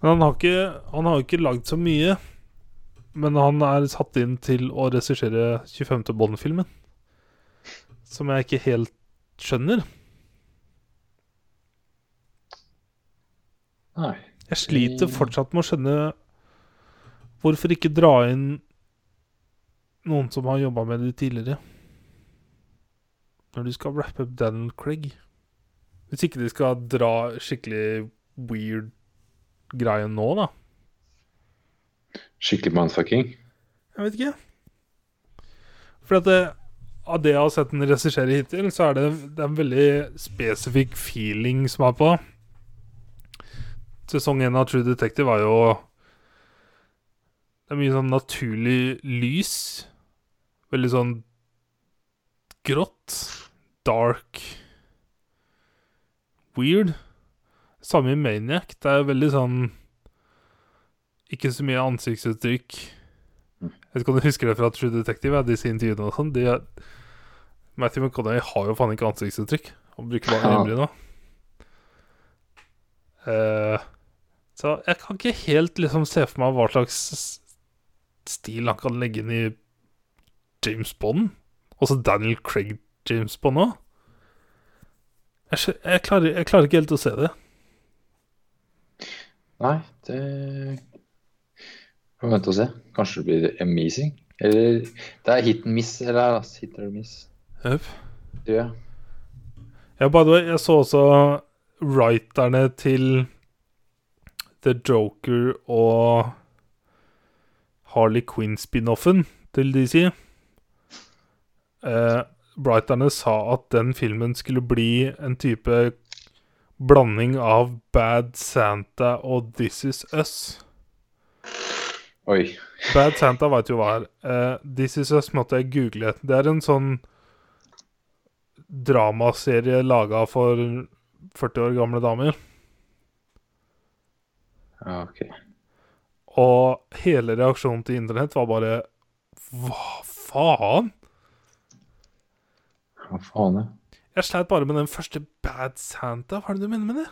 [SPEAKER 1] Men han har ikke Han har jo ikke lagd så mye. Men han er satt inn til å regissere 25. Bond-filmen. Som jeg ikke helt skjønner.
[SPEAKER 2] Nei.
[SPEAKER 1] Jeg sliter
[SPEAKER 2] Mm.
[SPEAKER 1] fortsatt med å skjønne hvorfor ikke dra inn noen som har jobba med det tidligere. Når du skal wrappe up Daniel Craig. Hvis ikke de skal dra skikkelig weird greie nå, da.
[SPEAKER 2] Skikkelig mindfucking.
[SPEAKER 1] Jeg vet ikke. For at det, av det jeg har sett den regissere hittil, så er det, det er en veldig spesifikk feeling som er på. Sesong én av True Detective var jo Det er mye sånn naturlig lys. Veldig sånn grått. Dark. Weird. Samme i Maniac. Det er veldig sånn Ikke så mye ansiktsuttrykk. Jeg vet ikke om du husker det fra True Detective, ja, disse intervjuene og sånn. de er- Matthew McConaughey har jo faen ikke ansiktsuttrykk. Han bruker bare
[SPEAKER 2] Ja.
[SPEAKER 1] øyenbryn nå. Eh, så jeg kan ikke helt liksom se for meg hva slags s- stil han kan legge inn i James Bond. Også Daniel Craig James Bond òg. Jeg, skjø- jeg, klarer, jeg klarer ikke helt å se det.
[SPEAKER 2] Nei, det Får vente og se. Kanskje det blir amazing. Eller Det er hit and miss eller her, altså. Hit or miss,
[SPEAKER 1] Yep.
[SPEAKER 2] tror jeg.
[SPEAKER 1] Ja, by the way, jeg så også writerne til The Joker og Harley Quinn-spin-offen til DC. Eh, Brighterne sa at den filmen skulle bli en type blanding av Bad Santa og This Is Us.
[SPEAKER 2] Oi.
[SPEAKER 1] Bad Santa veit jo hva er. Eh, This Is Us måtte jeg google. Det er en sånn dramaserie laga for 40 år gamle damer.
[SPEAKER 2] Ja, ok.
[SPEAKER 1] Og hele reaksjonen til internett var bare Hva faen?
[SPEAKER 2] Hva faen er
[SPEAKER 1] Jeg sleit bare med den første Bad Santa. Hva er det du mener med det?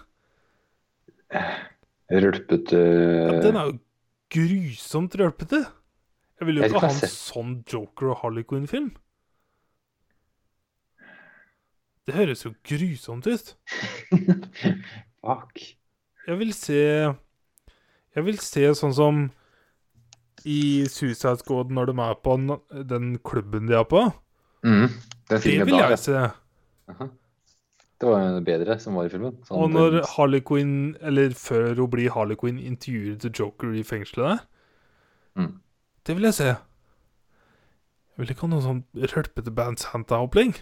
[SPEAKER 2] Rølpete
[SPEAKER 1] Ja, den er jo grusomt rølpete. Jeg ville jo
[SPEAKER 2] Jeg
[SPEAKER 1] ikke
[SPEAKER 2] skal
[SPEAKER 1] ha en
[SPEAKER 2] se.
[SPEAKER 1] sånn Joker og Harley Quinn-film. Det høres jo grusomt ut.
[SPEAKER 2] eh, (laughs) Fuck.
[SPEAKER 1] Jeg vil se Jeg vil se sånn som i Suicide Squad når de er på den- den klubben de er på.
[SPEAKER 2] Mm. Den
[SPEAKER 1] Det
[SPEAKER 2] filmen
[SPEAKER 1] vil
[SPEAKER 2] da,
[SPEAKER 1] jeg se.
[SPEAKER 2] Aha. Det var jo det bedre som var i filmen. Sånn,
[SPEAKER 1] Og når
[SPEAKER 2] den-
[SPEAKER 1] Harley Quinn, eller før hun blir Harley Quinn, intervjuer The Joker i fengselet der,
[SPEAKER 2] Mm.
[SPEAKER 1] det vil jeg se. Jeg vil ikke ha noe sånn rølpete Band Santa-hoppling.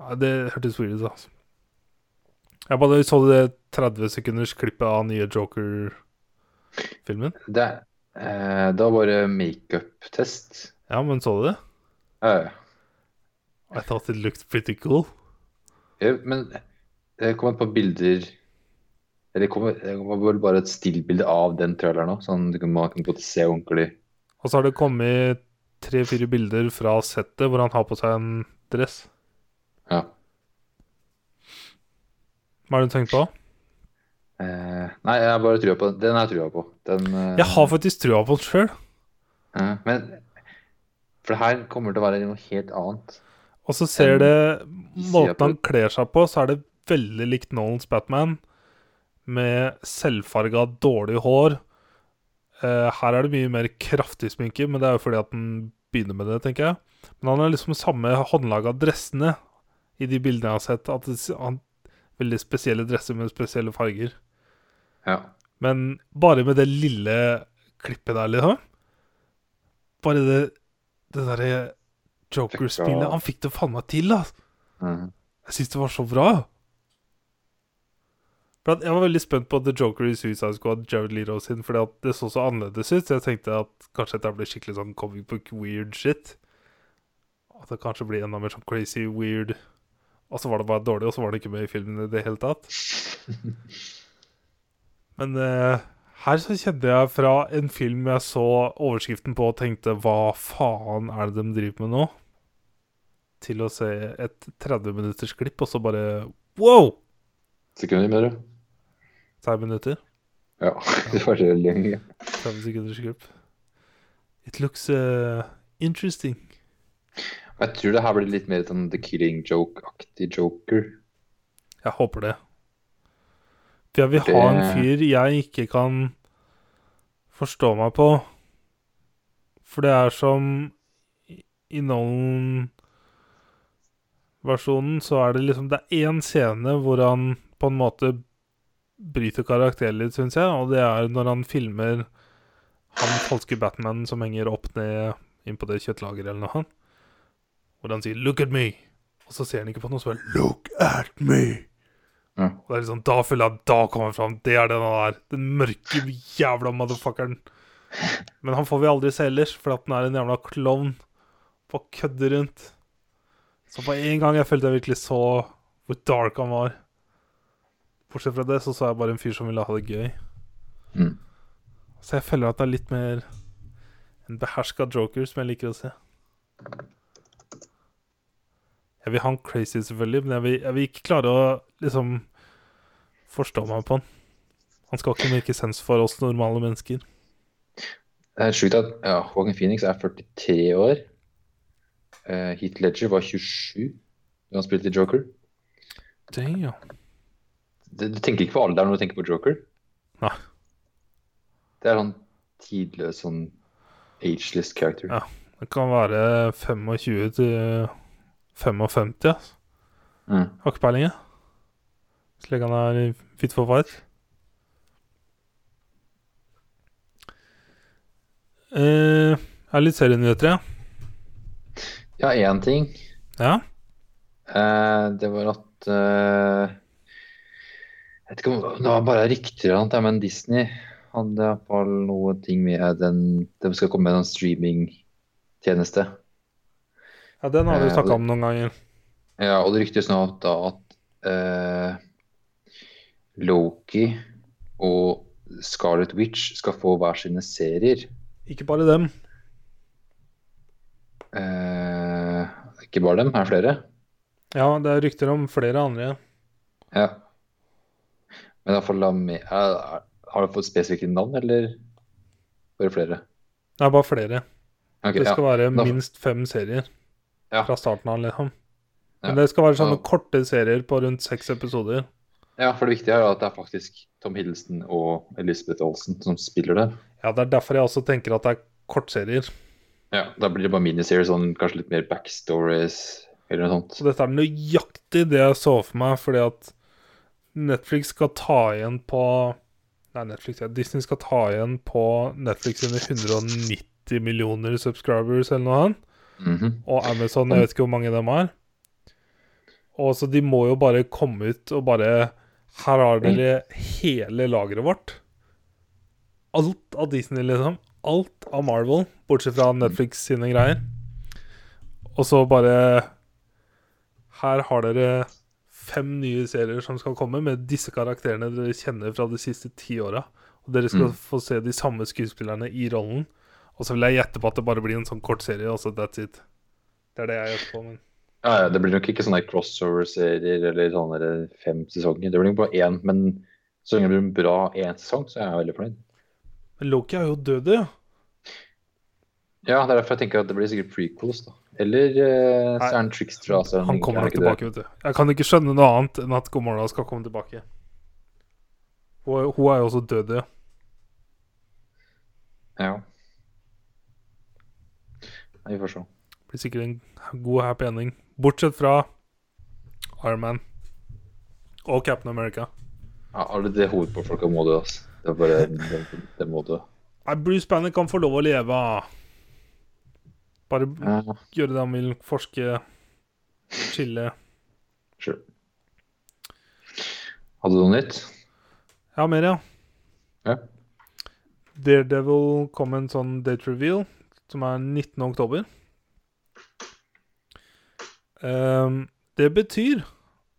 [SPEAKER 1] Ja, det hørtes weird ut, altså. Jeg bare så det 30 sekunders klippet av nye Joker-filmen.
[SPEAKER 2] det, eh, det var bare makeup-test.
[SPEAKER 1] Ja, men så du det?
[SPEAKER 2] Eh,
[SPEAKER 1] I thought it looked pretty cool.
[SPEAKER 2] ja, Eh, men det kom et par bilder Eller det kom, eh, det var vel bare et stillbilde av den traileren òg, sånn du kan, man kan både se ordentlig
[SPEAKER 1] Og så har det kommet tre-fire bilder fra settet hvor han har på seg en dress.
[SPEAKER 2] Ja.
[SPEAKER 1] Hva har du tenkt på?
[SPEAKER 2] Eh, nei, jeg har bare trua på den. Den har jeg trua på. Den, eh,
[SPEAKER 1] Jeg har faktisk trua på den sjøl.
[SPEAKER 2] eh, men For det her kommer til å være noe helt annet.
[SPEAKER 1] Og så ser
[SPEAKER 2] enn
[SPEAKER 1] det
[SPEAKER 2] sier
[SPEAKER 1] Måten han
[SPEAKER 2] på-
[SPEAKER 1] kler seg på, så er det veldig likt Nolans Batman. Med selvfarga, dårlig hår. Eh, her er det mye mer kraftig sminke, men det er jo fordi at han begynner med det, tenker jeg. Men han har liksom samme håndlag av dressene i de bildene jeg har sett. At det, han, veldig spesielle dresser med spesielle farger.
[SPEAKER 2] Ja.
[SPEAKER 1] Men bare med det lille klippet der, liksom. Bare det, det derre Joker-spillet. Han fikk det faen meg til, da.
[SPEAKER 2] Mhm.
[SPEAKER 1] Jeg syns det var så bra. For at jeg var veldig spent på The Joker i Suicide Squad, Jared Leto sin, fordi at det så så annerledes ut. Så jeg tenkte at kanskje dette blir skikkelig sånn comic book weird shit. At det kanskje blir enda mer sånn crazy weird. Og så var det bare dårlig, og så var det ikke med i filmen i det hele tatt. Men eh, her så kjente jeg fra en film jeg så overskriften på og tenkte hva faen er det de driver med nå? Til å se et 30 minutters klipp, og så bare wow!
[SPEAKER 2] Sekunder, mener du?
[SPEAKER 1] 30 minutter.
[SPEAKER 2] Ja. (laughs) Det var så lenge.
[SPEAKER 1] 30 sekunders klipp. It looks eh, interesting.
[SPEAKER 2] Jeg tror det her blir litt mer sånn The Killing Joke-aktig Joker.
[SPEAKER 1] Jeg håper det. For jeg vil ha en
[SPEAKER 2] Det-
[SPEAKER 1] fyr jeg ikke kan forstå meg på. For det er som i- i Nolan-versjonen, så er det liksom Det er én scene hvor han på en måte bryter karakteren litt, syns jeg, og det er når han filmer han falske Batman som henger opp ned inn på det kjøttlageret eller noe, hvor han sier 'look at me', og så ser han ikke på noe, så bare 'look at me'. Og det er liksom, Da føler jeg at da kommer jeg fram. Det er den han er. Den mørke jævla motherfuckeren. Men han får vi aldri se ellers, fordi at han er en jævla klovn. Bare kødder rundt. Så på en gang jeg følte jeg virkelig så hvor dark han var. Bortsett fra det så så jeg bare en fyr som ville ha det gøy.
[SPEAKER 2] Mm.
[SPEAKER 1] Så jeg føler at det er litt mer en beherska joker som jeg liker å se. Jeg vil ha han crazy, selvfølgelig, men jeg vil, jeg vil ikke klare å liksom forstå meg på han. Han skal ikke make sense for oss normale mennesker.
[SPEAKER 2] Det er sjukt at ja, Joaquin Phoenix er 43 år. Uh, Heath Ledger var 27 da han spilte Joker.
[SPEAKER 1] Damn.
[SPEAKER 2] Du, du tenker ikke på alderen når du tenker på Joker.
[SPEAKER 1] Nei.
[SPEAKER 2] Det er sånn tidløs, sånn ageless character.
[SPEAKER 1] Ja. Det kan være 25 til 55, altså.
[SPEAKER 2] Mm.
[SPEAKER 1] Har ikke peiling, jeg. Så lenge han er i fit for fight. Eh, er litt serienyheter, ja.
[SPEAKER 2] Ja, én ting.
[SPEAKER 1] ja.
[SPEAKER 2] Eh, det var at eh, Jeg vet ikke om det var bare rykter eller noe, men Disney hadde iallfall noe ting med den De skal komme med en streamingtjeneste.
[SPEAKER 1] Ja, den har vi
[SPEAKER 2] Eh,
[SPEAKER 1] snakka om noen ganger.
[SPEAKER 2] Ja, og det ryktes nå at, da at eh, Loki og Scarlet Witch skal få hver sine serier.
[SPEAKER 1] Ikke bare dem.
[SPEAKER 2] Eh, ikke bare dem, her er flere.
[SPEAKER 1] Ja, det er rykter om flere andre.
[SPEAKER 2] Ja. Men i hvert fall, da med- er- er- har du fått spesifikke navn, eller bare flere?
[SPEAKER 1] Det er bare flere.
[SPEAKER 2] Ok,
[SPEAKER 1] Det skal
[SPEAKER 2] ja.
[SPEAKER 1] være
[SPEAKER 2] da-
[SPEAKER 1] minst fem serier
[SPEAKER 2] Ja.
[SPEAKER 1] fra starten av, liksom.
[SPEAKER 2] Ja.
[SPEAKER 1] Men det skal være sånne
[SPEAKER 2] Ja.
[SPEAKER 1] korte serier på rundt seks episoder.
[SPEAKER 2] ja, for det viktige er jo at det er faktisk Tom Hiddleston og Elisabeth Olsen som spiller det.
[SPEAKER 1] Ja, det er derfor jeg også tenker at det er kortserier.
[SPEAKER 2] Ja, Da blir det bare miniserier, sånn, kanskje litt mer backstories eller noe sånt.
[SPEAKER 1] Så dette er nøyaktig det jeg så for meg, fordi at Netflix skal ta igjen på Nei, Netflix, ja. Disney skal ta igjen på Netflix sine 190 millioner subscribers eller noe annet.
[SPEAKER 2] Mhm.
[SPEAKER 1] Og Amazon, jeg vet ikke hvor mange de har. Og så de må jo bare komme ut og bare Her har dere hele lageret vårt. Alt av Disney, liksom. Alt av Marvel, bortsett fra Netflix sine greier. Og så bare Her har dere fem nye serier som skal komme, med disse karakterene dere kjenner fra de siste ti åra. Og dere skal
[SPEAKER 2] Mm.
[SPEAKER 1] få se de samme skuespillerne i rollen. Og så vil jeg gjette på at det bare blir en sånn kort serie, og så that's it. Det er det jeg gjør på, men
[SPEAKER 2] Ja, ja, Det blir nok ikke sånne crossover-serier eller sånne der fem sesonger. Det blir nok bare én, men så lenge det blir en bra én sesong, så er jeg veldig fornøyd.
[SPEAKER 1] Men Loki er jo død, ja.
[SPEAKER 2] Ja, det er derfor jeg tenker at det blir sikkert prequels, da. Eller eh, så er han trickster. Altså,
[SPEAKER 1] Han kommer
[SPEAKER 2] er
[SPEAKER 1] nok
[SPEAKER 2] ikke
[SPEAKER 1] tilbake, vet du. Jeg kan ikke skjønne noe annet enn at Gomorra skal komme tilbake. Hun er- hun er jo også død, ja.
[SPEAKER 2] det. Ja. Nei, vi får se.
[SPEAKER 1] Blir sikkert en god happy ending. Bortsett fra Iron Man og Captain America.
[SPEAKER 2] Ja, alle de hovedfolka må dø, altså. Det (laughs) er bare det, det må dø.
[SPEAKER 1] Nei, Bruce Banner kan få lov å leve. ah. Bare b-
[SPEAKER 2] Ja,
[SPEAKER 1] gjøre det han vil, forske, chille.
[SPEAKER 2] sure. Hadde du noe nytt?
[SPEAKER 1] Ja, mer, ja.
[SPEAKER 2] Ja.
[SPEAKER 1] Daredevil kom med en sånn date reveal, som er 19. oktober. Ehm, det betyr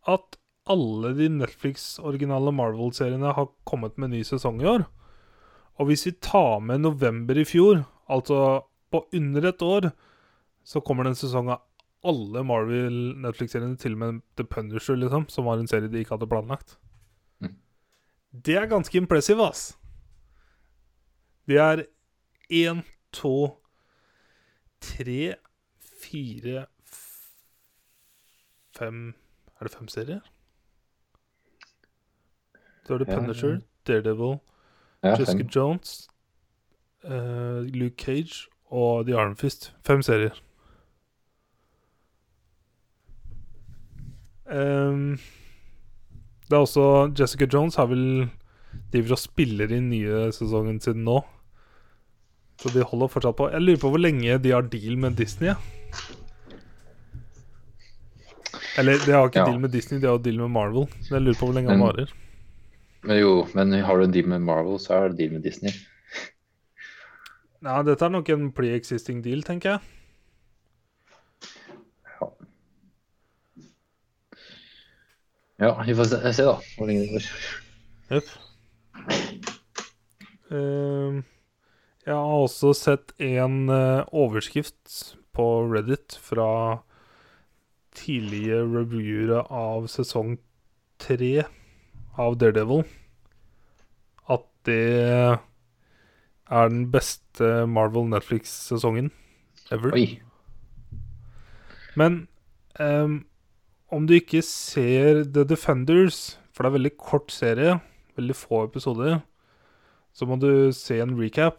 [SPEAKER 1] at alle de Netflix-originale Marvel-seriene har kommet med ny sesong i år. Og hvis vi tar med november i fjor, altså på under et år, så kommer det en sesong av alle Marvel-Netflix-seriene, til og med The Punisher, liksom, som var en serie de ikke hadde planlagt.
[SPEAKER 2] Mm.
[SPEAKER 1] Det er ganske impressive, ass. Det er én, to, tre, fire f- Fem Er det fem serier? Da er det
[SPEAKER 2] Ja, ja.
[SPEAKER 1] Punisher, Daredevil,
[SPEAKER 2] ja
[SPEAKER 1] Jessica
[SPEAKER 2] fem.
[SPEAKER 1] Jones, eh, Luke Cage og The Iron Fist. Fem serier. Ehm, det er også Jessica Jones har vel driver og spiller i nye sesongen sin nå. Så de holder fortsatt på. Jeg lurer på hvor lenge de har deal med Disney. ja. Eller de har ikke
[SPEAKER 2] Ja.
[SPEAKER 1] deal med Disney, de har jo deal med Marvel. Men Jeg lurer på hvor lenge han
[SPEAKER 2] Men-
[SPEAKER 1] varer.
[SPEAKER 2] Men jo, men har du en deal med Marvel, så er det deal med Disney.
[SPEAKER 1] Nei, dette er nok en pre-existing deal, tenker jeg.
[SPEAKER 2] Ja, vi får se, se da, hvor lenge det går.
[SPEAKER 1] Jepp. Ehm, jeg har også sett en eh, overskrift på Reddit fra tidlige reviewere av sesong tre av Daredevil at det er den beste Marvel Netflix-sesongen ever.
[SPEAKER 2] Oi.
[SPEAKER 1] Men ehm, om du ikke ser The Defenders, for det er veldig kort serie, veldig få episoder, så må du se en recap.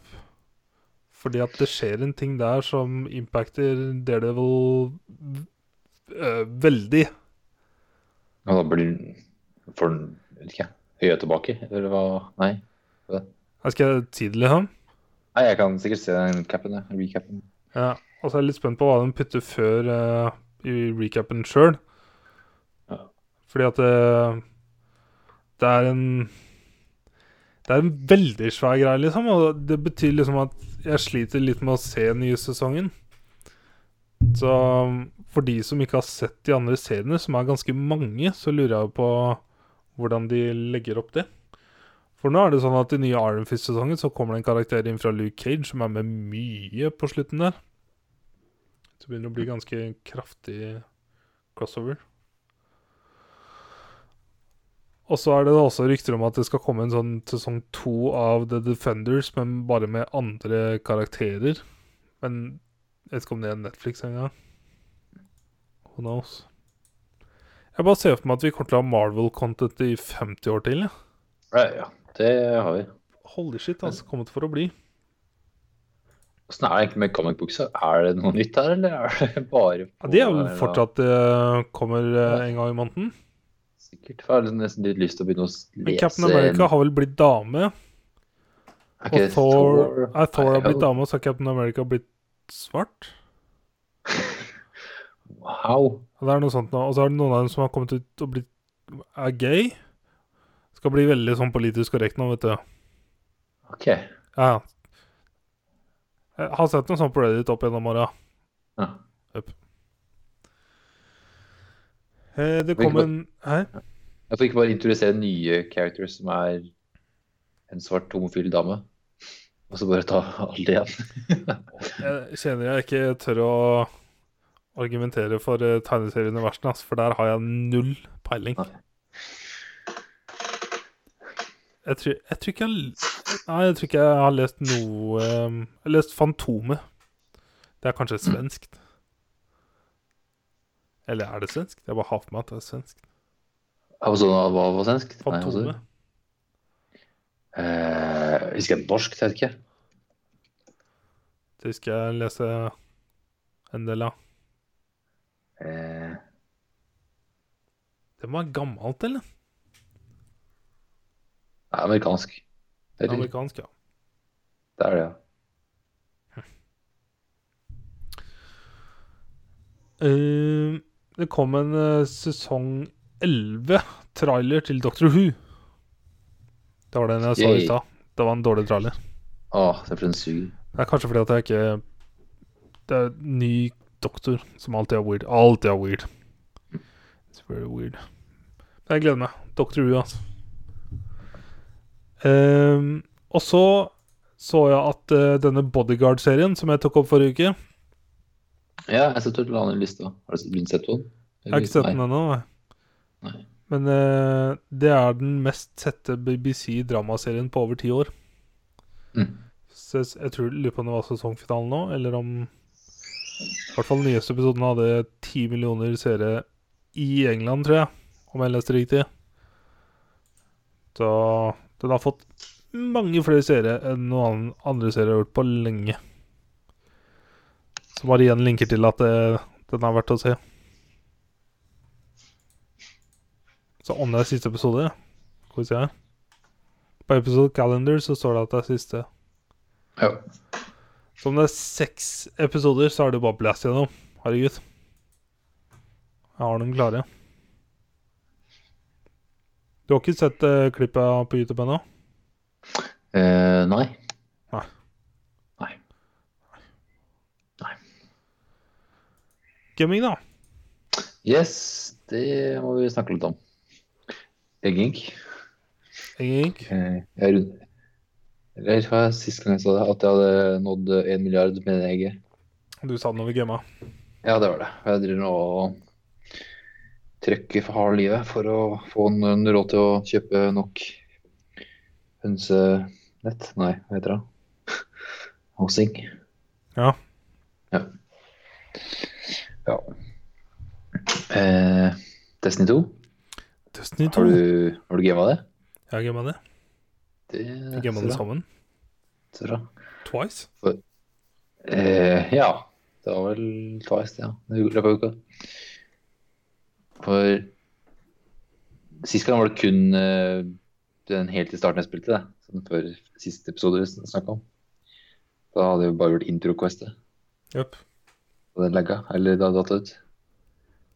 [SPEAKER 1] Fordi at det skjer en ting der som impacter Daredevil øh, veldig.
[SPEAKER 2] Ja, da blir Får den vet ikke, jeg, øyet tilbake? Eller hva Nei.
[SPEAKER 1] Jeg skal si det, liksom.
[SPEAKER 2] Nei, jeg kan sikkert se den capen, ja. recapen.
[SPEAKER 1] Ja, og så er jeg litt spent på hva de putter før eh, i recapen sjøl.
[SPEAKER 2] Ja.
[SPEAKER 1] Fordi at det, det er en Det er en veldig svær greie, liksom. Og det betyr liksom at jeg sliter litt med å se den nye sesongen. Så for de som ikke har sett de andre seriene, som er ganske mange, så lurer jeg jo på hvordan de legger opp det. For nå er det sånn at i nye Iron Fist-sesongen så kommer det en karakter inn fra Luke Cage som er med mye på slutten der. Så begynner det å bli ganske kraftig crossover. Og så er det da også rykter om at det skal komme en sånn sesong to av The Defenders, men bare med andre karakterer. Men jeg vet ikke om det er Netflix engang. Who knows? Jeg bare ser for meg at vi kommer til å ha Marvel-content i 50 år til. Ja.
[SPEAKER 2] Ja, ja, det har vi.
[SPEAKER 1] Holy shit, altså. Kommet for å bli.
[SPEAKER 2] Åssen er det egentlig med comic books? Er det noe nytt her, eller er det bare
[SPEAKER 1] Ja, det er vel
[SPEAKER 2] på-
[SPEAKER 1] fortsatt eh, kommer eh, en gang i måneden.
[SPEAKER 2] Sikkert. For jeg har nesten litt lyst til å begynne å lese
[SPEAKER 1] Men Captain America har vel blitt dame,
[SPEAKER 2] Er
[SPEAKER 1] og
[SPEAKER 2] ikke det
[SPEAKER 1] Thor, nei, Thor har
[SPEAKER 2] Nei,
[SPEAKER 1] blitt dame, og så har Captain America blitt svart.
[SPEAKER 2] Wow.
[SPEAKER 1] Og det er noe sånt nå. Og så er det noen av dem som har kommet ut og blitt er gay. Skal bli veldig sånn politisk korrekt nå, vet du.
[SPEAKER 2] OK.
[SPEAKER 1] Ja. Jeg har sett noe sånt på Reddit opp gjennom åra.
[SPEAKER 2] Ja.
[SPEAKER 1] Eh, Det
[SPEAKER 2] Hvilken
[SPEAKER 1] kom
[SPEAKER 2] da-
[SPEAKER 1] en Hæ?
[SPEAKER 2] Jeg får ikke bare introdusere nye characters som er en svart homofil dame, og så bare ta alle igjen.
[SPEAKER 1] Jeg kjenner jeg ikke tør å argumentere for eh, tegneserieuniversene, ass, for der har jeg null peiling.
[SPEAKER 2] Nei.
[SPEAKER 1] Jeg tror, jeg tror ikke jeg l- Nei, jeg tror ikke jeg har lest noe eh, Jeg har lest Fantomet. Det er kanskje svenskt. Eller er det svensk? Jeg bare har for meg at det er svensk.
[SPEAKER 2] Hva var sånn, hva var svensk? Nei, hva sa du?
[SPEAKER 1] Fantomet.
[SPEAKER 2] Eh, husker jeg norsk, det vet jeg ikke.
[SPEAKER 1] Det husker jeg lese en del av.
[SPEAKER 2] Eh,
[SPEAKER 1] Det må være gammelt, eller?
[SPEAKER 2] det er amerikansk. Det er, det.
[SPEAKER 1] Amerikansk, ja.
[SPEAKER 2] det er det, ja.
[SPEAKER 1] Eh, det kom en eh, sesong 11-trailer til Doctor Who. Det var den jeg så
[SPEAKER 2] Yay.
[SPEAKER 1] i stad. Det var en dårlig trailer.
[SPEAKER 2] Å, det er for en suger.
[SPEAKER 1] Det er kanskje fordi at jeg ikke Det er en ny doktor som alltid er weird. Alltid er weird. It's very weird. Men jeg gleder meg. Doctor Who, altså. Ehm, og så så jeg at eh, denne Bodyguard-serien som jeg tok opp forrige uke
[SPEAKER 2] Ja, jeg setter til annen liste. Har du blitt sett på den?
[SPEAKER 1] Jeg har ikke sett den ennå. nei.
[SPEAKER 2] Nei.
[SPEAKER 1] Men eh, det er den mest sette BBC-dramaserien på over ti år.
[SPEAKER 2] Mm.
[SPEAKER 1] Så jeg, jeg tror lurer på om det var sesongfinalen nå, eller om I hvert fall den nyeste episoden hadde ti millioner seere i England, tror jeg. Om jeg leste riktig. Så den har fått mange flere seere enn noen annen- andre serier har gjort på lenge. Som bare igjen linker til at eh, den er verdt å se. Så om det er siste episode Skal vi se her. På episode calendar så står det at det er siste.
[SPEAKER 2] Ja.
[SPEAKER 1] Så om det er seks episoder, så er det bare blast gjennom. Herregud. Jeg har dem klare. Du har ikke sett eh, klippet på YouTube ennå?
[SPEAKER 2] Eh, nei.
[SPEAKER 1] Nei.
[SPEAKER 2] Nei.
[SPEAKER 1] Gaming, da.
[SPEAKER 2] Yes, det må vi snakke litt om. Eggink.
[SPEAKER 1] Engink.
[SPEAKER 2] Eh, Jeg runder. Eller hva var det sist gang jeg sa det? At jeg hadde nådd en milliard med det egget?
[SPEAKER 1] Du sa det når vi gama.
[SPEAKER 2] Ja, det var det. Jeg driver nå og trykker for harde livet for å få en- en råd til å kjøpe nok hønsenett. Nei, hva heter det? Housing.
[SPEAKER 1] Ja.
[SPEAKER 2] Ja. ja. Eh, Destiny 2,
[SPEAKER 1] Destiny 2.
[SPEAKER 2] har du, har du gama det?
[SPEAKER 1] Jeg gama det.
[SPEAKER 2] Det
[SPEAKER 1] Vi gama det sammen.
[SPEAKER 2] Så bra.
[SPEAKER 1] Twice.
[SPEAKER 2] Eh, ja. Det var vel twice, ja. I løpet av uka. For sist gang var det kun eh, den helt i starten jeg spilte, det. Som før siste episode vi snakka om. Da hadde vi bare gjort intro-questet.
[SPEAKER 1] Jøp.
[SPEAKER 2] Og den lagga. Eller det hadde datt ut.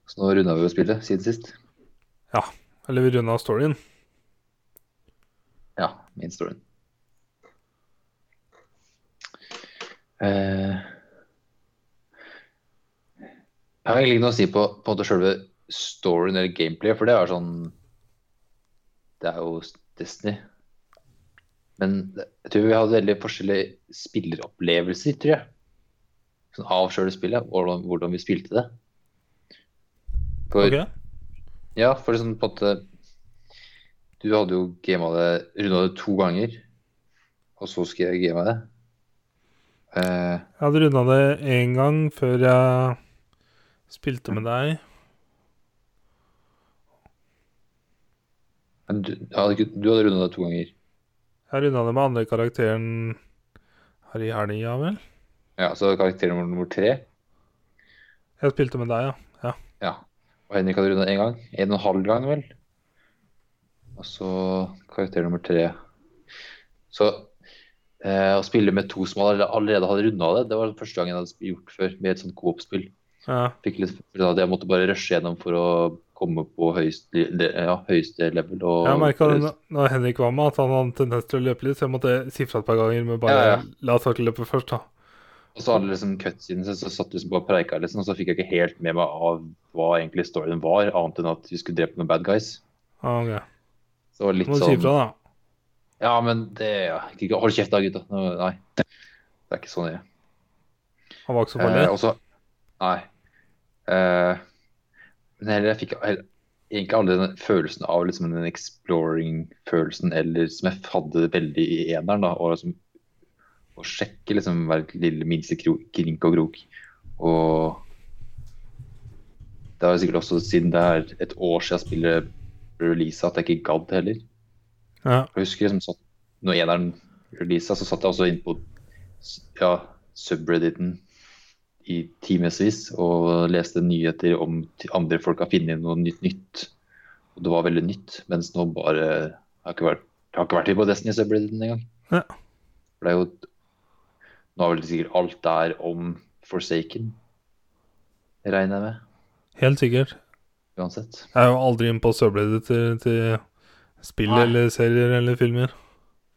[SPEAKER 2] Så nå runda vi jo spillet siden sist.
[SPEAKER 1] Eller vi runda storyen.
[SPEAKER 2] Ja, min storyen. Eh, jeg har egentlig ikke noe å si på, på en måte selve storyen eller gameplay, for det er sånn Det er jo Destiny. Men det- jeg tror vi hadde veldig forskjellige spilleropplevelser, tror jeg. Sånn av selve spillet, hvordan, hvordan vi spilte det. For
[SPEAKER 1] Ok?
[SPEAKER 2] ja, for liksom på en måte Du hadde jo gama det runda det to ganger, og så skal jeg game det. Eh,
[SPEAKER 1] Jeg hadde runda det én gang før jeg spilte med deg.
[SPEAKER 2] men du, jeg hadde ikke, du hadde runda det to ganger.
[SPEAKER 1] Jeg runda det med andre karakteren her i helga, vel?
[SPEAKER 2] Ja, Så karakter nummer, nummer tre.
[SPEAKER 1] Jeg spilte med deg, ja.
[SPEAKER 2] Ja. Og Henrik hadde runda én gang. En og en halv gang, vel. Og så karakter nummer tre. Så eh, å spille med to som allerede- allerede hadde runda det, det var første gang jeg hadde sp- gjort før med et sånt coop-spill.
[SPEAKER 1] ja.
[SPEAKER 2] fikk litt følelsen av at jeg måtte bare rushe gjennom for å komme på høyeste, ja, høyeste level. Og,
[SPEAKER 1] Jeg merka når Henrik var med, at han hadde en tendens til å løpe litt, så jeg måtte si fra et par ganger med bare
[SPEAKER 2] Ja, ja.
[SPEAKER 1] La Torkel løpe først, da.
[SPEAKER 2] Og så alle liksom cutsene, så, så satt liksom bare og preika, liksom, og så fikk jeg ikke helt med meg av hva egentlig storyen var, annet enn at vi skulle drepe noen bad guys.
[SPEAKER 1] Ah, ok.
[SPEAKER 2] Så det var
[SPEAKER 1] Så
[SPEAKER 2] litt
[SPEAKER 1] må du si
[SPEAKER 2] sånn
[SPEAKER 1] ifra, da.
[SPEAKER 2] Ja, men det ja, ikke, Hold kjeft da, gutta. Nå, nei. Det er ikke sånn jeg er.
[SPEAKER 1] Han var ikke så farlig.
[SPEAKER 2] Eh, og så Nei. Eh, men heller jeg fikk heller, egentlig aldri den følelsen av liksom den exploring-følelsen eller som jeg hadde veldig i eneren. da, og liksom Å sjekke liksom hver lille minste kro- krink og krok. Og det er jo sikkert også siden det er et år siden jeg spiller release at jeg ikke gadd heller.
[SPEAKER 1] ja.
[SPEAKER 2] Jeg husker liksom sånn, når eneren releasa, så satt jeg også inn på ja, subredditen i timevis og leste nyheter om t- andre folk har funnet noe nytt nytt. Og det var veldig nytt, mens nå bare Jeg har ikke vært, jeg har ikke vært inne på Destiny-subredditen engang.
[SPEAKER 1] Ja.
[SPEAKER 2] For det er jo Nå er vel sikkert alt der om Forsaken, regner jeg med.
[SPEAKER 1] Helt sikkert.
[SPEAKER 2] Uansett.
[SPEAKER 1] Jeg er jo aldri inne på subreddit til, til spill
[SPEAKER 2] Nei.
[SPEAKER 1] eller serier eller filmer.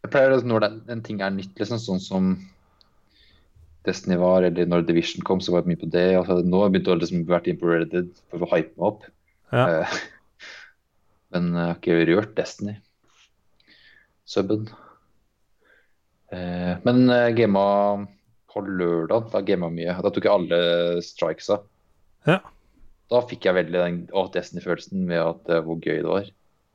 [SPEAKER 2] Jeg pleier å- når det, en ting er nytt, liksom, sånn som Destiny var, eller når Division kom, så var jeg mye på det. Og så nå har jeg begynt å liksom vært inn på Reddit for å hype meg opp.
[SPEAKER 1] Ja.
[SPEAKER 2] Eh, (laughs) men jeg har ikke rørt Destiny. Subben. Eh, men uh, gama på lørdag, da gama jeg mye. Da tok jeg alle strikesa.
[SPEAKER 1] Ja.
[SPEAKER 2] Da fikk jeg veldig den å, Destiny-følelsen med at eh, hvor gøy det var.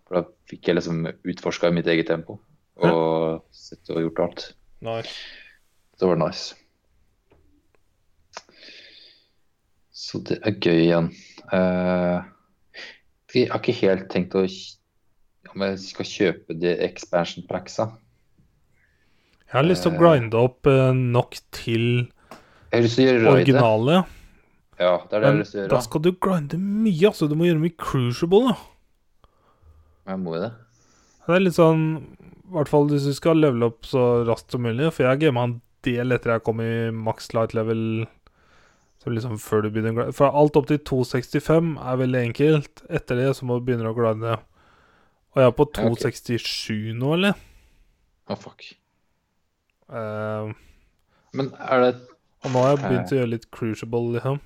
[SPEAKER 2] For da fikk jeg liksom utforska i mitt eget tempo og sett og gjort alt.
[SPEAKER 1] Nice.
[SPEAKER 2] Det var nice. Så det er gøy igjen. Eh, jeg har ikke helt tenkt å om jeg skal kjøpe de expansion packsa.
[SPEAKER 1] Jeg har lyst til
[SPEAKER 2] Eh.
[SPEAKER 1] å grinde opp eh, nok til
[SPEAKER 2] Jeg har lyst til å gjøre raidet.
[SPEAKER 1] originale.
[SPEAKER 2] Ja, det er det jeg
[SPEAKER 1] Men
[SPEAKER 2] har lyst til å
[SPEAKER 1] da
[SPEAKER 2] gjøre.
[SPEAKER 1] skal du grinde mye, altså. Du må gjøre mye crucible, da.
[SPEAKER 2] Men Jeg må jo det.
[SPEAKER 1] Det er litt sånn I hvert fall hvis du skal levele opp så raskt som mulig. For jeg gama en del etter jeg kom i max light level. Så liksom før du begynner å glide Fra alt opp til 265 er veldig enkelt. Etter det så må du begynne å glide. Og jeg er på
[SPEAKER 2] Ja, ok.
[SPEAKER 1] 267 nå, eller?
[SPEAKER 2] Å, fuck.
[SPEAKER 1] Eh,
[SPEAKER 2] Men er det
[SPEAKER 1] og nå har jeg begynt å gjøre litt crucible, liksom.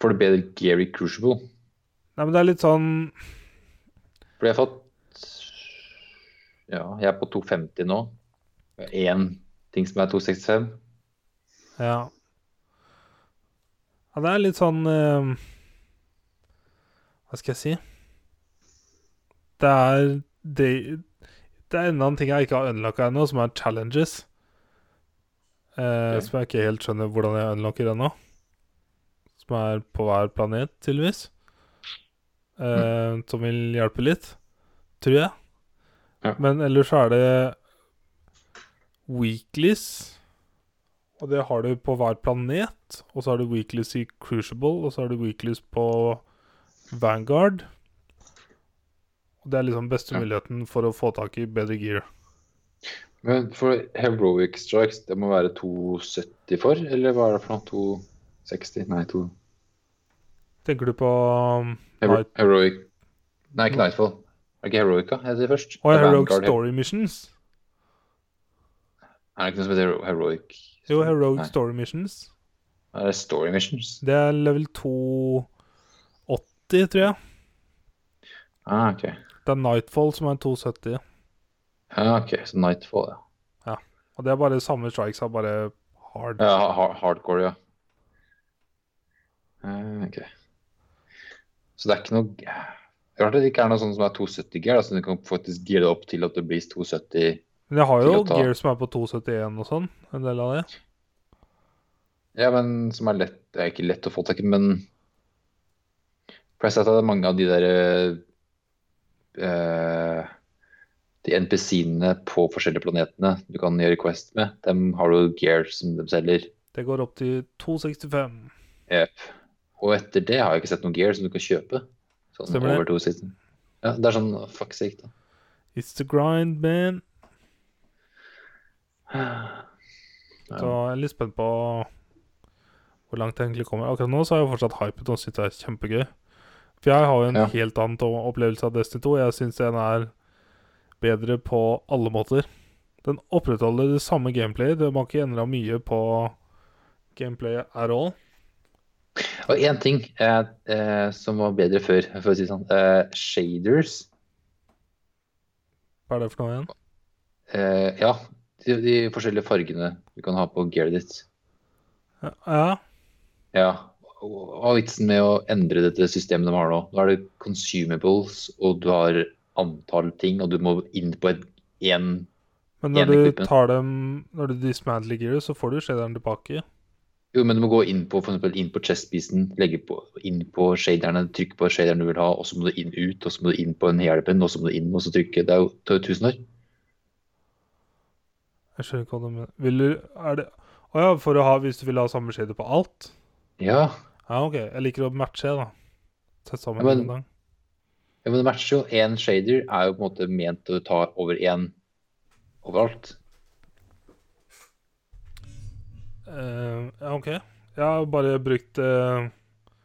[SPEAKER 2] Får du bedre Gary Crucible?
[SPEAKER 1] Nei, men det er litt sånn
[SPEAKER 2] Fordi jeg har fått Ja, jeg er på 250 nå. Én ting som er 265.
[SPEAKER 1] Ja. Ja, det er litt sånn eh, Hva skal jeg si? Det er det, det er enda en ting jeg ikke har unlocka ennå, som er challenges. Eh,
[SPEAKER 2] Ok.
[SPEAKER 1] Som jeg ikke helt skjønner hvordan jeg unlocker ennå. Som er på hver planet, tydeligvis. Eh, Som vil hjelpe litt, tror jeg.
[SPEAKER 2] Ja.
[SPEAKER 1] Men ellers så er det weeklies. Og det har du på hver planet. Og så har du Weeklies i Crucible, og så har du Weeklies på Vanguard. Og det er liksom beste
[SPEAKER 2] Ja.
[SPEAKER 1] muligheten for å få tak i bedre gear.
[SPEAKER 2] Men for heroic strikes, det må være 270 for, eller hva er det for noe? 260? Nei, 2
[SPEAKER 1] Tenker du på um,
[SPEAKER 2] Hero
[SPEAKER 1] Nei.
[SPEAKER 2] Heroic Nei, ikke Nightfall. Er det ikke Heroica jeg sier først?
[SPEAKER 1] Å,
[SPEAKER 2] Det er
[SPEAKER 1] Heroic
[SPEAKER 2] Vanguard.
[SPEAKER 1] Story Missions?
[SPEAKER 2] Er det ikke noe som heter Hero- Heroic?
[SPEAKER 1] Jo, Heroic
[SPEAKER 2] Nei.
[SPEAKER 1] Story Missions.
[SPEAKER 2] Er det Story Missions?
[SPEAKER 1] Det er level 280, tror jeg.
[SPEAKER 2] Ah, ok.
[SPEAKER 1] Det er Nightfall som er 270.
[SPEAKER 2] Ja, Ah, ok, Så Nightfall, ja.
[SPEAKER 1] Og det er bare samme strikes, er bare hard.
[SPEAKER 2] ja ha- ha- hardcore, ja. Eh, ok. Så det er ikke noe Rart at det ikke er noe sånt som er 270 gear, da, så du kan faktisk gire det opp til at det blir 270
[SPEAKER 1] Men jeg har jo
[SPEAKER 2] Til å ta-
[SPEAKER 1] gear som er på 271 og sånn, en del av det.
[SPEAKER 2] Ja, men som er lett Det er ikke lett å få tak i, men For jeg har sett at mange av de der eh, De NPC-ene på forskjellige planetene du kan gjøre quest med, dem har du gear som de selger.
[SPEAKER 1] Det går opp til 265.
[SPEAKER 2] Jep. Og etter det har jeg ikke sett noen gear som du kan kjøpe. Sånn
[SPEAKER 1] Stemmer det.
[SPEAKER 2] over to season. Ja, det er sånn fuck sake, da.
[SPEAKER 1] It's the grind, man.
[SPEAKER 2] Ja.
[SPEAKER 1] Så jeg er litt spent på hvor langt jeg egentlig kommer. Akkurat nå så er jeg fortsatt hypet og synes det er kjempegøy. For jeg har jo en
[SPEAKER 2] Ja.
[SPEAKER 1] helt annen to- opplevelse av Destiny 2. Jeg syns den er bedre på alle måter. Den opprettholder det samme gameplayet. Det var ikke endra mye på gameplayet at all.
[SPEAKER 2] Og én ting eh, eh, som var bedre før, for å si det sånn. Eh, shaders.
[SPEAKER 1] Hva er det for noe igjen?
[SPEAKER 2] Eh, ja, de, de forskjellige fargene du kan ha på gearet ditt.
[SPEAKER 1] Ja,
[SPEAKER 2] Ja. Og og vitsen med å endre dette systemet de har nå. Nå er det consumables, og du har antall ting, og du må inn på et én
[SPEAKER 1] men
[SPEAKER 2] Igjen i
[SPEAKER 1] når du
[SPEAKER 2] klippen.
[SPEAKER 1] tar dem Når du dismantler gearet, så får du shaderen tilbake.
[SPEAKER 2] Jo, men du må gå inn på, for eksempel, inn på chestpisen, legge på, inn på shaderne, trykke på shaderen du vil ha, og så må du inn ut, og så må du inn på en hjelpen, og så må du inn, og så trykke. Det er jo det tar jo tusen år.
[SPEAKER 1] Jeg skjønner ikke hva du mener. Vil du Er det Å ja, for å ha Hvis du vil ha samme shader på alt?
[SPEAKER 2] Ja,
[SPEAKER 1] Ja, OK. Jeg liker å matche, da. Sett sammen
[SPEAKER 2] Ja,
[SPEAKER 1] ja,
[SPEAKER 2] men-
[SPEAKER 1] en gang.
[SPEAKER 2] ja men det matcher jo. Én shader er jo på en måte ment å ta over én overalt.
[SPEAKER 1] Eh, ja, OK. Jeg har bare brukt eh,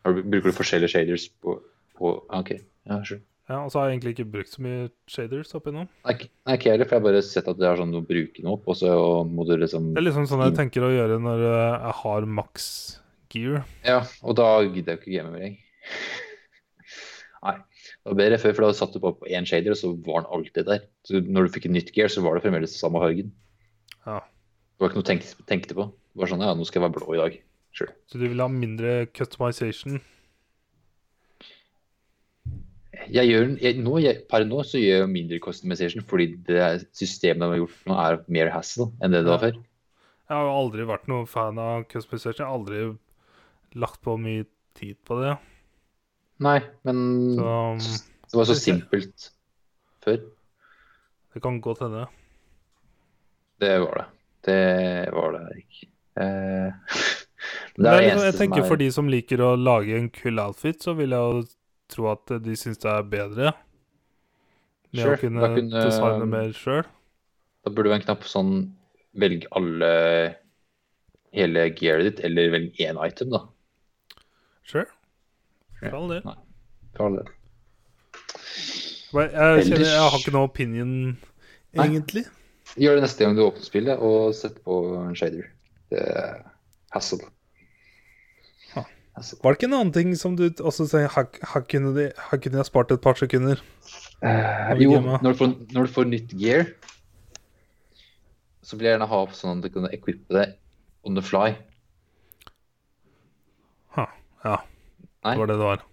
[SPEAKER 2] Har du- Bruker du forskjellige shaders på, på ah, OK. Ja, sure.
[SPEAKER 1] Ja, og så har jeg egentlig ikke brukt så mye shaders opp igjennom.
[SPEAKER 2] Nei, ikke- nei, ikke jeg heller, for jeg har bare sett at det er sånn du bruker den opp, og så må du liksom
[SPEAKER 1] Det er liksom sånn jeg tenker å gjøre når eh, jeg har maks gear.
[SPEAKER 2] Ja, og da gidder jeg ikke game mer, jeg. (laughs) Nei. Det var bedre før, for da satt du bare på én shader, og så var den alltid der. Så når du fikk en nytt gear, så var det fremdeles samme fargen.
[SPEAKER 1] Ja.
[SPEAKER 2] Det var ikke noe du tenkte, tenkte på. Det var sånn ja, nå skal jeg være blå i dag. Sure.
[SPEAKER 1] Så du vil ha mindre customization.
[SPEAKER 2] Jeg gjør, den- jeg, nå, jeg, per nå så gjør jeg mindre customization, fordi det systemet de har gjort nå, er mer hassle enn det det var før.
[SPEAKER 1] Jeg har jo aldri vært noen fan av customization. Jeg har aldri lagt på mye tid på det.
[SPEAKER 2] Nei, men
[SPEAKER 1] Så um,
[SPEAKER 2] det var så simpelt før.
[SPEAKER 1] det kan godt hende.
[SPEAKER 2] Det var det. Det var det ikke. Eh, (laughs) men
[SPEAKER 1] Det er liksom,
[SPEAKER 2] eneste
[SPEAKER 1] jeg
[SPEAKER 2] som
[SPEAKER 1] tenker
[SPEAKER 2] er-
[SPEAKER 1] For de som liker å lage en kul outfit, så vil jeg jo tro at de syns det er bedre. Med
[SPEAKER 2] Sure,
[SPEAKER 1] å kunne,
[SPEAKER 2] da kunne- um,
[SPEAKER 1] designe mer sjøl.
[SPEAKER 2] Da burde det være en knapp sånn Velg alle hele gearet ditt, eller velg én item, da.
[SPEAKER 1] Sure. For all del.
[SPEAKER 2] For all del.
[SPEAKER 1] Men Jeg, kjenner, jeg har
[SPEAKER 2] Ellers-
[SPEAKER 1] ikke noe opinion,
[SPEAKER 2] Nei.
[SPEAKER 1] egentlig.
[SPEAKER 2] Gjør det neste gang du åpner spillet, og sett på en shader. Det er hassle.
[SPEAKER 1] Ja.
[SPEAKER 2] Hassle.
[SPEAKER 1] Var det ikke en annen ting som du også sier Her her kunne, de, her kunne jeg spart et par sekunder.
[SPEAKER 2] Eh,
[SPEAKER 1] vi
[SPEAKER 2] jo,
[SPEAKER 1] gamet?
[SPEAKER 2] når du, får, når du får nytt gear, så vil jeg gjerne ha opp sånn at du kan equippe det on the fly.
[SPEAKER 1] Ha, ja,
[SPEAKER 2] Nei.
[SPEAKER 1] det var det det var.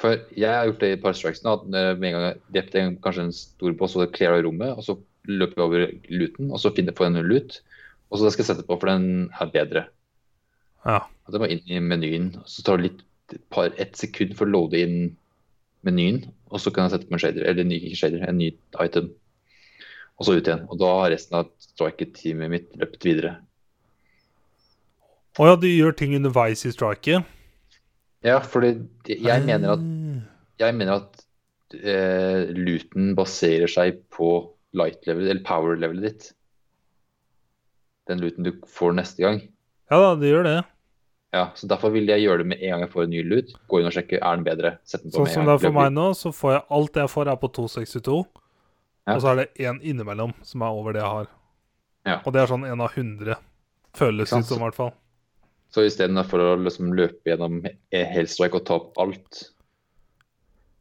[SPEAKER 2] For jeg har gjort det i et par strikes nå, at eh, med en gang jeg drepte en, kanskje en stor boss og kler av rommet, og så løper jeg over luten, og så finner jeg på en lut, og så skal jeg sette på, for den er bedre.
[SPEAKER 1] Ja.
[SPEAKER 2] At jeg må inn i menyen, og så tar det litt et par, et sekund for å loade inn menyen, og så kan jeg sette på en shader, eller en ny ikke shader, en ny item. Og så ut igjen. Og da har resten av strike-teamet mitt løpt videre.
[SPEAKER 1] Å ja, du gjør ting underveis i striket.
[SPEAKER 2] Ja, fordi det- jeg mener at jeg mener at eh, luten baserer seg på light-levelet, eller power-levelet ditt. Den luten du får neste gang.
[SPEAKER 1] Ja da, det gjør det.
[SPEAKER 2] Ja, så Derfor vil jeg gjøre det med en gang jeg får en ny lut. Gå inn og sjekke er den bedre. Sett den på
[SPEAKER 1] Sånn som
[SPEAKER 2] med en
[SPEAKER 1] det
[SPEAKER 2] gang.
[SPEAKER 1] er for meg nå, så får jeg alt det jeg får, er på 262.
[SPEAKER 2] Ja.
[SPEAKER 1] Og så er det én innimellom som er over det jeg har.
[SPEAKER 2] Ja.
[SPEAKER 1] Og det er sånn én av 100. Føles
[SPEAKER 2] Ikke sant?
[SPEAKER 1] ut som, i hvert fall.
[SPEAKER 2] Så istedenfor å liksom løpe gjennom e- Hellstrike og ta opp alt,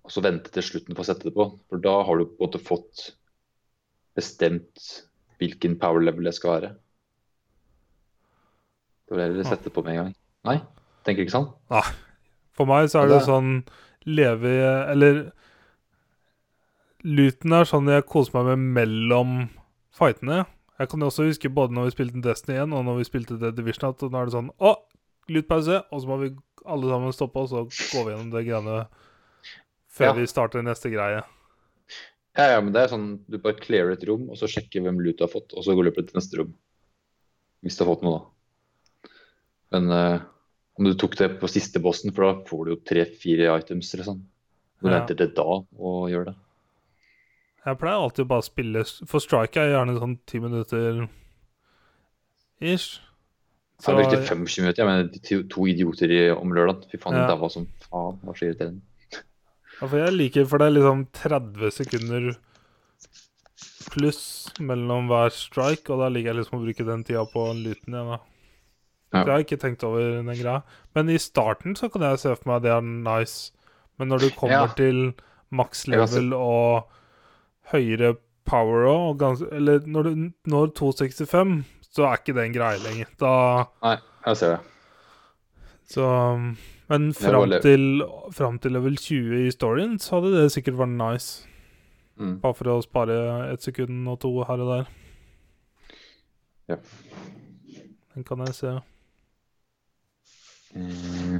[SPEAKER 2] og så vente til slutten for å sette det på, for da har du på en måte fått bestemt hvilken power level det skal være. Du vil heller sette det på med en gang. Nei, tenker ikke sånn.
[SPEAKER 1] For meg så
[SPEAKER 2] Og
[SPEAKER 1] er det
[SPEAKER 2] det-
[SPEAKER 1] sånn leve Eller Luten er sånn jeg koser meg med mellom fightene. Jeg kan jo også huske både når vi spilte Destiny 1 og når vi spilte The Division, at nå er det sånn Å, lutpause! Og så må vi alle sammen stoppe, og så går vi gjennom det greiene før
[SPEAKER 2] Ja.
[SPEAKER 1] vi starter neste greie.
[SPEAKER 2] Ja, ja, men det er sånn du bare clearer et rom, og så sjekker hvem loot du har fått, og så går du opp til neste rom. Hvis du har fått noe, da. Men eh, om du tok det på siste bossen, for da får du jo tre-fire items eller sånn. Du
[SPEAKER 1] Ja.
[SPEAKER 2] venter til da og gjør det.
[SPEAKER 1] Jeg pleier alltid bare å spille For Strike er gjerne sånn ti minutter ish.
[SPEAKER 2] Så, jeg brukte
[SPEAKER 1] Så-
[SPEAKER 2] 25 minutter, jeg mener to, to idioter i, om lørdagen. Fy faen,
[SPEAKER 1] Ja.
[SPEAKER 2] det var som faen, var så irriterende.
[SPEAKER 1] Ja, for jeg liker For det er liksom 30 sekunder pluss mellom hver strike, og da liker jeg liksom å bruke den tida på luten igjen, da.
[SPEAKER 2] Ja.
[SPEAKER 1] Så jeg har ikke tenkt over den greia. Men i starten så kan jeg se for meg at det er nice. Men når du kommer
[SPEAKER 2] Ja.
[SPEAKER 1] til maks
[SPEAKER 2] Jeg kan se-
[SPEAKER 1] level og høyere power også, og gans Eller når du når 265, så er ikke det en greie lenger. Da
[SPEAKER 2] Nei, jeg ser det.
[SPEAKER 1] så um, Men
[SPEAKER 2] Det var
[SPEAKER 1] fram
[SPEAKER 2] le-
[SPEAKER 1] til, fram til level 20 i storyen så hadde det sikkert vært nice.
[SPEAKER 2] Mm.
[SPEAKER 1] Bare for å spare ett sekund og to her og der.
[SPEAKER 2] Ja.
[SPEAKER 1] Den kan jeg se.
[SPEAKER 2] Eh,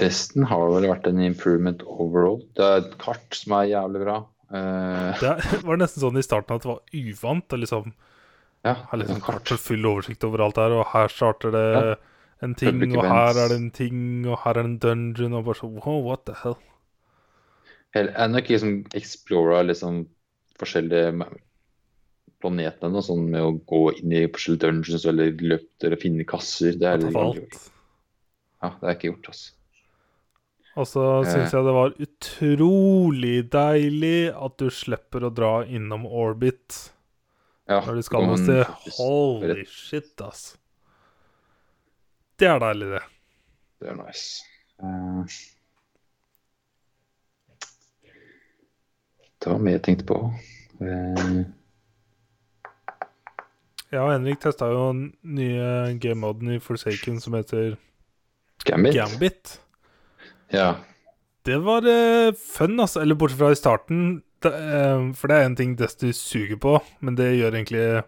[SPEAKER 2] Resten har vel vært en improvement overall. Det er et kart som er jævlig bra. Eh,
[SPEAKER 1] Det er- (laughs) var nesten sånn i starten at det var uvant å liksom
[SPEAKER 2] ja,
[SPEAKER 1] ha liksom
[SPEAKER 2] et
[SPEAKER 1] kart for full oversikt over alt her, og her starter det
[SPEAKER 2] Ja.
[SPEAKER 1] en ting,
[SPEAKER 2] Public
[SPEAKER 1] og her
[SPEAKER 2] events.
[SPEAKER 1] er det en ting, og her er det en dungeon, og bare så wow, what the hell?
[SPEAKER 2] Hel- Jeg har nok liksom explora liksom forskjellige ma- planeter og sånn med å gå inn i forskjellige dungeons eller løpter og finne kasser. Det er, liksom
[SPEAKER 1] What the
[SPEAKER 2] ja, det
[SPEAKER 1] fault?
[SPEAKER 2] har jeg ikke gjort, altså.
[SPEAKER 1] Og så syns jeg det var utrolig deilig at du slipper å dra innom Orbit.
[SPEAKER 2] Ja,
[SPEAKER 1] Når de
[SPEAKER 2] det
[SPEAKER 1] skal
[SPEAKER 2] kom
[SPEAKER 1] noe sted.
[SPEAKER 2] faktisk-
[SPEAKER 1] Holy shit, ass. Det er deilig, det.
[SPEAKER 2] Det er nice. Eh, det var mye jeg tenkte på. Eh,
[SPEAKER 1] Jeg og Henrik testa jo den nye gamemoden i Forsaken som heter
[SPEAKER 2] Gambit?
[SPEAKER 1] Gambit.
[SPEAKER 2] Ja.
[SPEAKER 1] Det var eh, fun, altså. Eller bortsett fra i starten. Det, eh, for det er en ting Destiny suger på, men det gjør egentlig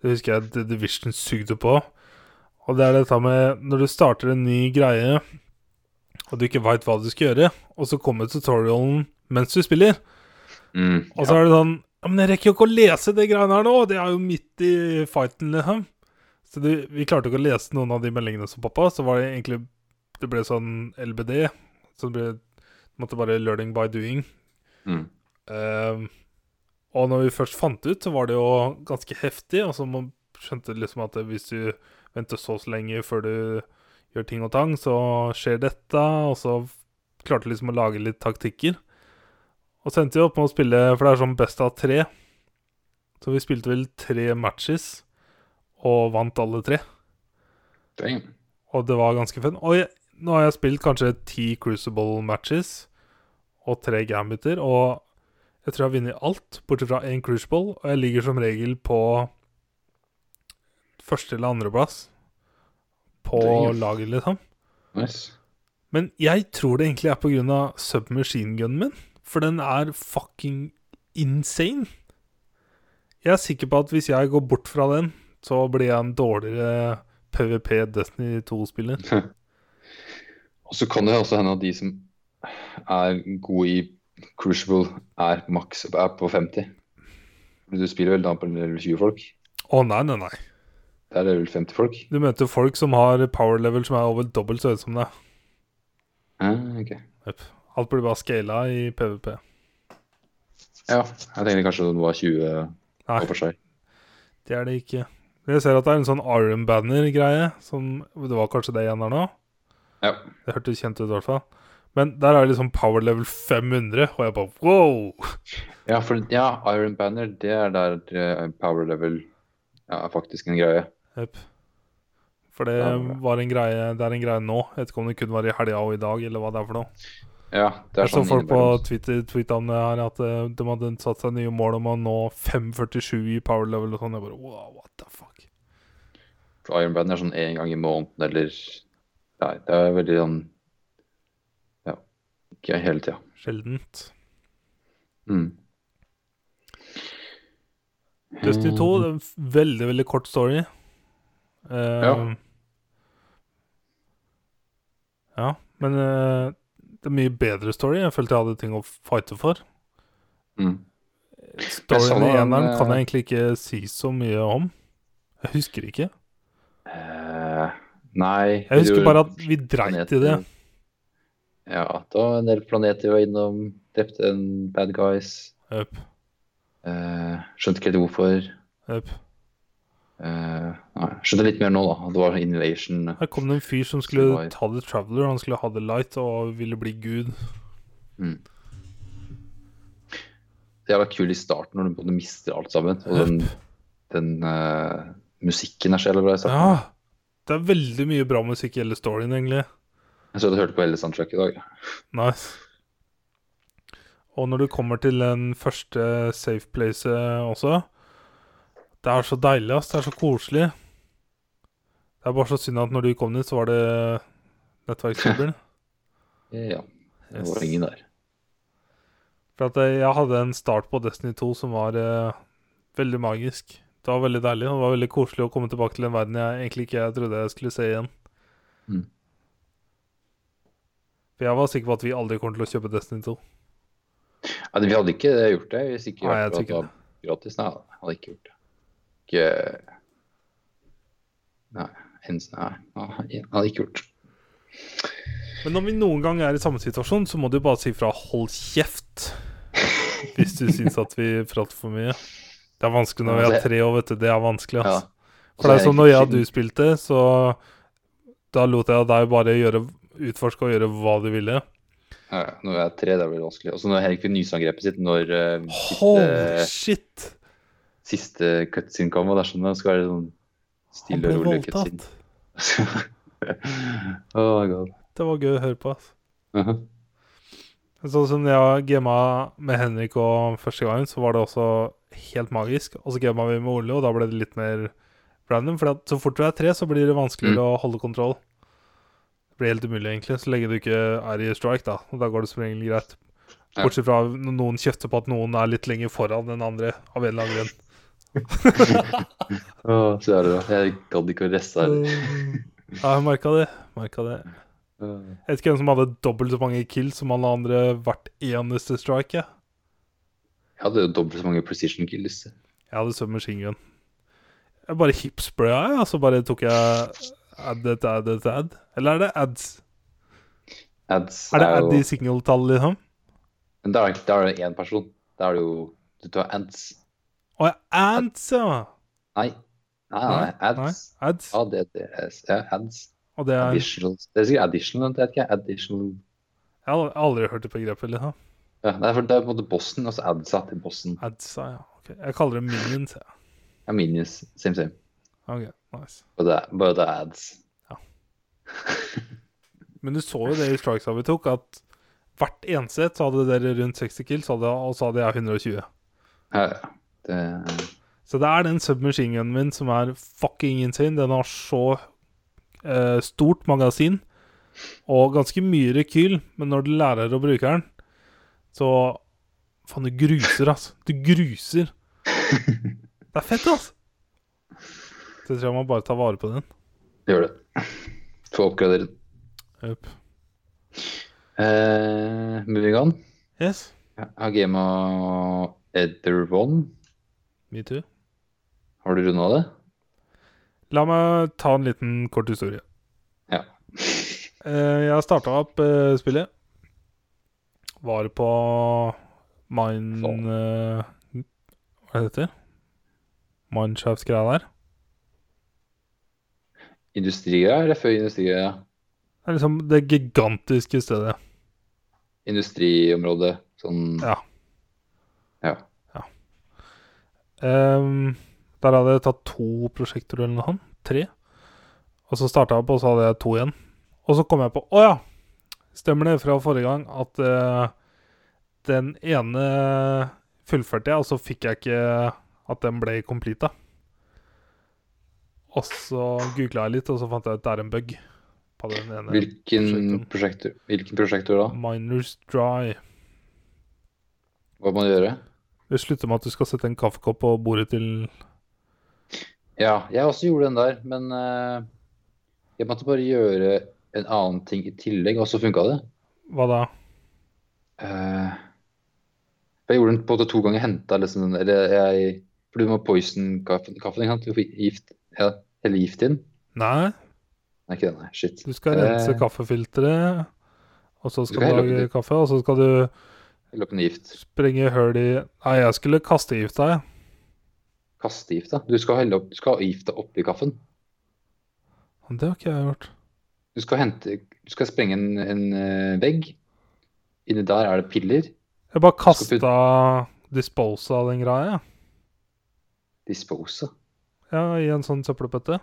[SPEAKER 1] Det husker jeg The Division sugde på. Og det er dette med når du starter en ny greie, og du ikke veit hva du skal gjøre, og så kommer tutorialen mens du spiller,
[SPEAKER 2] Mm,
[SPEAKER 1] Og så er det sånn Ja, men jeg rekker jo ikke å lese det greiene her nå! Det er jo midt i fighten, liksom. Så det, vi klarte ikke å lese noen av de meldingene som pappa, så var det egentlig Det ble sånn LBD. Så det ble Måtte bare learning by doing.
[SPEAKER 2] Mm.
[SPEAKER 1] Ehm, og når vi først fant det ut, så var det jo ganske heftig. Og så man skjønte liksom at hvis du venter så og så lenge før du gjør ting og tang, så skjer dette. Og så klarte liksom å lage litt taktikker. Og så endte vi opp med å spille, for det er sånn best av tre. Så vi spilte vel tre matches, og vant alle tre.
[SPEAKER 2] Damn.
[SPEAKER 1] Og det var ganske fun. Og jeg, nå har jeg spilt kanskje ti Crucible matches og tre Gambiter, og jeg tror jeg har vunnet alt, bortsett fra én Crucible, og jeg ligger som regel på første eller andreplass på
[SPEAKER 2] Damn.
[SPEAKER 1] laget, liksom.
[SPEAKER 2] Nice.
[SPEAKER 1] Men jeg tror det egentlig er på grunn av submachine gunnen min, for den er fucking insane. Jeg er sikker på at hvis jeg går bort fra den, så blir jeg en dårligere PVP Destiny 2-spiller.
[SPEAKER 2] Og så kan det jo også hende at de som er gode i Crucible, er maks er på 50. Fordi Du spiller vel da på level 20 folk?
[SPEAKER 1] Å nei, nei, nei.
[SPEAKER 2] Det er level 50 folk?
[SPEAKER 1] Du møter folk som har power level som er over dobbelt så høyt som deg.
[SPEAKER 2] Ah, ok.
[SPEAKER 1] Jep. Alt blir bare scala i PVP.
[SPEAKER 2] Ja, jeg tenkte kanskje den var 20
[SPEAKER 1] Nei.
[SPEAKER 2] hver for seg.
[SPEAKER 1] Det er det ikke. Men Jeg ser at det er en sånn Iron Banner-greie. som- Det var kanskje det igjen der nå?
[SPEAKER 2] Ja.
[SPEAKER 1] Det hørtes kjent ut i hvert fall. Men der er det liksom power level 500, og jeg bare wow!
[SPEAKER 2] Ja, for, ja, Iron Banner, det er der eh, power level ja, er faktisk en greie.
[SPEAKER 1] Jep. For det
[SPEAKER 2] Ja, bra.
[SPEAKER 1] var en greie Det er en greie nå. Jeg vet ikke om det kun var i helga og i dag, eller hva det er for noe.
[SPEAKER 2] Ja, det er
[SPEAKER 1] Jeg så
[SPEAKER 2] sånn
[SPEAKER 1] folk på
[SPEAKER 2] innimellom.
[SPEAKER 1] Twitter tweeta om det her at eh, de hadde satt seg nye mål om å nå 547 i power level og sånn. Jeg bare wow, what the fuck?
[SPEAKER 2] For Iron Banner er sånn én gang i måneden eller Nei, det er veldig sånn Ja, ikke hele tida.
[SPEAKER 1] Sjeldent.
[SPEAKER 2] Mm.
[SPEAKER 1] Dusty 2, det er en f- veldig, veldig kort story. Eh,
[SPEAKER 2] Ja.
[SPEAKER 1] ja, men eh, det er mye bedre story. Jeg følte jeg hadde ting å fighte for.
[SPEAKER 2] Mm.
[SPEAKER 1] Storyen i
[SPEAKER 2] den,
[SPEAKER 1] eneren kan
[SPEAKER 2] eh,
[SPEAKER 1] jeg egentlig ikke si så mye om. Jeg husker ikke.
[SPEAKER 2] Eh, nei
[SPEAKER 1] Jeg husker
[SPEAKER 2] du-
[SPEAKER 1] bare at vi dreit i det.
[SPEAKER 2] planeter. Ja, det var en del planeter vi var innom. Drepte en bad guys.
[SPEAKER 1] Øp,
[SPEAKER 2] Eh, skjønte ikke helt hvorfor.
[SPEAKER 1] øp.
[SPEAKER 2] Eh, nei, skjønte litt mer nå, da. Det var invasion.
[SPEAKER 1] Her kom det en fyr som
[SPEAKER 2] Det
[SPEAKER 1] skulle
[SPEAKER 2] var-
[SPEAKER 1] ta The Traveler. Han skulle ha The Light og ville bli gud.
[SPEAKER 2] Det er da kul i starten når du både mister alt sammen. Og den, den eh, musikken er så jævlig bra. i starten.
[SPEAKER 1] Ja! Det er veldig mye bra musikk i hele storyen, egentlig.
[SPEAKER 2] Jeg så du hørte på hele soundtracket i dag.
[SPEAKER 1] Nice. Og når du kommer til den første safe place eh, også Det er så deilig, ass. Det er så koselig. Det er bare så synd at når du kom dit, så var det nettverkskabelen.
[SPEAKER 2] Ja, (laughs) det
[SPEAKER 1] Yes.
[SPEAKER 2] var ingen der.
[SPEAKER 1] For at eh, jeg jeg hadde en start på Destiny 2 som var eh, veldig magisk. Det var veldig deilig, og det var veldig koselig å komme tilbake til en verden jeg egentlig ikke trodde jeg skulle se igjen.
[SPEAKER 2] Mm.
[SPEAKER 1] For jeg var sikker på at vi aldri kommer til å kjøpe Destiny 2.
[SPEAKER 2] Nei, vi hadde ikke gjort det hvis ikke
[SPEAKER 1] Nei, jeg
[SPEAKER 2] det
[SPEAKER 1] tror ikke
[SPEAKER 2] var gratis. Nei, jeg hadde ikke gjort det. Ikke Nei, ens- nei, nei, jeg hadde ikke gjort det.
[SPEAKER 1] Men når vi noen gang er i samme situasjon, så må du bare si fra 'hold (laughs) kjeft' hvis du syns at vi prater for mye. Det er vanskelig når vi er tre år, vet du. Det er vanskelig,
[SPEAKER 2] Ja.
[SPEAKER 1] ass. For det er sånn når jeg og du spilte, så da lot jeg deg bare gjøre, utforske og gjøre hva du ville.
[SPEAKER 2] Ja, ja, når jeg er tre, det er veldig vanskelig. Og så når Henrik fikk nysangrepet sitt når eh,
[SPEAKER 1] Holy
[SPEAKER 2] siste,
[SPEAKER 1] shit!
[SPEAKER 2] siste cutscene kom, og det er sånn det skal være sånn
[SPEAKER 1] Han
[SPEAKER 2] stille
[SPEAKER 1] ble
[SPEAKER 2] og rolig cutscene.
[SPEAKER 1] voldtatt.
[SPEAKER 2] (laughs) oh my god.
[SPEAKER 1] Det var gøy å høre på, ass.
[SPEAKER 2] Mhm.
[SPEAKER 1] Sånn som jeg gama med Henrik og første gangen, så var det også helt magisk. Og så gama vi med Ole, og da ble det litt mer random. For så fort du er tre, så blir det vanskeligere
[SPEAKER 2] Mm.
[SPEAKER 1] å holde kontroll. Det blir helt umulig, egentlig, så lenge du ikke er i strike, da. Og da går det som regel greit.
[SPEAKER 2] Ja.
[SPEAKER 1] Bortsett fra når noen kjefter på at noen er litt lenger foran enn andre, av en eller annen
[SPEAKER 2] Åh, så er det da. Jeg gadd ikke å reste
[SPEAKER 1] Mm.
[SPEAKER 2] her.
[SPEAKER 1] grunn. Ja, jeg merka det. Merka det.
[SPEAKER 2] Åh.
[SPEAKER 1] Jeg vet ikke hvem som hadde dobbelt så mange kills som alle andre hvert eneste strike. jeg.
[SPEAKER 2] Jeg hadde jo dobbelt så mange precision kills.
[SPEAKER 1] Jeg hadde submachine gun. Jeg bare hipspraya, jeg, og så bare tok jeg add, add, add, add, add. Eller er det ads?
[SPEAKER 2] Ads
[SPEAKER 1] Er det
[SPEAKER 2] er jo-
[SPEAKER 1] add i signaltall, liksom?
[SPEAKER 2] Men da er det- da er det én person. Da er det jo Du tar ads.
[SPEAKER 1] Å, ja, ads, ja!
[SPEAKER 2] Nei. Nei, nei,
[SPEAKER 1] Nei,
[SPEAKER 2] ads.
[SPEAKER 1] ads.
[SPEAKER 2] ADDS. Ja, ads.
[SPEAKER 1] Og det er
[SPEAKER 2] Additional. Det er sikkert additional, det vet ikke jeg. Additional.
[SPEAKER 1] Jeg har aldri hørt det begrepet, liksom.
[SPEAKER 2] Ja, det er for det er på en måte bossen, og så adsa til bossen.
[SPEAKER 1] Ads, ja. ja. Ok, Jeg kaller det minions, jeg.
[SPEAKER 2] Ja, minions. Same, same.
[SPEAKER 1] Ok, nice.
[SPEAKER 2] Bare det er- bare det er ads.
[SPEAKER 1] Men du så jo det i strikesa vi tok, at hvert eneste et så hadde dere rundt 60 kills, hadde- og så hadde jeg 120.
[SPEAKER 2] Ja, ja. Det,
[SPEAKER 1] Så det er den submachine gunen min som er fucking insane. Den har så eh, stort magasin og ganske mye rekyl, men når du lærer å bruke den, så Faen, du gruser, altså. Du gruser. Det er fett, altså. Så jeg tror jeg må bare ta vare på den.
[SPEAKER 2] det gjør det. Få oppgradere den.
[SPEAKER 1] Yep.
[SPEAKER 2] Eh, moving on.
[SPEAKER 1] Yes.
[SPEAKER 2] Jeg har gama Ether One.
[SPEAKER 1] Me too.
[SPEAKER 2] Har du runda det? (laughs)
[SPEAKER 1] La meg ta en liten kort historie.
[SPEAKER 2] Ja.
[SPEAKER 1] Eh, jeg starta opp eh, spillet. Var på Mine eh, Hva er det heter? Mineshaft-greia der.
[SPEAKER 2] Industrigreia eller før industrigreia?
[SPEAKER 1] Det er liksom det gigantiske stedet.
[SPEAKER 2] Industriområdet. Sånn
[SPEAKER 1] Ja.
[SPEAKER 2] Ja.
[SPEAKER 1] Ehm, der hadde jeg tatt to prosjekter eller noe sånt. Tre. Og så starta jeg på, og så hadde jeg to igjen. Og så kom jeg på Å ja! Stemmer det fra forrige gang at eh, den ene fullførte jeg, og så fikk jeg ikke at den ble completa. Og så googla jeg litt, og så fant jeg ut det er en bug på den ene.
[SPEAKER 2] Hvilken
[SPEAKER 1] prosjektet.
[SPEAKER 2] prosjektor? Hvilken prosjektor da?
[SPEAKER 1] Miners dry.
[SPEAKER 2] Hva må du gjøre?
[SPEAKER 1] Det slutter med at du skal sette en kaffekopp på bordet til
[SPEAKER 2] Ja, jeg også gjorde den der, men eh, jeg måtte bare gjøre en annen ting i tillegg, og så funka det.
[SPEAKER 1] Hva da?
[SPEAKER 2] Eh, jeg gjorde den på en måte to ganger, henta liksom den Eller jeg For du må poison kaffen, kaffen ikke sant? Du får gift, ja, hele gift i den.
[SPEAKER 1] Nei,
[SPEAKER 2] Nei, ikke den, nei. Shit.
[SPEAKER 1] du skal rense
[SPEAKER 2] Eh.
[SPEAKER 1] kaffefilteret, og så skal
[SPEAKER 2] skal
[SPEAKER 1] du
[SPEAKER 2] helle oppi
[SPEAKER 1] lage
[SPEAKER 2] det.
[SPEAKER 1] kaffe, og så skal du
[SPEAKER 2] Eller åpne gift.
[SPEAKER 1] sprenge høl i Nei, jeg skulle kaste gift deg.
[SPEAKER 2] Kaste gift, da. Du skal helle opp, du skal ha gifta oppi kaffen.
[SPEAKER 1] Det har ikke jeg gjort.
[SPEAKER 2] Du skal hente Du skal sprenge en, en eh, vegg. Inni der er det piller.
[SPEAKER 1] Jeg bare
[SPEAKER 2] skal
[SPEAKER 1] kasta dispose av den greia, jeg.
[SPEAKER 2] Dispose.
[SPEAKER 1] ja, i en sånn søppelbøtte.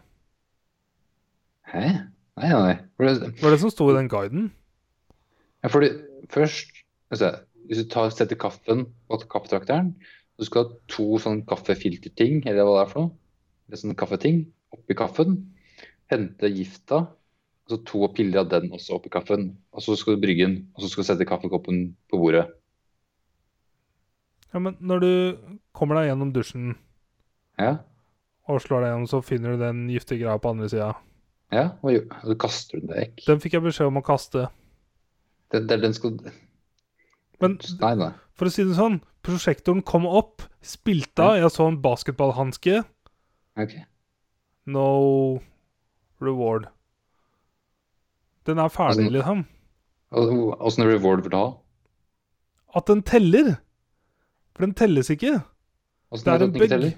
[SPEAKER 2] Hæ? Nei, nei, nei. For det,
[SPEAKER 1] Det var det som sto i den guiden.
[SPEAKER 2] Ja, fordi først altså, Hvis du tar, setter kaffen på kaffetrakteren, så skal du ha to sånne kaffefilterting, eller hva det er for noe, eller sånne kaffeting, oppi kaffen. Hente gifta, og så to piller av den også oppi kaffen. Og så skal du brygge den, og så skal du sette kaffekoppen på bordet.
[SPEAKER 1] Ja, men når du kommer deg gjennom dusjen
[SPEAKER 2] Ja,
[SPEAKER 1] og slår deg gjennom, så finner du den giftige greia på andre sida.
[SPEAKER 2] ja, og, jo- og så kaster du den vekk.
[SPEAKER 1] Den fikk jeg beskjed om å kaste.
[SPEAKER 2] Den, den, den skal
[SPEAKER 1] Men
[SPEAKER 2] Nei, nei.
[SPEAKER 1] For å si det sånn, prosjektoren kom opp, spilte
[SPEAKER 2] Mm.
[SPEAKER 1] av, jeg så en basketballhanske.
[SPEAKER 2] Ok.
[SPEAKER 1] No reward. Den er ferdig,
[SPEAKER 2] Altså-
[SPEAKER 1] liksom.
[SPEAKER 2] Og- sånn Åssen reward vil du ha?
[SPEAKER 1] At den teller! For den telles ikke.
[SPEAKER 2] Åssen
[SPEAKER 1] Det er
[SPEAKER 2] vet
[SPEAKER 1] en
[SPEAKER 2] du at den ikke
[SPEAKER 1] bug.
[SPEAKER 2] teller?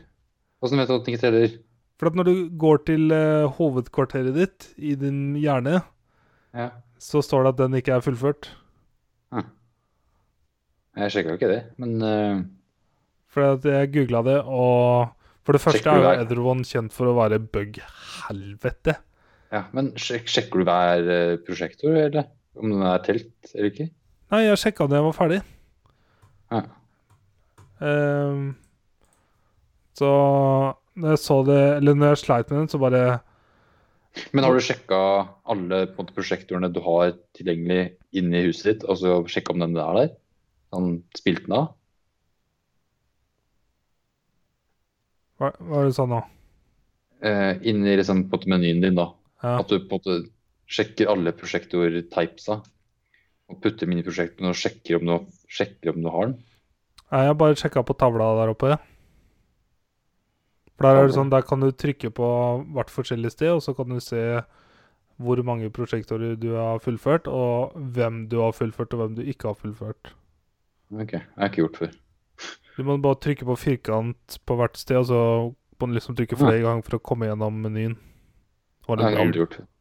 [SPEAKER 2] Åssen vet du at den ikke teller?
[SPEAKER 1] For at når du går til eh, hovedkvarteret ditt i din hjerne,
[SPEAKER 2] Ja.
[SPEAKER 1] så står det at den ikke er fullført.
[SPEAKER 2] Jeg sjekka jo ikke det, men eh,
[SPEAKER 1] For at jeg googla det, og for det første
[SPEAKER 2] Sjekker
[SPEAKER 1] er
[SPEAKER 2] du
[SPEAKER 1] jo
[SPEAKER 2] hver-
[SPEAKER 1] Edderone kjent for å være bug-helvete.
[SPEAKER 2] Ja, men sjek, sjekker du hver eh, prosjektor, eller? Om den er telt eller ikke?
[SPEAKER 1] Nei, jeg sjekka da jeg var ferdig.
[SPEAKER 2] Ja.
[SPEAKER 1] Ehm, så når jeg så det Eller når jeg sleit med den, så bare
[SPEAKER 2] Men har du sjekka alle på en måte, prosjektorene du har tilgjengelig inne i huset ditt, og så sjekka om den er der? Sånn, spilt den av?
[SPEAKER 1] Hva hva er det du sa nå?
[SPEAKER 2] Eh, inne i liksom, på en måte, menyen din, da.
[SPEAKER 1] Ja.
[SPEAKER 2] At du på en måte sjekker alle prosjektor-typesa. Og putter dem inn i prosjektoren og sjekker om du, sjekker om du har den.
[SPEAKER 1] Nei, jeg bare sjekka på tavla der oppe. For der er det
[SPEAKER 2] Tavla.
[SPEAKER 1] sånn, der kan du trykke på hvert forskjellig sted, og så kan du se hvor mange prosjektorer du har fullført, og hvem du har fullført, og hvem du ikke har fullført.
[SPEAKER 2] Ok, jeg har ikke gjort før.
[SPEAKER 1] Du må bare trykke på firkant på hvert sted, og så må du liksom trykke flere ganger for å komme gjennom menyen. Det var
[SPEAKER 2] Jeg
[SPEAKER 1] litt
[SPEAKER 2] har
[SPEAKER 1] weird.
[SPEAKER 2] aldri gjort før.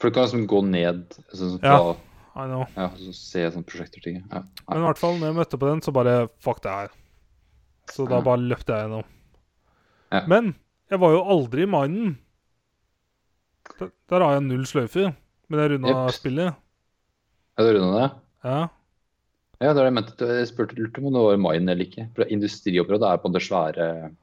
[SPEAKER 2] For du kan liksom gå ned sånn, som
[SPEAKER 1] Ja.
[SPEAKER 2] fra,
[SPEAKER 1] I know.
[SPEAKER 2] ja. så se sånn prosjektorting. Ja. Nei.
[SPEAKER 1] Men i hvert fall, når jeg møtte på den, så bare Fuck det her. Så da
[SPEAKER 2] Ja.
[SPEAKER 1] bare løpte jeg gjennom.
[SPEAKER 2] Ja.
[SPEAKER 1] Men jeg var jo aldri i minen. Der, der har jeg null sløyfer. Men jeg runda
[SPEAKER 2] Jepp.
[SPEAKER 1] spillet.
[SPEAKER 2] Ja, du runda det?
[SPEAKER 1] Ja.
[SPEAKER 2] Ja, det var det jeg mente. Jeg spurte lurte om det var mine eller ikke. For industriområdet er på det svære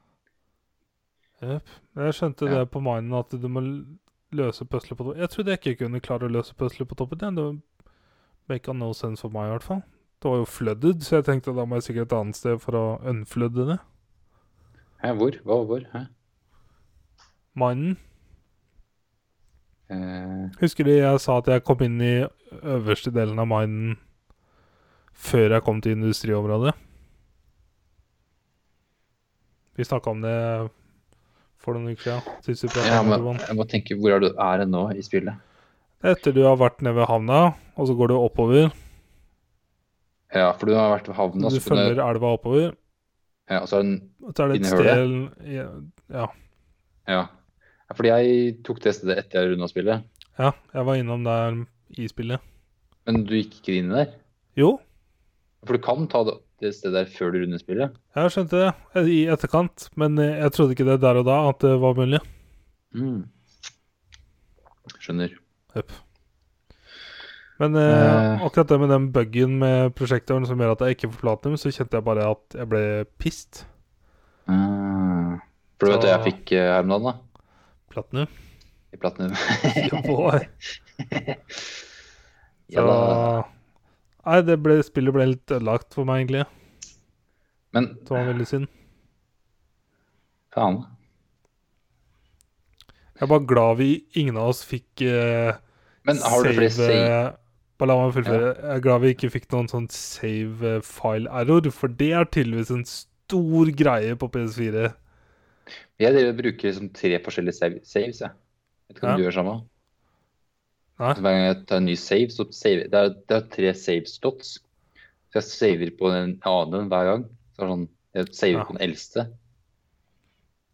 [SPEAKER 1] Jepp. Men jeg skjønte
[SPEAKER 2] Ja.
[SPEAKER 1] det på minen, at du må l- løse puslet på toppen. Jeg trodde jeg ikke kunne klare å løse puslet på toppen. Det make no sense for meg, i hvert fall. Det var jo flooded, så jeg tenkte da må jeg sikkert et annet sted for å unfloode det.
[SPEAKER 2] Hæ, hvor? Hva, hvor? Hæ?
[SPEAKER 1] Minen.
[SPEAKER 2] Eh,
[SPEAKER 1] Husker du jeg sa at jeg kom inn i øverste delen av minen før jeg kom til industriområdet? Vi snakka om det for noen uker siden. Sist vi pratet
[SPEAKER 2] ja,
[SPEAKER 1] om
[SPEAKER 2] men
[SPEAKER 1] Urban.
[SPEAKER 2] jeg må tenke hvor er du er nå i spillet?
[SPEAKER 1] Etter du har vært nede ved havna, og så går du oppover
[SPEAKER 2] Ja, for du har vært ved havnen, og
[SPEAKER 1] Du
[SPEAKER 2] så kunne-
[SPEAKER 1] følger elva oppover,
[SPEAKER 2] ja, og så er den
[SPEAKER 1] og så er det et
[SPEAKER 2] Inni
[SPEAKER 1] sted Ja,
[SPEAKER 2] Ja. Ja, Fordi jeg tok det stedet etter jeg runda spillet,
[SPEAKER 1] ja, jeg var innom der i spillet.
[SPEAKER 2] men du gikk ikke inn der.
[SPEAKER 1] Jo,
[SPEAKER 2] For du kan ta det, det stedet der før du runder spillet.
[SPEAKER 1] jeg skjønte det i etterkant, men jeg trodde ikke det der og da at det var mulig.
[SPEAKER 2] Hmm. Skjønner.
[SPEAKER 1] Jep. Men eh, akkurat det med den buggen med prosjektoren som gjør at jeg ikke får platinum, så kjente jeg bare at jeg ble pissed.
[SPEAKER 2] Ah. For du vet
[SPEAKER 1] Så-
[SPEAKER 2] hva jeg fikk eh, her om dagen, da? (laughs)
[SPEAKER 1] Platinum.
[SPEAKER 2] I (laughs) platinum.
[SPEAKER 1] Jo, boy.
[SPEAKER 2] ja, da.
[SPEAKER 1] Så- Nei, det ble, spillet ble litt ødelagt for meg, egentlig.
[SPEAKER 2] Men
[SPEAKER 1] Det var veldig synd.
[SPEAKER 2] faen.
[SPEAKER 1] Jeg er bare glad vi ingen av oss fikk eh,
[SPEAKER 2] Men har du flere save?
[SPEAKER 1] eh, Bare la meg fullføre. Jeg er glad vi ikke fikk noen sånn save eh, file error, for det er tydeligvis en stor greie på PS4.
[SPEAKER 2] Jeg driver og bruker liksom tre forskjellige save, saves, jeg. Vet ikke om
[SPEAKER 1] Ja.
[SPEAKER 2] du gjør samme?
[SPEAKER 1] Nei.
[SPEAKER 2] Så Hver gang jeg tar en ny save, så save, det er det er tre save slots. Så jeg saver på den annen hver gang. Så er det sånn, jeg saver
[SPEAKER 1] Ja.
[SPEAKER 2] på den eldste.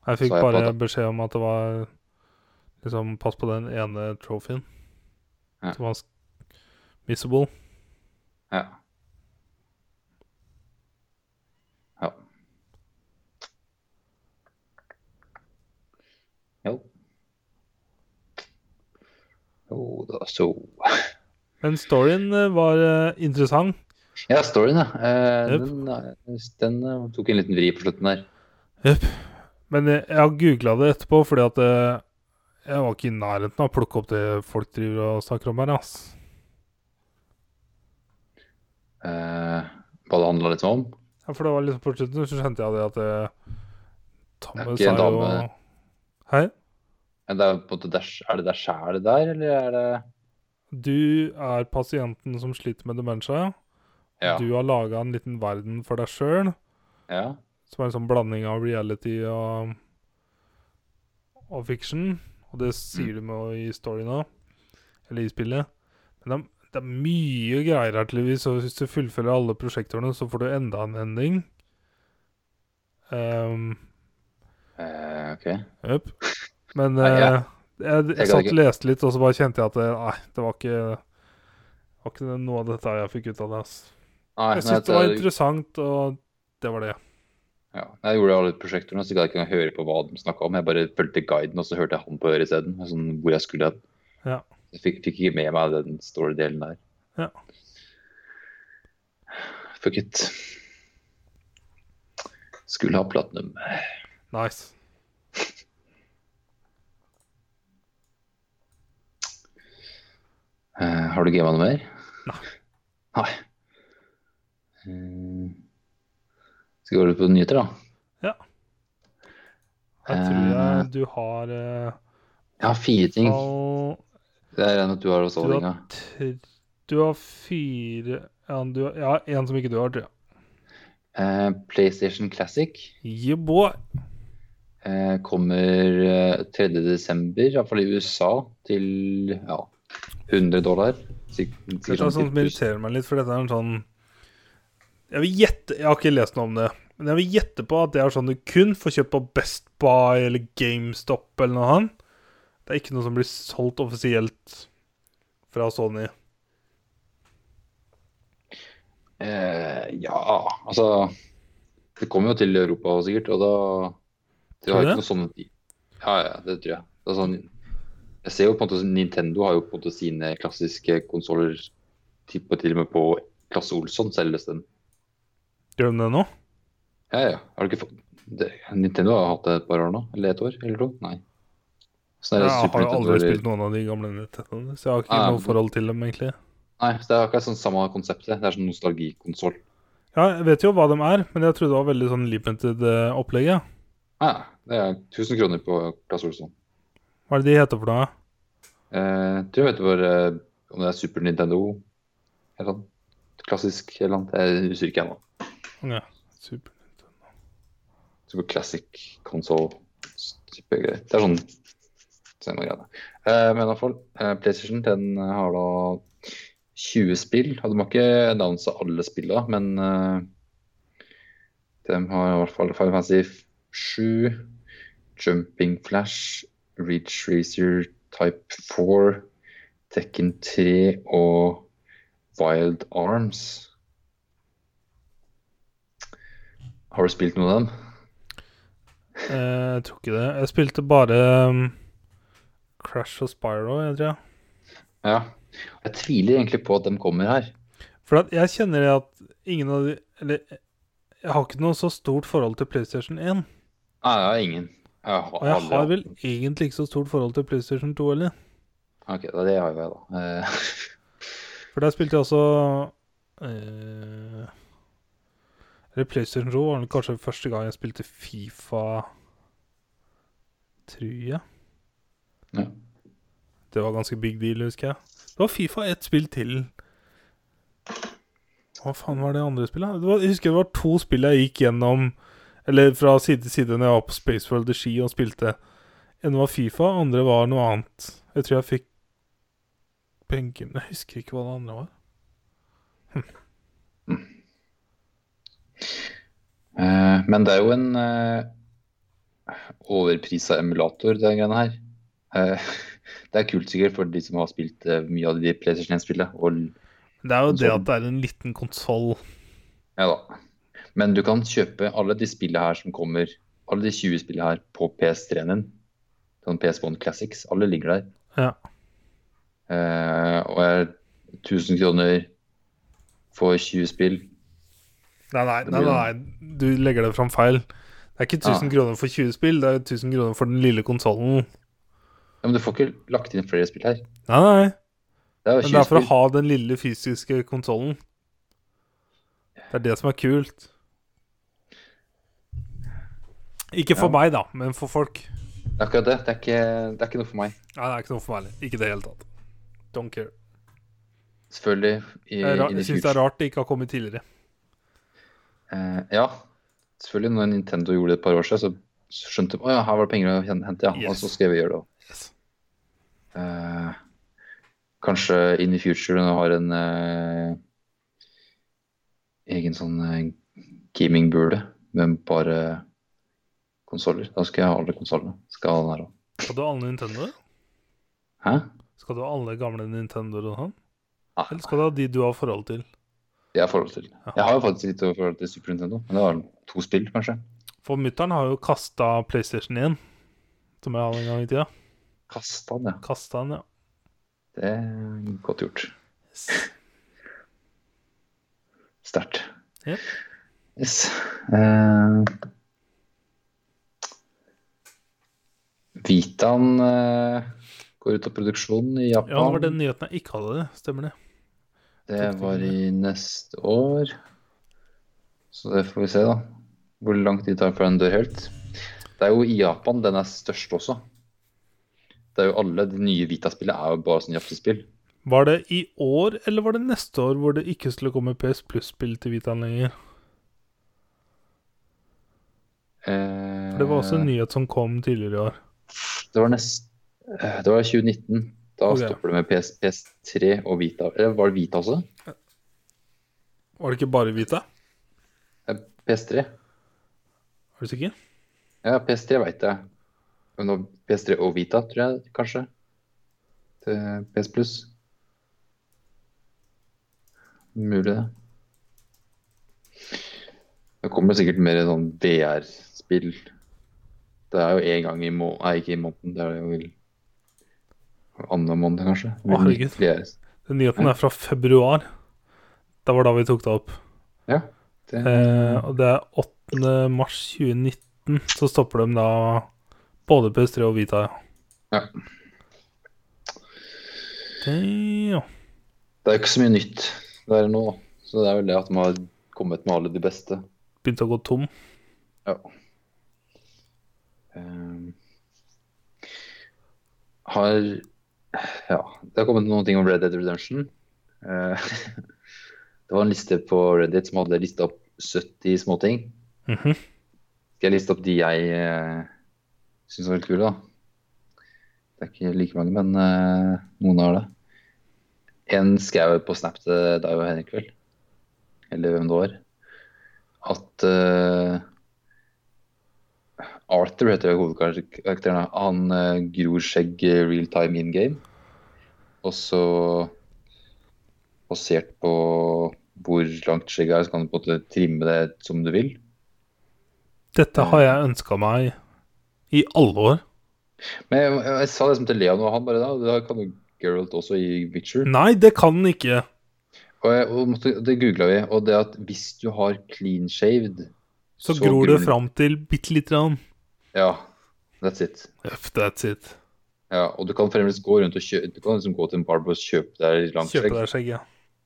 [SPEAKER 1] Jeg fikk
[SPEAKER 2] Så jeg
[SPEAKER 1] bare
[SPEAKER 2] på
[SPEAKER 1] beskjed om at det var liksom Pass på den ene trophyen.
[SPEAKER 2] Ja.
[SPEAKER 1] Som var sk- missable.
[SPEAKER 2] Ja. Ja. Jo. Jo da, så
[SPEAKER 1] Men storyen eh, var eh, interessant.
[SPEAKER 2] Ja, storyen, ja. Eh,
[SPEAKER 1] Yep.
[SPEAKER 2] den, eh, den eh, tok en liten vri på slutten der.
[SPEAKER 1] Men eh, jeg, jeg har googla det etterpå, fordi at eh, jeg var ikke i nærheten av å plukke opp det folk driver og snakker om her. ass.
[SPEAKER 2] Eh, hva det handla litt om.
[SPEAKER 1] Ja, for det var liksom på slutten så skjønte jeg det at eh, Tamme
[SPEAKER 2] Det er
[SPEAKER 1] sa
[SPEAKER 2] ikke en
[SPEAKER 1] jo
[SPEAKER 2] dame.
[SPEAKER 1] Hei,
[SPEAKER 2] Men Eh, Det er, på en måte der, er det deg sjæl der, eller er det
[SPEAKER 1] du er pasienten som sliter med demensia.
[SPEAKER 2] Ja.
[SPEAKER 1] Du har laga en liten verden for deg sjøl,
[SPEAKER 2] ja.
[SPEAKER 1] som er en sånn blanding av reality og, og fiction. Og det sier du med i storyen òg, eller i spillet. Men det er, det er mye greier her, tydeligvis, og hvis du fullfører alle prosjektorene, så får du enda en ending. Um,
[SPEAKER 2] Eh, OK.
[SPEAKER 1] Jøp. Men
[SPEAKER 2] Nei, jeg-
[SPEAKER 1] eh, jeg,
[SPEAKER 2] kan
[SPEAKER 1] jeg satt
[SPEAKER 2] ikke-
[SPEAKER 1] og leste litt, og så bare kjente jeg at det, nei, det var ikke, var ikke noe av dette jeg fikk ut av det. Ass.
[SPEAKER 2] Nei,
[SPEAKER 1] Jeg
[SPEAKER 2] nei,
[SPEAKER 1] syntes det var
[SPEAKER 2] det-
[SPEAKER 1] interessant, og det var det.
[SPEAKER 2] Ja, jeg gjorde alle prosjektene, så jeg gadd ikke engang høre på hva de snakka om. Jeg bare fulgte guiden, og så hørte jeg han på øret isteden. Sånn, hvor jeg skulle hen.
[SPEAKER 1] Ja.
[SPEAKER 2] Jeg fikk, fikk ikke med meg den store delen der.
[SPEAKER 1] Ja.
[SPEAKER 2] Fuck it. Skulle ha platinum.
[SPEAKER 1] Nice.
[SPEAKER 2] Eh, har du gama noe mer?
[SPEAKER 1] Nei.
[SPEAKER 2] Nei. Eh, skal vi gå litt på nyheter, da?
[SPEAKER 1] Jeg tror jeg du har eh,
[SPEAKER 2] Jeg har fire ting.
[SPEAKER 1] all-
[SPEAKER 2] Det er en at du har også,
[SPEAKER 1] Du har
[SPEAKER 2] Inga.
[SPEAKER 1] tre- Du har fire ja, du, har- ja, en som ikke du har, tror jeg.
[SPEAKER 2] Eh, PlayStation Classic.
[SPEAKER 1] Yeah, boy.
[SPEAKER 2] eh, kommer eh, 3. desember, i hvert fall i USA, til ja, 100 dollar. Sik-
[SPEAKER 1] Dette
[SPEAKER 2] Sikkert
[SPEAKER 1] er sånn
[SPEAKER 2] sånn
[SPEAKER 1] som
[SPEAKER 2] 10 000.
[SPEAKER 1] irriterer meg litt, for dette er en sånn Jeg vil gjette Jeg har ikke lest noe om det, men jeg vil gjette på at det er sånn du kun får kjøpt på Best Buy eller GameStop eller noe annet. Det er ikke noe som blir solgt offisielt fra Sony.
[SPEAKER 2] Eh, ja, altså Det kommer jo til Europa sikkert, og da De
[SPEAKER 1] Tror
[SPEAKER 2] har
[SPEAKER 1] du
[SPEAKER 2] ikke noe sånne Ja, ja, det tror jeg. Det er sånn, jeg ser jo på en måte sånn- Nintendo har jo på en måte sine klassiske konsoller til og med på Klasse Olsson selges den.
[SPEAKER 1] Gjør de det nå?
[SPEAKER 2] Ja, ja. Har du ikke fått det, Nintendo har hatt det et par år nå? Eller et år? Eller to? Nei. Sånn er
[SPEAKER 1] Jeg
[SPEAKER 2] det
[SPEAKER 1] har
[SPEAKER 2] Super
[SPEAKER 1] jo
[SPEAKER 2] Nintendo
[SPEAKER 1] aldri
[SPEAKER 2] eller-
[SPEAKER 1] spilt noen av de gamle Nintendoene, så jeg har ikke
[SPEAKER 2] Nei,
[SPEAKER 1] noe
[SPEAKER 2] men-
[SPEAKER 1] forhold til dem, egentlig.
[SPEAKER 2] Nei, så det er akkurat sånn samme konseptet. Det er sånn nostalgikonsoll.
[SPEAKER 1] Ja, jeg vet jo hva de er, men jeg trodde det var veldig sånn limited eh, opplegg. ja.
[SPEAKER 2] Ja, det er 1000 kroner på Claes Olsson.
[SPEAKER 1] Hva er det de heter for noe?
[SPEAKER 2] Eh, tror jeg vet hvor, eh, om det er Super Nintendo eller noe. Klassisk eller noe. Jeg husker ikke ennå.
[SPEAKER 1] Ja, super.
[SPEAKER 2] Super Classic Console. Supergreier. Det er sånn samme greiene. Eh, men i hvert fall, eh, PlayStation 10 har eh, da 20 spill. Hadde man ikke annonsa alle spillene, men eh, de har i hvert fall Final Fantasy 7, Jumping Flash, Ridge Racer Type 4, Tekken 3 og Wild Arms. Har du spilt noen av dem?
[SPEAKER 1] Eh, jeg tror ikke det. Jeg spilte bare um, Crash og Spyro, jeg tror jeg.
[SPEAKER 2] Ja. Jeg tviler egentlig på at de kommer her.
[SPEAKER 1] For at jeg kjenner det at ingen av de Eller jeg har ikke noe så stort forhold til PlayStation 1.
[SPEAKER 2] Nei, det er ingen. Jeg har,
[SPEAKER 1] Og jeg
[SPEAKER 2] aldri
[SPEAKER 1] har
[SPEAKER 2] hatt-
[SPEAKER 1] vel egentlig ikke så stort forhold til PlayStation 2 heller.
[SPEAKER 2] Ok, da, det har jo jeg, da. Eh,
[SPEAKER 1] For der spilte jeg også eh, Eller PlayStation 2 var vel kanskje første gang jeg spilte Fifa, tror jeg.
[SPEAKER 2] Ja.
[SPEAKER 1] Det var ganske big deal, husker jeg. Det var Fifa ett spill til. Hva faen var det andre spillet? Det var, jeg husker det var to spill jeg gikk gjennom Eller fra side til side når jeg var på Spaceworld i Ski og spilte. Ene var Fifa, andre var noe annet. Jeg tror jeg fikk benken Jeg husker ikke hva det andre var.
[SPEAKER 2] Eh, men det er jo en uh, overprisa emulator, det greiene her. Eh, (laughs) det er kult sikkert for de som har spilt eh, mye av de PlayStation 1-spillene. Og
[SPEAKER 1] Det er jo det
[SPEAKER 2] Konsolen.
[SPEAKER 1] at det er en liten konsoll.
[SPEAKER 2] ja da. Men du kan kjøpe alle de spillene her som kommer, alle de 20 spillene her på PS3-en din. Sånn PS1 Classics. Alle ligger der.
[SPEAKER 1] Ja.
[SPEAKER 2] Eh, og er 1000 kroner for 20 spill.
[SPEAKER 1] Nei, nei,
[SPEAKER 2] Det
[SPEAKER 1] nei,
[SPEAKER 2] blir
[SPEAKER 1] nei, nei. du legger det fram feil. Det er ikke 1000 kroner for 20 spill, det er 1000 kroner for den lille konsollen.
[SPEAKER 2] Ja, men du får ikke lagt inn flere spill her.
[SPEAKER 1] Nei, nei.
[SPEAKER 2] Det er jo
[SPEAKER 1] Men
[SPEAKER 2] 20
[SPEAKER 1] det er for å
[SPEAKER 2] spill.
[SPEAKER 1] ha den lille fysiske konsollen. Det er det som er kult. Ikke for
[SPEAKER 2] Ja.
[SPEAKER 1] meg, da, men for folk.
[SPEAKER 2] Det er akkurat det. Det er ikke, det er ikke noe for meg.
[SPEAKER 1] Nei, det er ikke noe for meg heller. Ikke i det hele tatt. Don't care.
[SPEAKER 2] Selvfølgelig. I,
[SPEAKER 1] Jeg, ra-
[SPEAKER 2] i
[SPEAKER 1] jeg
[SPEAKER 2] det
[SPEAKER 1] syns det er rart det ikke har kommet tidligere.
[SPEAKER 2] Eh, ja, selvfølgelig når Nintendo gjorde det et par år siden, så skjønte de at ja, her var det penger å hen- hente, ja. Og
[SPEAKER 1] Yes.
[SPEAKER 2] så skal vi gjøre det òg.
[SPEAKER 1] Yes.
[SPEAKER 2] Eh, kanskje in the future når de har en eh, egen sånn eh, gamingbule med bare konsoller. Da skal jeg ha alle konsollene. Skal ha den her òg.
[SPEAKER 1] Skal du ha alle Nintendo?
[SPEAKER 2] Hæ?
[SPEAKER 1] Skal du ha alle gamle Nintendoer og sånn?
[SPEAKER 2] Nei.
[SPEAKER 1] Eller skal du ha de du har forhold til?
[SPEAKER 2] Det har jeg forhold til. Jeg har jo faktisk litt forhold til Super Nintendo, men det var to spill, kanskje.
[SPEAKER 1] For mutter'n har jo kasta PlayStation 1, som jeg hadde en gang i tida.
[SPEAKER 2] Kasta den, ja.
[SPEAKER 1] Kastet den, ja.
[SPEAKER 2] Det er godt gjort. Sterkt.
[SPEAKER 1] Jep.
[SPEAKER 2] Yes. Eh, Vitaen eh, går ut av produksjon i Japan.
[SPEAKER 1] Ja, det var den nyheten jeg ikke hadde, det. stemmer det.
[SPEAKER 2] det var i neste år. Så det får vi se, da. Hvor lang tid det tar før den dør helt. Det er jo i Japan den er størst også. Det er jo alle de nye Vita-spillene er jo bare sånn japsespill.
[SPEAKER 1] Var det i år, eller var det neste år, hvor det ikke skulle komme PS Plus-spill til Vitaen lenger?
[SPEAKER 2] Eh,
[SPEAKER 1] Det var også en nyhet som kom tidligere i år.
[SPEAKER 2] Det var nest... eh, Det var 2019. Da
[SPEAKER 1] Ok.
[SPEAKER 2] stopper det med PS, PS3 og Vita. Eller var det Vita også?
[SPEAKER 1] Var det ikke bare Vita?
[SPEAKER 2] Eh, PS3?
[SPEAKER 1] Er du sikker?
[SPEAKER 2] Ja, PS3 veit jeg. Men nå PS3 og Vita, tror jeg kanskje. Til PS Pluss. Mulig det. Det kommer sikkert mer sånn VR-spill. Det er jo én gang i må... Nei, ikke i måneden. Det er jo i annen måned, kanskje.
[SPEAKER 1] Å, herregud.
[SPEAKER 2] VR.
[SPEAKER 1] Den nyheten er fra februar. Det var da vi tok det opp.
[SPEAKER 2] Ja. Det...
[SPEAKER 1] Eh, og det er 8. mars 2019, så stopper de da både PS3 og Vita.
[SPEAKER 2] Ja.
[SPEAKER 1] Det, ja.
[SPEAKER 2] Det er jo ikke så mye nytt der nå, så det er vel det at de har kommet med alle de beste.
[SPEAKER 1] Begynte å gå tom.
[SPEAKER 2] Ja. Ehm. Eh, har Ja, det har kommet noen ting om Red Dead Redemption. Eh, (laughs) det var en liste på Reddit som hadde lista opp 70 småting.
[SPEAKER 1] Mhm.
[SPEAKER 2] Skal jeg liste opp de jeg uh, syns var litt kule, da? Det er ikke like mange, men eh, noen har det. en skrev på Snap til deg og Henrik vel, eller hvem det var, at eh, Arthur heter jo hovedkarakteren. da. Han eh, gror skjegg eh, real time in game. Og så basert på hvor langt skjegget er, så kan du på en måte trimme det som du vil.
[SPEAKER 1] Dette har jeg ønska meg i alle år.
[SPEAKER 2] Men jeg, jeg, jeg sa liksom til Leon og han bare da, da kan jo Geralt også i Witcher.
[SPEAKER 1] Nei, det kan den ikke.
[SPEAKER 2] Og, jeg, og måtte, det googla vi, og det at hvis du har clean shaved
[SPEAKER 1] Så, gror det fram til bitte lite grann.
[SPEAKER 2] Ja, that's it.
[SPEAKER 1] Uff, that's it.
[SPEAKER 2] Ja, og du kan fremdeles gå rundt og kjøpe Du kan liksom gå til en barber og kjøpe deg langt
[SPEAKER 1] Kjøpe
[SPEAKER 2] skjegg.
[SPEAKER 1] deg skjegg, ja.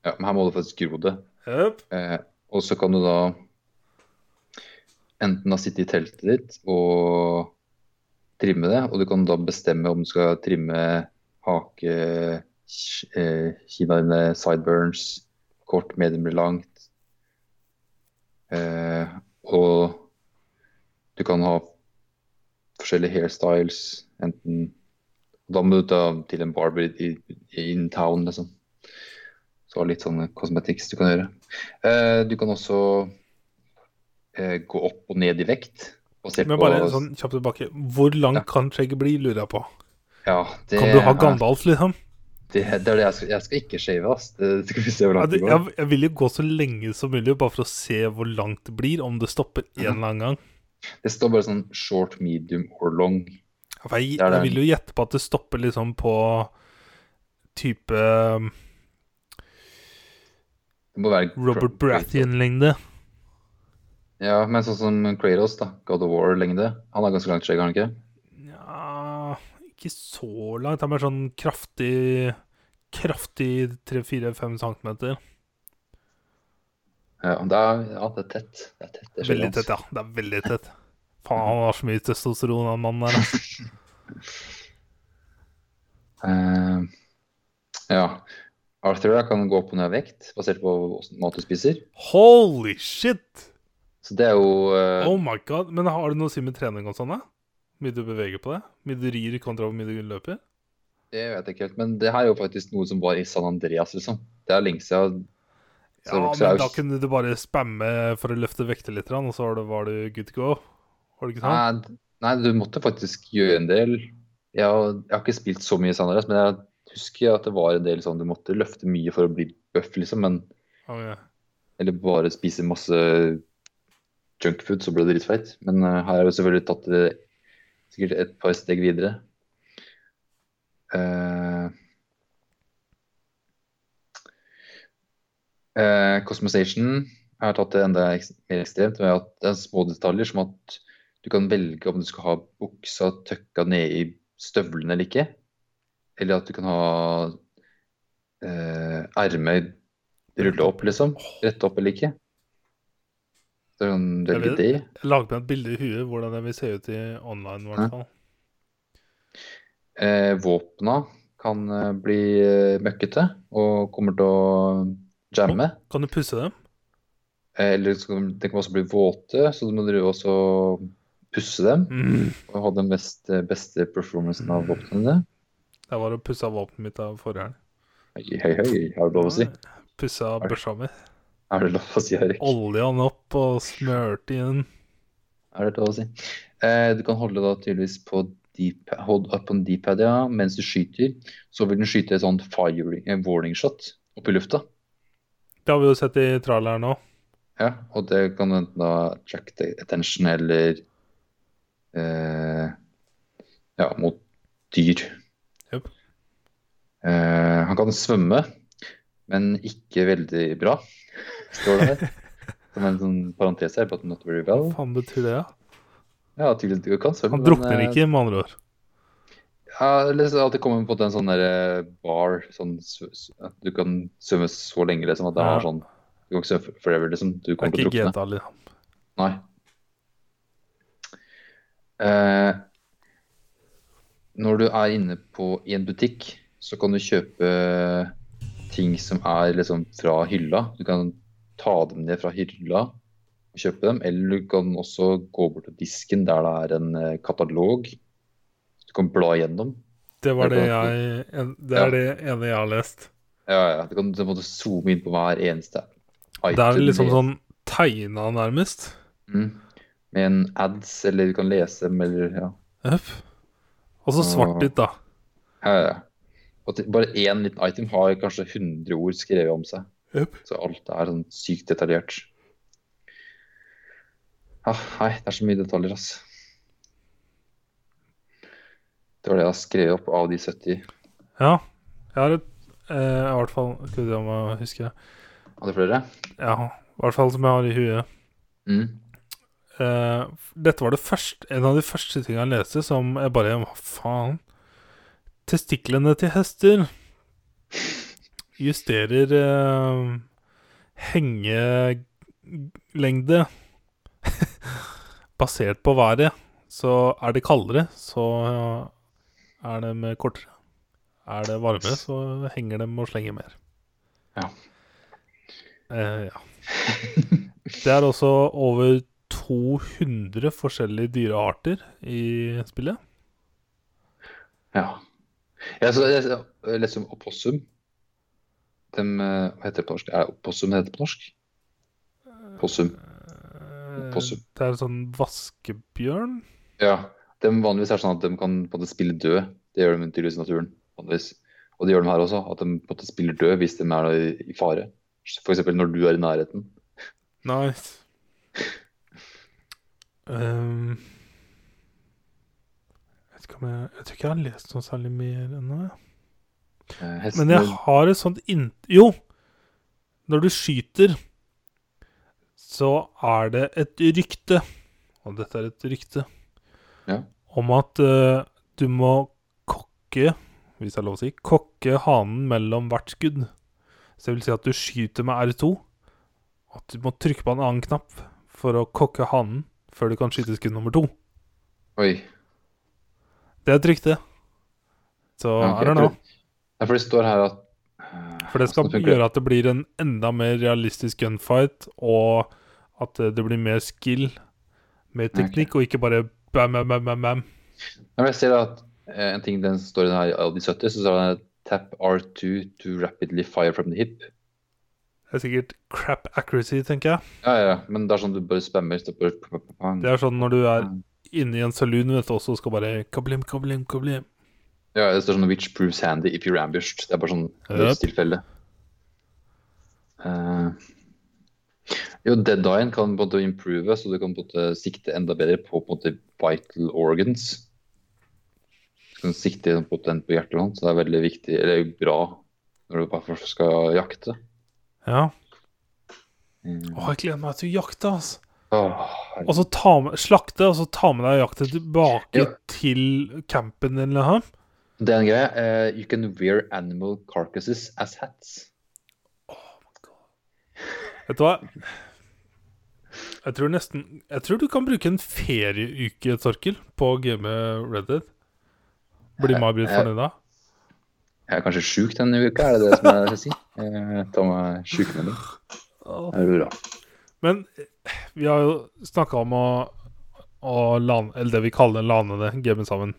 [SPEAKER 2] Ja, men her må du faktisk gro det.
[SPEAKER 1] Jøp.
[SPEAKER 2] Eh, og så kan du da enten da sitte i teltet ditt og trimme det, og du kan da bestemme om du skal trimme hake, ki- eh, kinna dine, sideburns, kort, medium eller langt. Eh, og du kan ha forskjellige hairstyles, enten Da må du ta til en barber i, i, in town, liksom. Så litt sånne kosmetiks du kan gjøre. Eh, du kan også eh, gå opp og ned i vekt. Basert
[SPEAKER 1] Men bare
[SPEAKER 2] på
[SPEAKER 1] sånn kjapt tilbake. Hvor langt
[SPEAKER 2] Ja.
[SPEAKER 1] kan skjegget bli, lurer jeg på.
[SPEAKER 2] ja, det,
[SPEAKER 1] Kan du ha
[SPEAKER 2] er-
[SPEAKER 1] Gandalf, liksom?
[SPEAKER 2] Det, det er det jeg skal, jeg skal ikke shave, ass. Det, det skal vi se hvor
[SPEAKER 1] Ja,
[SPEAKER 2] langt
[SPEAKER 1] det,
[SPEAKER 2] det går.
[SPEAKER 1] jeg, jeg vil jo gå så lenge som mulig, bare for å se hvor langt det blir. Om det stopper
[SPEAKER 2] Mhm.
[SPEAKER 1] en eller annen gang.
[SPEAKER 2] Det står bare sånn short, medium or long.
[SPEAKER 1] For jeg,
[SPEAKER 2] Det er det.
[SPEAKER 1] jeg vil jo gjette på at det stopper liksom på type um,
[SPEAKER 2] Det må være
[SPEAKER 1] Robert Brathian-lengde.
[SPEAKER 2] Ja, men sånn som Kratos, da. God of War-lengde. Han har ganske langt skjegg, har han ikke?
[SPEAKER 1] Nja Ikke så langt. Det er mer sånn kraftig Kraftig 3-4-5 centimeter.
[SPEAKER 2] Ja, det er, ja, det er tett. Det er tett. Det er
[SPEAKER 1] Veldig tett, ja. Det er veldig
[SPEAKER 2] (laughs)
[SPEAKER 1] tett. Faen, han har så mye testosteron, han mannen der. altså. ass.
[SPEAKER 2] Eh, ja. Arthur da, kan gå opp og ned i vekt, basert på hvordan mat du spiser.
[SPEAKER 1] Holy shit!
[SPEAKER 2] Så det er jo eh,
[SPEAKER 1] Oh my god. Men har det noe å si med trening og sånn, da? Mye du beveger på deg? Mye du rir kontra hvor mye du løper?
[SPEAKER 2] Det vet jeg ikke helt, men det her er jo faktisk noe som var i San Andreas, liksom. Det er lenge siden. Så
[SPEAKER 1] Ja,
[SPEAKER 2] vokser jeg
[SPEAKER 1] men
[SPEAKER 2] jo-
[SPEAKER 1] da kunne du bare spamme for å løfte vekter litt, og så var det- var du good to go. Var det ikke sant?
[SPEAKER 2] Nei, d- nei, du måtte faktisk gjøre en del. Jeg har, jeg har ikke spilt så mye San Andreas, men jeg husker at det var en del sånn du måtte løfte mye for å bli bøff, liksom. Men,
[SPEAKER 1] Ok.
[SPEAKER 2] eller bare spise masse junkfood, så ble du dritfeit. Men eh, her har jeg jo selvfølgelig tatt det sikkert et par steg videre. Uh, uh, Cosmosation jeg har tatt det enda eks mer ekstremt ved at det er små detaljer som at du kan velge om du skal ha buksa tøkka ned i støvlene eller ikke. Eller at du kan ha eh, ermet rulle opp, liksom. Rette opp eller ikke. Så kan du
[SPEAKER 1] Jeg
[SPEAKER 2] velge
[SPEAKER 1] vet-
[SPEAKER 2] det. sånn
[SPEAKER 1] Jeg lager meg et bilde i huet hvordan jeg vil se ut i online, i
[SPEAKER 2] Ja.
[SPEAKER 1] hvert fall.
[SPEAKER 2] Eh, våpna kan eh, bli eh, møkkete og kommer til å jamme.
[SPEAKER 1] Kan du pusse dem?
[SPEAKER 2] Eh, eller så kan, de kan også bli våte, så du må drive også pusse dem.
[SPEAKER 1] Mm.
[SPEAKER 2] Og ha den mest, eh, beste performancen av våpnene.
[SPEAKER 1] Det var å pusse av våpenet mitt av forrige helg.
[SPEAKER 2] Hei, hei, hei, er det lov å si?
[SPEAKER 1] Pusse av børsa mi.
[SPEAKER 2] Er det lov å si, Erik?
[SPEAKER 1] Olja den opp og smørte i den.
[SPEAKER 2] Er det lov å si? Eh, du kan holde da tydeligvis på deep, hold up on deep-pad, ja, mens du skyter. Så vil den skyte et sånt firing, eh, warning shot opp i lufta.
[SPEAKER 1] Det har vi jo sett i traileren nå.
[SPEAKER 2] Ja, og det kan du enten da track the attention eller eh, ja, mot dyr.
[SPEAKER 1] Japp.
[SPEAKER 2] Eh, han kan svømme, men ikke veldig bra, står det
[SPEAKER 1] (laughs)
[SPEAKER 2] her. Som en sånn parentes her, but not very well.
[SPEAKER 1] Hva faen betyr det? da?
[SPEAKER 2] Ja, tydeligvis du kan svømme.
[SPEAKER 1] Han
[SPEAKER 2] men,
[SPEAKER 1] drukner
[SPEAKER 2] eh,
[SPEAKER 1] ikke, med andre ord.
[SPEAKER 2] Ja, eller så at det kommer på en sånn der eh, bar, sånn, s- s- at du kan svømme så lenge, liksom, at det
[SPEAKER 1] Ja.
[SPEAKER 2] har sånn, du kan ikke svømme forever, liksom, du
[SPEAKER 1] Det er
[SPEAKER 2] kommer til å
[SPEAKER 1] ikke
[SPEAKER 2] drukne.
[SPEAKER 1] GTA, liksom.
[SPEAKER 2] Nei. Eh, når du er inne på, i en butikk, så kan du kjøpe ting som er liksom fra hylla. Du kan ta dem ned fra hylla og kjøpe dem, eller du kan også gå bort til disken der det er en eh, katalog. Du kan bla igjennom.
[SPEAKER 1] Det var det
[SPEAKER 2] Det er
[SPEAKER 1] jeg en, Det er
[SPEAKER 2] Ja.
[SPEAKER 1] det ene jeg har lest.
[SPEAKER 2] Ja, ja. Du kan du må zoome inn på hver eneste
[SPEAKER 1] Det er
[SPEAKER 2] item
[SPEAKER 1] liksom
[SPEAKER 2] i-
[SPEAKER 1] sånn tegna, nærmest.
[SPEAKER 2] mm, Med en ads, eller du kan lese dem, eller ja.
[SPEAKER 1] Jøp. Og så svart-hvitt, da.
[SPEAKER 2] ja, ja. Og til- bare én liten item har kanskje 100 ord skrevet om seg.
[SPEAKER 1] Jøp.
[SPEAKER 2] Så alt er sånn sykt detaljert. Ah, nei, det er så mye detaljer, ass. Det var det jeg har skrevet opp av de 70.
[SPEAKER 1] Ja. Jeg har et eh, I hvert fall Skal vi se om jeg husker.
[SPEAKER 2] Hadde du flere?
[SPEAKER 1] Ja, i hvert fall som jeg har i huet.
[SPEAKER 2] Mm.
[SPEAKER 1] Eh, f- dette var det første, en av de første tingene jeg leste som jeg bare Hva faen? Testiklene til hester justerer eh, hengelengde (laughs) basert på været. Så er det kaldere, så eh, er de kortere. Er det varmere, så henger de og slenger mer.
[SPEAKER 2] Ja.
[SPEAKER 1] Eh, ja. (laughs) Det er også over 200 forskjellige dyrearter i spillet.
[SPEAKER 2] Ja. Jeg, så, jeg, jeg leste om opossum. Dem, eh, hva heter det på norsk? Er det opossum det heter på norsk? Possum.
[SPEAKER 1] Eh,
[SPEAKER 2] Possum.
[SPEAKER 1] Det er sånn vaskebjørn.
[SPEAKER 2] Ja. Dem vanligvis er det sånn at de kan på en måte spille død. Det gjør de tydeligvis i naturen. vanligvis. Og det gjør de her også, at de på en måte spiller død hvis de er i, i fare. F.eks. når du er i nærheten.
[SPEAKER 1] Nice. Um, jeg, vet ikke om jeg, jeg tror ikke jeg har lest noe særlig mer ennå. jeg.
[SPEAKER 2] Eh,
[SPEAKER 1] Men
[SPEAKER 2] Hestene
[SPEAKER 1] jeg har et sånt inn... Jo! Når du skyter, så er det et rykte Og dette er et rykte
[SPEAKER 2] Ja.
[SPEAKER 1] om at eh, du må kokke Hvis det er lov å si kokke hanen mellom hvert skudd. Så det vil si at du skyter med R2, og at du må trykke på en annen knapp for å kokke hanen før du kan skyte skudd nummer to.
[SPEAKER 2] Oi.
[SPEAKER 1] Det er et rykte. Så
[SPEAKER 2] ja, ok,
[SPEAKER 1] I don't
[SPEAKER 2] for-
[SPEAKER 1] know.
[SPEAKER 2] Nei, for det står her at eh,
[SPEAKER 1] For det skal
[SPEAKER 2] hvordan funker
[SPEAKER 1] gjøre at det blir en enda mer realistisk gunfight, og at eh, det blir mer skill, mer teknikk, og ikke bare bam, bam, bam, bam, bam.
[SPEAKER 2] Nei, men jeg ser at eh, en ting den står i den her av de 70, så står det tap R2 to rapidly fire from the hip.
[SPEAKER 1] Det er sikkert crap accuracy, tenker jeg.
[SPEAKER 2] Ja, ja, men det er sånn du bare spammer. Så bare, pang, pang, pang.
[SPEAKER 1] Det er sånn når du er inne i en saloon, vet du, og så skal bare kablim, kablim, kablim.
[SPEAKER 2] Ja, det står sånn which proves handy if you're ambushed. Det er bare sånn
[SPEAKER 1] Yep.
[SPEAKER 2] tilfelle. Eh, jo, deadline kan på en måte improve, så du kan på en måte sikte enda bedre på på en måte vital organs. Du kan sikte på en måte enten på hjertet eller noe, så det er veldig viktig, eller bra når du bare skal jakte.
[SPEAKER 1] Ja.
[SPEAKER 2] Mm.
[SPEAKER 1] Å, jeg gleder meg til å jakte, altså.
[SPEAKER 2] Åh,
[SPEAKER 1] Og så ta med, slakte, og så ta med deg jakten tilbake
[SPEAKER 2] Ja.
[SPEAKER 1] til campen din, eller noe.
[SPEAKER 2] det er en greie. eh, you can wear animal carcasses as hats.
[SPEAKER 1] Vet du hva? Jeg tror nesten Jeg tror du kan bruke en ferieuke, Torkel, på å game Red Dead.
[SPEAKER 2] Eh,
[SPEAKER 1] Blir May-Britt
[SPEAKER 2] jeg-
[SPEAKER 1] fornøyd da?
[SPEAKER 2] Jeg er kanskje sjuk denne uka, er det det som jeg skal si? Uh, ta meg sjukmelding. Det er jo bra.
[SPEAKER 1] Men eh, vi har jo snakka om å, å lane, Eller det vi kaller en lanende game sammen.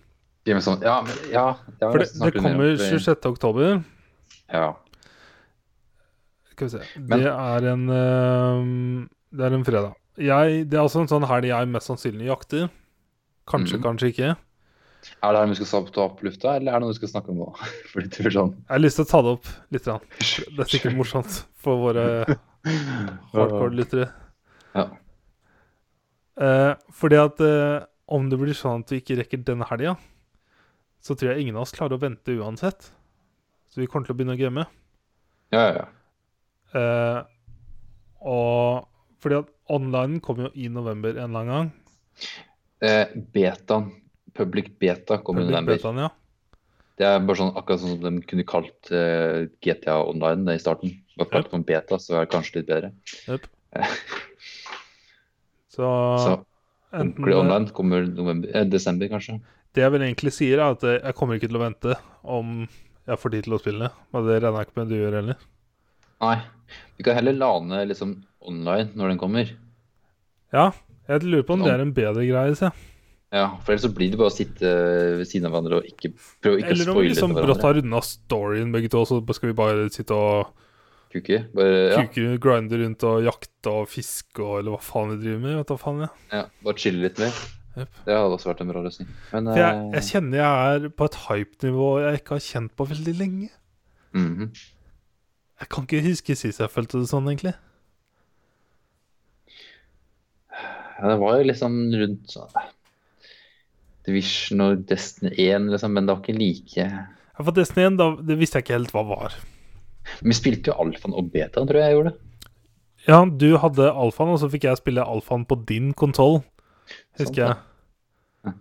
[SPEAKER 2] Game Sound- Ja, men, ja, ja
[SPEAKER 1] For det, det
[SPEAKER 2] snakker vi mer om
[SPEAKER 1] kommer
[SPEAKER 2] det.
[SPEAKER 1] 26. oktober.
[SPEAKER 2] Ja.
[SPEAKER 1] Skal vi se.
[SPEAKER 2] Men-
[SPEAKER 1] Det er en eh, Det er en fredag. Jeg, det er altså en sånn helg jeg mest sannsynlig jakter. Kanskje,
[SPEAKER 2] Mhm.
[SPEAKER 1] kanskje ikke.
[SPEAKER 2] Er det her vi skal sa- ta opp lufta, eller er det noe vi skal snakke om nå? (laughs) Fordi det blir sånn
[SPEAKER 1] Jeg har lyst til å ta det opp litt.
[SPEAKER 2] (laughs)
[SPEAKER 1] grann. Det er sikkert morsomt for våre hardcore-lyttere.
[SPEAKER 2] Ja.
[SPEAKER 1] Eh, fordi at eh, om det blir sånn at vi ikke rekker denne helga, så tror jeg ingen av oss klarer å vente uansett. Så vi kommer til å begynne å game.
[SPEAKER 2] Ja, ja, ja.
[SPEAKER 1] Eh, og fordi at online kommer jo i november en eller annen gang.
[SPEAKER 2] Eh, betaen. Public beta kommer
[SPEAKER 1] Public
[SPEAKER 2] i november.
[SPEAKER 1] betaen, ja.
[SPEAKER 2] Det er bare sånn akkurat sånn som de kunne kalt eh, GTA Online det i starten. Bare
[SPEAKER 1] Yep.
[SPEAKER 2] prat om beta, så er det kanskje litt bedre.
[SPEAKER 1] Så,
[SPEAKER 2] (laughs) Så
[SPEAKER 1] enten eh,
[SPEAKER 2] ordentlig online kommer november, eh, desember, kanskje.
[SPEAKER 1] Det jeg vel egentlig sier, er at eh, jeg kommer ikke til å vente om jeg får tid til å spille. Men det regner jeg ikke med du gjør heller.
[SPEAKER 2] Nei. Vi kan heller lane liksom online når den kommer.
[SPEAKER 1] Ja, jeg lurer på om det er en bedre greie, se.
[SPEAKER 2] Ja, for ellers så blir det bare å sitte ved siden av hverandre og ikke prøve ikke å
[SPEAKER 1] Eller om vi
[SPEAKER 2] spoile
[SPEAKER 1] liksom
[SPEAKER 2] for
[SPEAKER 1] brått
[SPEAKER 2] hverandre.
[SPEAKER 1] har runda storyen begge to, så skal vi bare sitte og
[SPEAKER 2] Kuke. Bare, ja,
[SPEAKER 1] kuke, grinde rundt og jakte og fiske og eller hva faen vi driver med. Vet du hva faen, ja.
[SPEAKER 2] ja, bare chille litt mer.
[SPEAKER 1] Jep.
[SPEAKER 2] Det hadde også vært en bra løsning. Men
[SPEAKER 1] For jeg,
[SPEAKER 2] eh,
[SPEAKER 1] jeg kjenner jeg er på et hype-nivå jeg ikke har kjent på veldig lenge.
[SPEAKER 2] mhm.
[SPEAKER 1] Jeg kan ikke huske sist jeg følte det sånn, egentlig.
[SPEAKER 2] ja, det var jo liksom rundt sånn eh, Division og Destiny 1, liksom, men det var ikke like
[SPEAKER 1] Ja, For Destiny 1, da, det visste jeg ikke helt hva var.
[SPEAKER 2] Vi spilte jo alfaen og betaen, tror jeg jeg gjorde.
[SPEAKER 1] Ja, du hadde alfaen, og så fikk jeg spille alfaen på din kontroll,
[SPEAKER 2] Sant,
[SPEAKER 1] husker
[SPEAKER 2] ja.
[SPEAKER 1] jeg.
[SPEAKER 2] Ja.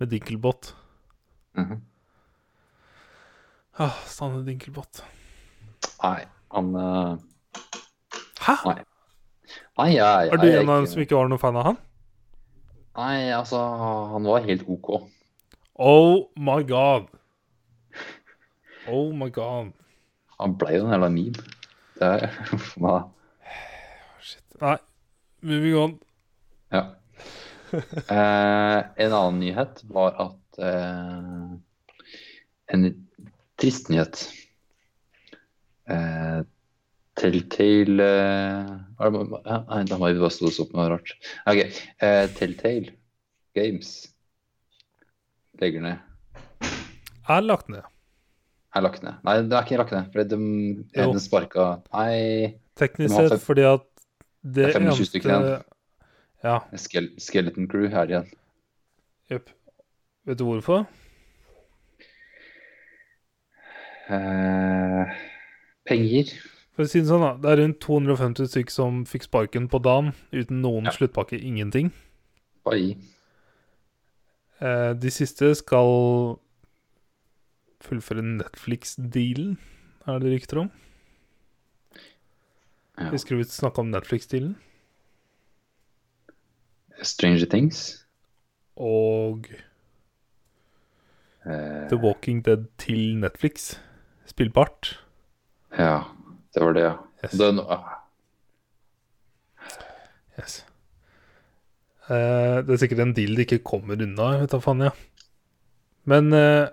[SPEAKER 1] Med dinkelbot.
[SPEAKER 2] Mhm.
[SPEAKER 1] Ah, sanne dinkelbot.
[SPEAKER 2] Nei, han eh,
[SPEAKER 1] Hæ?
[SPEAKER 2] Nei, Nei, jeg,
[SPEAKER 1] Er du en av dem som ikke var noen fan av han?
[SPEAKER 2] Nei, altså, han var helt OK.
[SPEAKER 1] Oh my god. Oh my god.
[SPEAKER 2] Han ble jo en jævla meme. Det er, (laughs) Uff, men,
[SPEAKER 1] Shit. Nei, moving on.
[SPEAKER 2] ja. eh, en annen nyhet var at eh, En trist nyhet. Eh, Telltale eh, er det bare- ja, Nei, da må vi bare stå oss opp med noe rart. Ok, eh, Telltale Games legger ned.
[SPEAKER 1] Er lagt ned.
[SPEAKER 2] Er lagt ned. Nei, det er ikke lagt ned, for de,
[SPEAKER 1] Jo.
[SPEAKER 2] de sparka Nei.
[SPEAKER 1] Teknisk
[SPEAKER 2] De har
[SPEAKER 1] sett
[SPEAKER 2] fem-
[SPEAKER 1] fordi at det
[SPEAKER 2] det er 25
[SPEAKER 1] eneste
[SPEAKER 2] stykker igjen.
[SPEAKER 1] Ja,
[SPEAKER 2] Skele- Skeleton Crew her igjen.
[SPEAKER 1] jepp. Vet du hvorfor?
[SPEAKER 2] Eh, penger.
[SPEAKER 1] For å si det sånn, da. Det er rundt 250 stykk som fikk sparken på dagen uten noen
[SPEAKER 2] Ja.
[SPEAKER 1] sluttpakke, ingenting.
[SPEAKER 2] Bare gi.
[SPEAKER 1] Eh, de siste skal fullføre Netflix-dealen, er det rykter om.
[SPEAKER 2] Ja.
[SPEAKER 1] Husker du vi snakka om Netflix-dealen?
[SPEAKER 2] Stranger Things.
[SPEAKER 1] Og
[SPEAKER 2] Eh,
[SPEAKER 1] The Walking Dead til Netflix. Spillbart.
[SPEAKER 2] ja, det var det, ja.
[SPEAKER 1] Yes.
[SPEAKER 2] Det er no- ah,
[SPEAKER 1] Yes. Eh, det er sikkert en deal de ikke kommer unna, jeg vet da faen, ja. Men eh,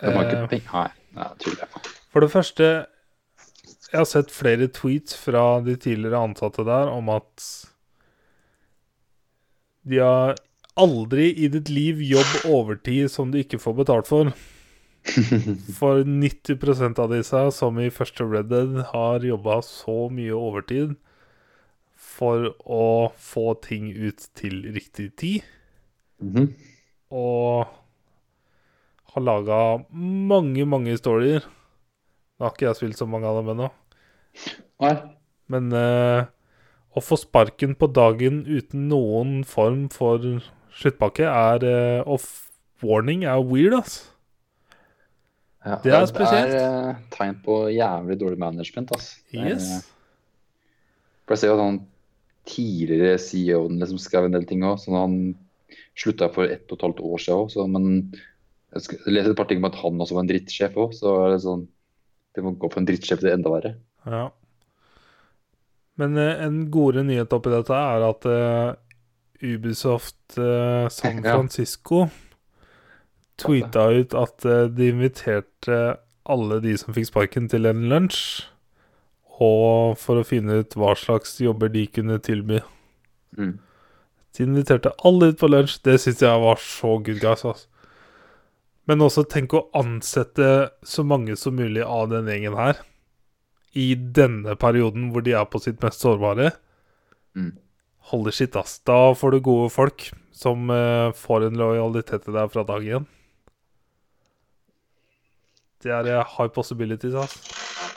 [SPEAKER 2] de har
[SPEAKER 1] eh,
[SPEAKER 2] ikke penger Nei, nei tuller jeg.
[SPEAKER 1] For det første Jeg har sett flere tweets fra de tidligere ansatte der om at de har aldri i ditt liv jobb overtid som du ikke får betalt for. For 90 av disse, som i første Red Dead, har jobba så mye overtid for å få ting ut til riktig tid
[SPEAKER 2] Mhm.
[SPEAKER 1] og har laga mange, mange historier. Nå har ikke jeg spilt så mange av dem ennå.
[SPEAKER 2] Nei.
[SPEAKER 1] Men eh, å få sparken på dagen uten noen form for sluttpakke er eh, Og f- warning er weird, ass.
[SPEAKER 2] Ja,
[SPEAKER 1] Det er spesielt.
[SPEAKER 2] Det er eh, tegn på jævlig dårlig management, ass. Det er- eh,
[SPEAKER 1] Yes.
[SPEAKER 2] For jeg ser jo at han tidligere CEO-en liksom skrev en del ting òg, sånn han slutta for ett og et halvt år siden òg, så men jeg sk- jeg leste et par ting om at han også var en drittsjef òg, så er det sånn Det må gå for en drittsjef til det er enda verre.
[SPEAKER 1] Ja. Men eh, en godere nyhet oppi dette er at eh, Ubisoft eh, San
[SPEAKER 2] Ja.
[SPEAKER 1] Francisco tweeta ut at eh, de inviterte alle de som fikk sparken, til en lunsj. Og for å finne ut hva slags jobber de kunne tilby.
[SPEAKER 2] Mm.
[SPEAKER 1] De inviterte alle ut på lunsj. Det syns jeg var så good guys. ass. Men også tenk å ansette så mange som mulig av den gjengen her. I denne perioden hvor de er på sitt mest sårbare.
[SPEAKER 2] Mm.
[SPEAKER 1] Holy shit, ass. Da får du gode folk som eh, får en lojalitet til deg fra dag én. Det er eh, high possibilities, ass.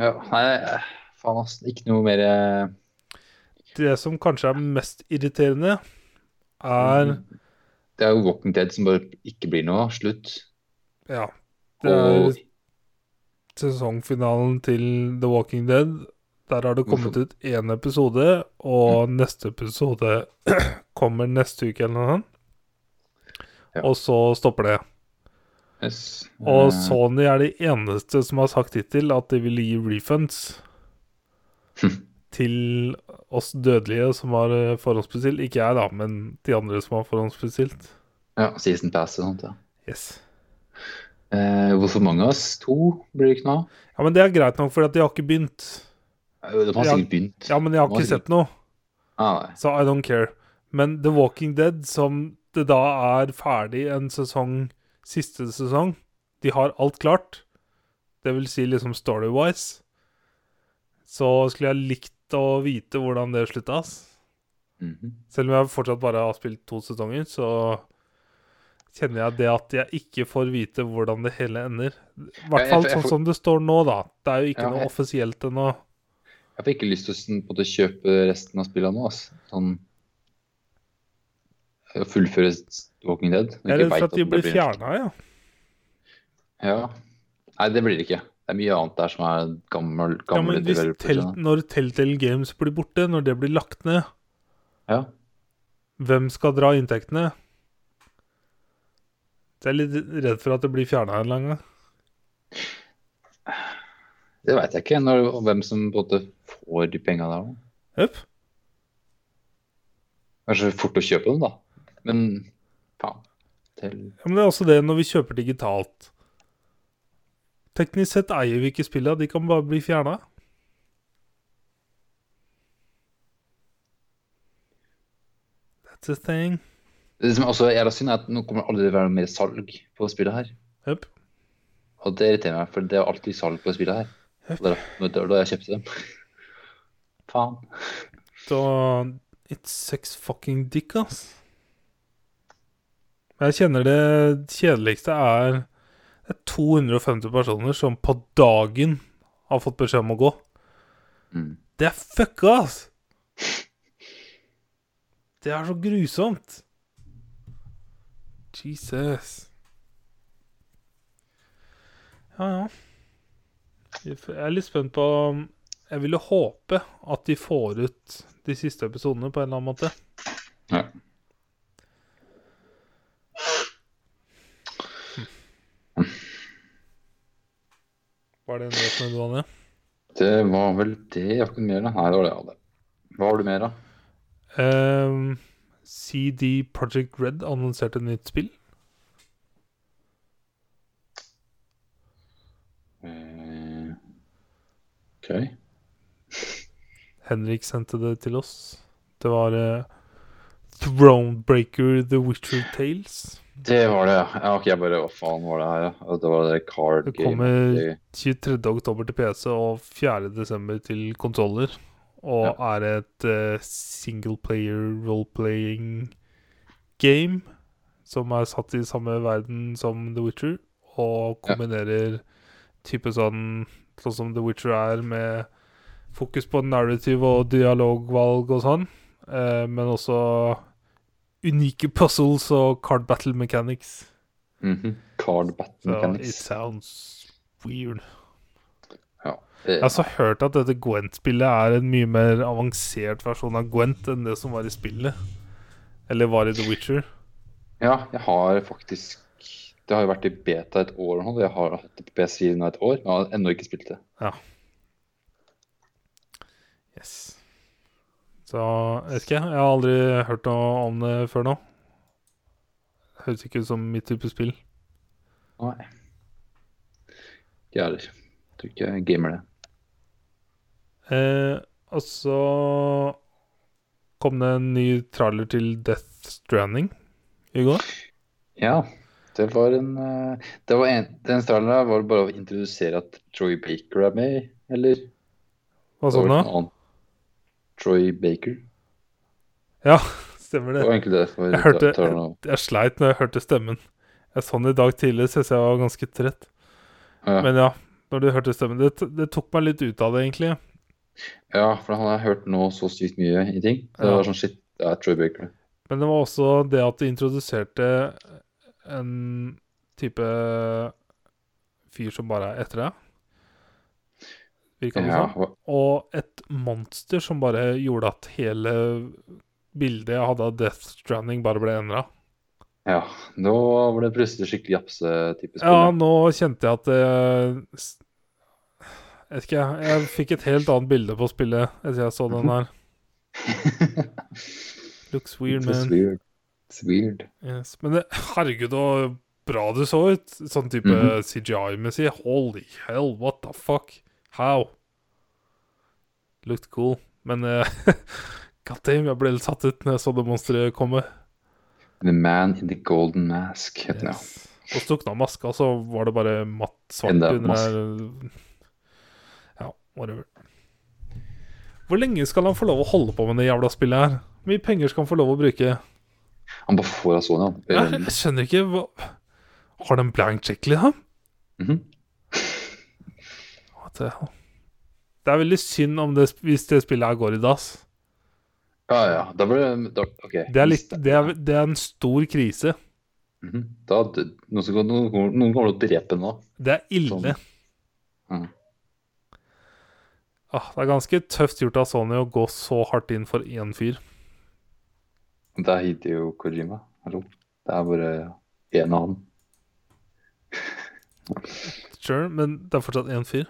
[SPEAKER 2] Ja, nei, eh, faen ass. Ikke noe mer eh,
[SPEAKER 1] Det som kanskje er mest irriterende, er
[SPEAKER 2] Mm. Det er jo Walking Dead som bare ikke blir noe. Slutt.
[SPEAKER 1] Ja. Det er
[SPEAKER 2] Og
[SPEAKER 1] sesongfinalen til The Walking Dead. Der har det kommet ut én episode, og neste episode (clears throat) kommer neste uke eller noe sånt.
[SPEAKER 2] Ja.
[SPEAKER 1] Og så stopper det.
[SPEAKER 2] yes,
[SPEAKER 1] Og
[SPEAKER 2] eh, Hm.
[SPEAKER 1] Sony er de eneste som har sagt hittil at de vil gi refunds. til oss dødelige som har eh, forhåndsbestilt. Ikke jeg, da, men de andre som har forhåndsbestilt.
[SPEAKER 2] Ja, season pass og sånt, ja.
[SPEAKER 1] Yes.
[SPEAKER 2] Eh, hvorfor mange av oss? To blir det ikke noe av?
[SPEAKER 1] Ja, men det er greit nok, for de har ikke begynt.
[SPEAKER 2] Eh, De har
[SPEAKER 1] Ja.
[SPEAKER 2] sikkert begynt.
[SPEAKER 1] Ja, men jeg har
[SPEAKER 2] Nå har
[SPEAKER 1] ikke
[SPEAKER 2] de
[SPEAKER 1] sett noe,
[SPEAKER 2] Ah, nei.
[SPEAKER 1] så I don't care. Men The Walking Dead, som det da er ferdig en sesong, siste sesong De har alt klart. Det vil si liksom story-wise. Så skulle jeg likt å vite hvordan det slutta, ass.
[SPEAKER 2] Mhm.
[SPEAKER 1] Selv om jeg fortsatt bare har spilt to sesonger, så kjenner jeg det at jeg ikke får vite hvordan det hele ender. I
[SPEAKER 2] Jeg- jeg-
[SPEAKER 1] hvert fall
[SPEAKER 2] jeg får-
[SPEAKER 1] sånn som det står nå, da. Det er jo ikke
[SPEAKER 2] Ja,
[SPEAKER 1] noe
[SPEAKER 2] jeg-
[SPEAKER 1] offisielt ennå.
[SPEAKER 2] Jeg fikk ikke lyst til å sånn, på en måte, kjøpe resten av spillene nå. ass. Sånn Å fullføre Walking Dead. når
[SPEAKER 1] Jeg er
[SPEAKER 2] du ikke
[SPEAKER 1] redd
[SPEAKER 2] vet
[SPEAKER 1] for at de
[SPEAKER 2] det
[SPEAKER 1] blir
[SPEAKER 2] blir-
[SPEAKER 1] fjerna, ja.
[SPEAKER 2] Ja. Nei, det blir det ikke. Det er mye annet der som er gammel,
[SPEAKER 1] ja
[SPEAKER 2] gamle
[SPEAKER 1] men hvis
[SPEAKER 2] developers,
[SPEAKER 1] tel
[SPEAKER 2] sånn.
[SPEAKER 1] når Telltale Games blir borte, når det blir lagt ned,
[SPEAKER 2] Ja.
[SPEAKER 1] hvem skal dra inntektene? Så Jeg er litt redd for at det blir fjerna en eller annen gang.
[SPEAKER 2] Det veit jeg ikke, når, og hvem som på en måte får de penga der. da.
[SPEAKER 1] Jøp.
[SPEAKER 2] Kanskje fort å kjøpe dem, da. Men faen. Til
[SPEAKER 1] Ja, men det er også det når vi kjøper digitalt. Teknisk sett eier vi ikke spilla, de kan bare bli fjerna. That's a thing.
[SPEAKER 2] Det som også er jævla synd, er at nå kommer det aldri til å være noe mer salg på spillet her.
[SPEAKER 1] Jøp.
[SPEAKER 2] Og det irriterer meg, for det er alltid salg på spillet her. Og det er da- da jeg kjøpte dem. (laughs) Faen.
[SPEAKER 1] Så it sucks fucking dick, ass. Men jeg kjenner det kjedeligste er Det er 250 personer som på dagen har fått beskjed om å gå.
[SPEAKER 2] Mm.
[SPEAKER 1] Det er fucka, ass! Det er så grusomt. Jesus. Ja, ja. Jeg f- jeg er litt spent på um, Jeg ville håpe at de får ut de siste episodene på en eller annen måte.
[SPEAKER 2] Ja.
[SPEAKER 1] Var det nyheten du hadde?
[SPEAKER 2] Det var vel det jeg kunne mer da. Nei, det var det jeg hadde. Hva har du mer da?
[SPEAKER 1] Ehm, CD Project Red annonserte et nytt spill.
[SPEAKER 2] Eh, ok.
[SPEAKER 1] Henrik sendte det til oss. Det var eh, Thronebreaker The Witcher Tales.
[SPEAKER 2] Det var det, ja. ja. Ok, jeg bare, hva faen var det her? ja? Og Det var det card
[SPEAKER 1] Det
[SPEAKER 2] game.
[SPEAKER 1] kommer-
[SPEAKER 2] Det-
[SPEAKER 1] 23. oktober til PC og 4. desember til konsoller. Og er et eh, single player role-playing game som er satt i samme verden som The Witcher, og
[SPEAKER 2] Ja.
[SPEAKER 1] kombinerer type sånn sånn som The Witcher er, med fokus på narrative og dialogvalg og sånn, eh, men også unike puzzles og card battle mechanics.
[SPEAKER 2] Mhm. Card battle
[SPEAKER 1] Så it
[SPEAKER 2] mechanics.
[SPEAKER 1] sounds weird.
[SPEAKER 2] Ja. Eh,
[SPEAKER 1] Jeg har også hørt at dette Gwent-spillet er en mye mer avansert versjon av Gwent enn det som var i spillet. Eller var i The Witcher.
[SPEAKER 2] ja, jeg har faktisk... Det har jo vært i beta et år nå, og jeg har hatt det på PS4 nå et år, men jeg har enda ikke spilt det.
[SPEAKER 1] Yes. Så jeg vet ikke. Jeg har aldri hørt noe om det før nå. Høres ikke ut som mitt type spill.
[SPEAKER 2] Nei. Ikke jeg heller. Tror ikke jeg gamer det.
[SPEAKER 1] Eh, og så kom det en ny trailer til Death Stranding i går.
[SPEAKER 2] Ja, det var en eh, Det var en, den starten der var bare å introdusere at Troy Baker er med, eller?
[SPEAKER 1] Hva sa du nå?
[SPEAKER 2] Troy Baker.
[SPEAKER 1] Ja, stemmer
[SPEAKER 2] Det
[SPEAKER 1] det.
[SPEAKER 2] var egentlig det for
[SPEAKER 1] Jeg hørte-
[SPEAKER 2] tar nå.
[SPEAKER 1] Jeg sleit når jeg hørte stemmen. Jeg så den i dag tidlig, så jeg var ganske trett.
[SPEAKER 2] Ja,
[SPEAKER 1] Men ja, når du hørte stemmen Det, det tok meg litt ut av det, egentlig.
[SPEAKER 2] ja, for han har hørt nå så sykt mye i ting. Det
[SPEAKER 1] Ja.
[SPEAKER 2] var sånn shit, det er Troy Baker.
[SPEAKER 1] Men det var også det at de introduserte en type fyr som bare er etter deg. Virka det
[SPEAKER 2] Ja,
[SPEAKER 1] som. Og et monster som bare gjorde at hele bildet jeg hadde av Death Stranding, bare ble endra.
[SPEAKER 2] ja, nå var det plutselig skikkelig japse-type
[SPEAKER 1] Ja,
[SPEAKER 2] spill.
[SPEAKER 1] nå kjente jeg at eh, s- Jeg vet ikke, jeg, jeg fikk et helt annet bilde på spillet etter jeg så
[SPEAKER 2] Mhm.
[SPEAKER 1] den her. Looks (laughs) weird,
[SPEAKER 2] It was
[SPEAKER 1] man.
[SPEAKER 2] weird. It's weird.
[SPEAKER 1] Yes. Men det, herregud, så bra det så ut. Sånn type
[SPEAKER 2] Mhm.
[SPEAKER 1] CGI-messig. Holy hell, what the fuck? How? Looked cool. Men eh, (laughs) god damn, jeg ble litt satt ut når jeg så det monsteret komme.
[SPEAKER 2] The man in the golden mask, heter den. ja.
[SPEAKER 1] Yes. Og så tok den av maska, så var det bare matt svart
[SPEAKER 2] Enda
[SPEAKER 1] under
[SPEAKER 2] masse.
[SPEAKER 1] der. Ja, whatever. Hvor lenge skal han få lov å holde på med det jævla spillet her? Hvor mye penger skal han få lov å bruke?
[SPEAKER 2] Han bare får av sånn,
[SPEAKER 1] (laughs)
[SPEAKER 2] ja.
[SPEAKER 1] Jeg, jeg skjønner ikke hva Har de blank checklist, da?
[SPEAKER 2] Mhm.
[SPEAKER 1] What the hell? Det er veldig synd om det, hvis det spillet her går i dass.
[SPEAKER 2] Ja, ja. Da ble det da, OK.
[SPEAKER 1] Det er, litt, det, er, det er en stor krise.
[SPEAKER 2] Mhm. Da, død- noen, som, noen, kommer- noen kommer til å drepe den nå.
[SPEAKER 1] Det er ille.
[SPEAKER 2] Sånn. Mhm.
[SPEAKER 1] Ah, det er ganske tøft gjort av Sony å gå så hardt inn for én fyr.
[SPEAKER 2] Det er Hideo Kojima. Hallo. Det er bare én av han.
[SPEAKER 1] Sure, men det er fortsatt én fyr.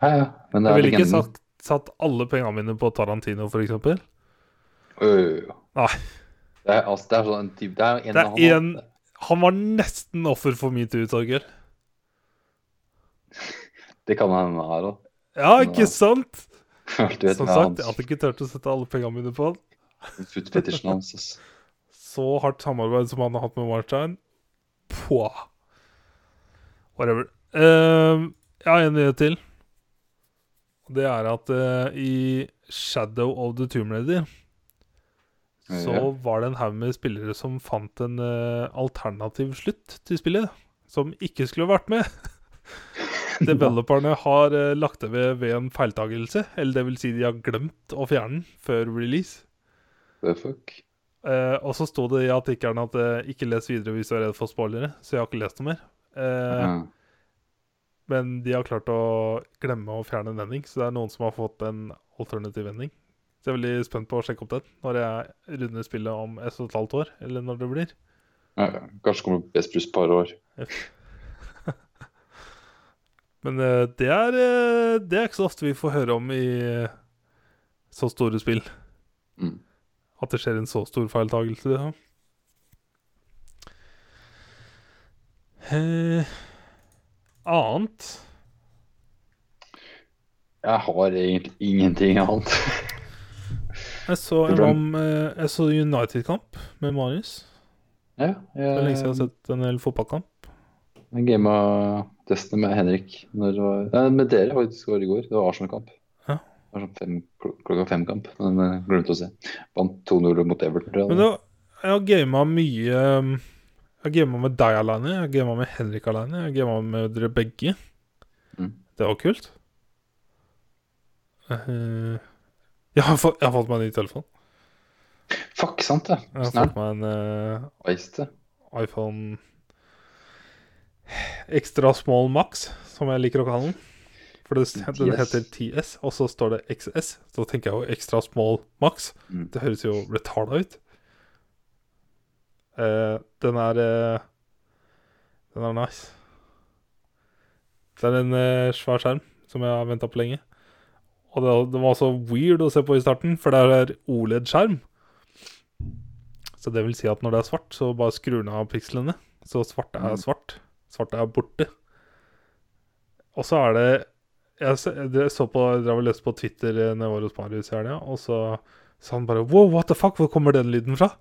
[SPEAKER 2] Ja, ja. Men det
[SPEAKER 1] Jeg
[SPEAKER 2] er
[SPEAKER 1] ville ikke
[SPEAKER 2] legenden.
[SPEAKER 1] satt, satt alle pengene mine på Tarantino, for eksempel.
[SPEAKER 2] Jo, jo, jo.
[SPEAKER 1] Nei.
[SPEAKER 2] Det er, altså, det er sånn en type Det er en
[SPEAKER 1] Det er
[SPEAKER 2] av han,
[SPEAKER 1] en-
[SPEAKER 2] da.
[SPEAKER 1] Han var nesten offer for metoo-saker.
[SPEAKER 2] Det kan hende han (laughs) er òg.
[SPEAKER 1] Ja,
[SPEAKER 2] Ja.
[SPEAKER 1] ikke sant? Som sagt, jeg
[SPEAKER 2] hans
[SPEAKER 1] hadde ikke turt å sette alle pengene mine på han.
[SPEAKER 2] footfetishen hans. ass.
[SPEAKER 1] (laughs) Så hardt samarbeid som han har hatt med Marstein. Pwa. Whatever. Eh, jeg har en nyhet til. Og Det er at eh, i Shadow of the Tomb Raider
[SPEAKER 2] Ja.
[SPEAKER 1] så var det en haug med spillere som fant en eh, alternativ slutt til spillet, som ikke skulle vært med. Developerne har eh, lagt det ved ved en feiltagelse, eller det vil si de har glemt å fjerne den før release.
[SPEAKER 2] The fuck?
[SPEAKER 1] Eh, og så sto det i artikkelen at eh, 'ikke les videre hvis du er redd for spoilere', så jeg har ikke lest noe mer. Eh,
[SPEAKER 2] Ja.
[SPEAKER 1] Men de har klart å glemme å fjerne en ending, så det er noen som har fått en alternativ ending. Så jeg er veldig spent på å sjekke opp den når jeg runder spillet om ett og et halvt år, eller når det blir.
[SPEAKER 2] Ja, ja. Kanskje kommer Best Bruce et par år.
[SPEAKER 1] Men eh, det er eh, Det er ikke så ofte vi får høre om i eh, så store spill.
[SPEAKER 2] Mm.
[SPEAKER 1] At det skjer en så stor feiltagelse. liksom. Ja. Eh, annet
[SPEAKER 2] Jeg har egentlig ingenting annet.
[SPEAKER 1] Jeg så,
[SPEAKER 2] Det
[SPEAKER 1] en
[SPEAKER 2] ble-
[SPEAKER 1] om, eh, jeg så United-kamp med Marius.
[SPEAKER 2] Ja,
[SPEAKER 1] Det er
[SPEAKER 2] jeg,
[SPEAKER 1] lenge siden altså. jeg har sett en hel fotballkamp.
[SPEAKER 2] jeg gama Destiny med Henrik når det var, nei, med dere faktisk var det i går. Det var Arsenal-kamp.
[SPEAKER 1] Ja.
[SPEAKER 2] Det var sånn fem, kl- klokka fem-kamp, men jeg glemte å se. Vant 2-0 mot Everton. tror jeg.
[SPEAKER 1] Men det, var- jeg har gama mye um, Jeg har gama med deg aleine, jeg har gama med Henrik aleine, jeg har gama med dere begge.
[SPEAKER 2] Mm.
[SPEAKER 1] Det var kult. Eh, jeg, har fått, jeg har fått meg en ny telefon.
[SPEAKER 2] Fuck, sant det.
[SPEAKER 1] Jeg har
[SPEAKER 2] Snart
[SPEAKER 1] fått meg en eh,
[SPEAKER 2] Ice det.
[SPEAKER 1] iPhone Extra Small Max, som jeg liker å kalle den. For det, den
[SPEAKER 2] 10S.
[SPEAKER 1] heter 10S, og så står det XS. Så tenker jeg jo Extra Small Max.
[SPEAKER 2] Mm.
[SPEAKER 1] Det høres jo retarda ut. Eh, den er eh, Den er nice. Det er en eh, svær skjerm som jeg har venta på lenge. Og det, det var også weird å se på i starten, for det er OLED-skjerm. Så det vil si at når det er svart, så bare skrur den av pikslene. Så svart er
[SPEAKER 2] Mm.
[SPEAKER 1] svart. Svart er borte. Og så er det Jeg, se- det- så på, jeg drev og leste på Twitter eh, når jeg var hos Marius i helga, og så sa han bare Wow, what the fuck, hvor kommer den lyden fra?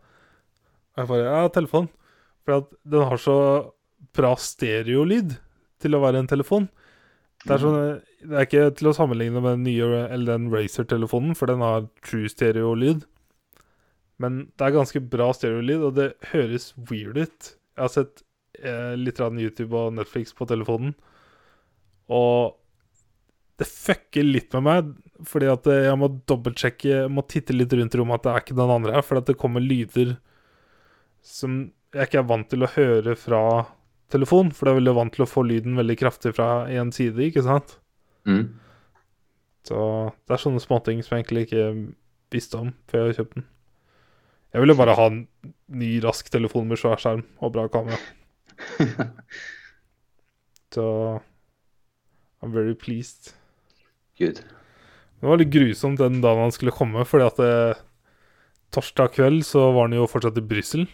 [SPEAKER 1] Og jeg bare Ja, telefon. For at den har så bra stereolyd til å være en telefon. Det er, sånn, det er ikke til å sammenligne med den nye eller den Razer-telefonen, for den har true stereo-lyd. Men det er ganske bra stereo-lyd, og det høres weird ut. Jeg har sett eh, litt grann YouTube og Netflix på telefonen, og det fucker litt med meg, fordi at eh, jeg må dobbeltsjekke, jeg må titte litt rundt i rommet at det er ikke noen andre her, for at det kommer lyder som jeg ikke er vant til å høre fra telefon, for det er veldig vant til å få lyden veldig kraftig fra én side, ikke sant?
[SPEAKER 2] Mm.
[SPEAKER 1] Så det er sånne småting som jeg egentlig ikke visste om før jeg kjøpte den. Jeg ville bare ha en ny, rask telefon med svær skjerm og bra kamera. Så I'm very pleased.
[SPEAKER 2] Gud.
[SPEAKER 1] Det var litt grusomt den dagen han skulle komme, fordi at eh, torsdag kveld så var han jo fortsatt i Brussel.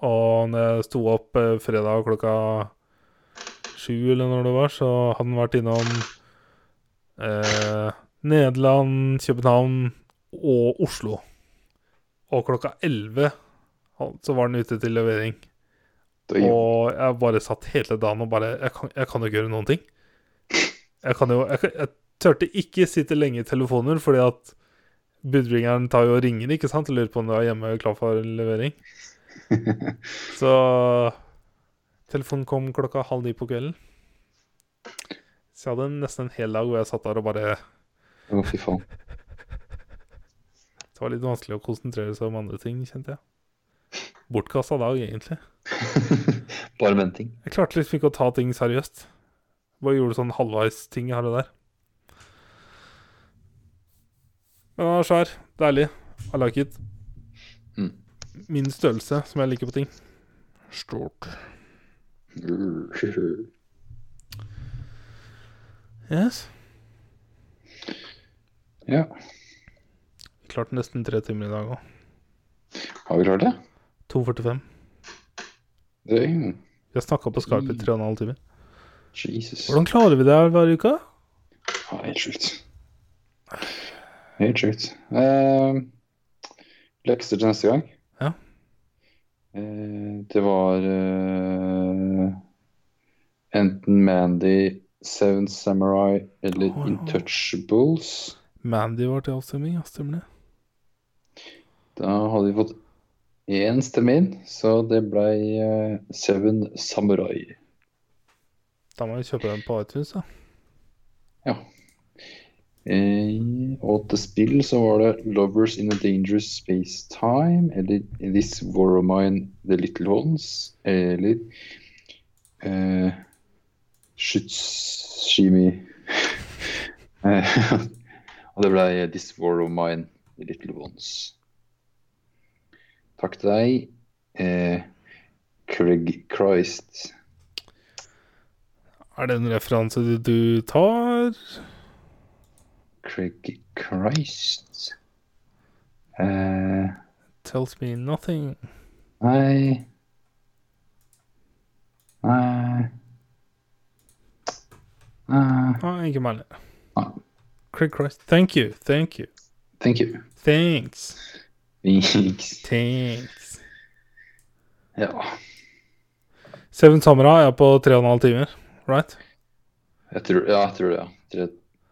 [SPEAKER 1] Og når jeg sto opp eh, fredag klokka sju eller når det var, så hadde han vært innom eh, Nederland, København og Oslo. Og klokka elleve så var han ute til levering.
[SPEAKER 2] Da,
[SPEAKER 1] Og jeg bare satt hele dagen og bare Jeg kan, jeg kan jo ikke gjøre noen ting. Jeg kan jo Jeg, kan- jeg turte ikke sitte lenge i telefoner, fordi at budbringeren tar jo og ringer, ikke sant? Og lurer på om du er hjemme og klar for levering. Så telefonen kom klokka halv ni på kvelden. Så jeg hadde nesten en hel dag hvor jeg satt der og bare
[SPEAKER 2] Å, fy faen. (laughs)
[SPEAKER 1] Det var litt vanskelig å konsentrere seg om andre ting, kjente jeg. Bortkasta dag, egentlig.
[SPEAKER 2] Bare
[SPEAKER 1] (laughs)
[SPEAKER 2] venting.
[SPEAKER 1] Jeg klarte liksom ikke å ta ting seriøst. Bare gjorde sånn halvveis ting her og der. Men han er svær. Deilig. I like it.
[SPEAKER 2] Mm.
[SPEAKER 1] Min størrelse, som jeg liker på ting. Stort.
[SPEAKER 2] Hva
[SPEAKER 1] Yes.
[SPEAKER 2] Ja.
[SPEAKER 1] Klart nesten tre timer i dag òg.
[SPEAKER 2] Har vi klart det?
[SPEAKER 1] 2.45.
[SPEAKER 2] det er jo-
[SPEAKER 1] Vi har snakka på Skype i tre og en halv time.
[SPEAKER 2] Jesus.
[SPEAKER 1] Hvordan klarer vi det her hver uke?
[SPEAKER 2] Ja, helt sjukt. Helt sjukt. Eh, lekser til neste gang.
[SPEAKER 1] Ja.
[SPEAKER 2] Eh, det var eh, enten Mandy, Seven Samurai eller
[SPEAKER 1] Åh, ja.
[SPEAKER 2] Intouchables.
[SPEAKER 1] Mandy var til avstemning, ja. Stemmer det?
[SPEAKER 2] Da hadde vi fått én stemme inn, så det ble eh, Seven Samurai.
[SPEAKER 1] Da må vi kjøpe den på iTunes, da.
[SPEAKER 2] Eh, og til spill så var det 'Lovers in a Dangerous Space Time', eller 'This War of Mine The Little Ones', eller eh, Shutshimi. (laughs) Eh, og det ble 'This War of Mine The Little Ones'. Takk til deg, eh, Craig Christ.
[SPEAKER 1] Er det en referanse du- du tar?
[SPEAKER 2] Craig Christ eh,
[SPEAKER 1] Tells me nothing.
[SPEAKER 2] Nei Nei Nei
[SPEAKER 1] Ah, ikke meg heller.
[SPEAKER 2] Ah.
[SPEAKER 1] Craig Christ. Thank you, thank you.
[SPEAKER 2] Thank you.
[SPEAKER 1] Thanks.
[SPEAKER 2] Thanks.
[SPEAKER 1] Thanks.
[SPEAKER 2] Ja.
[SPEAKER 1] Seven Samurai er på tre og en halv timer. Right?
[SPEAKER 2] Jeg tror, ja, jeg tror det. Ja.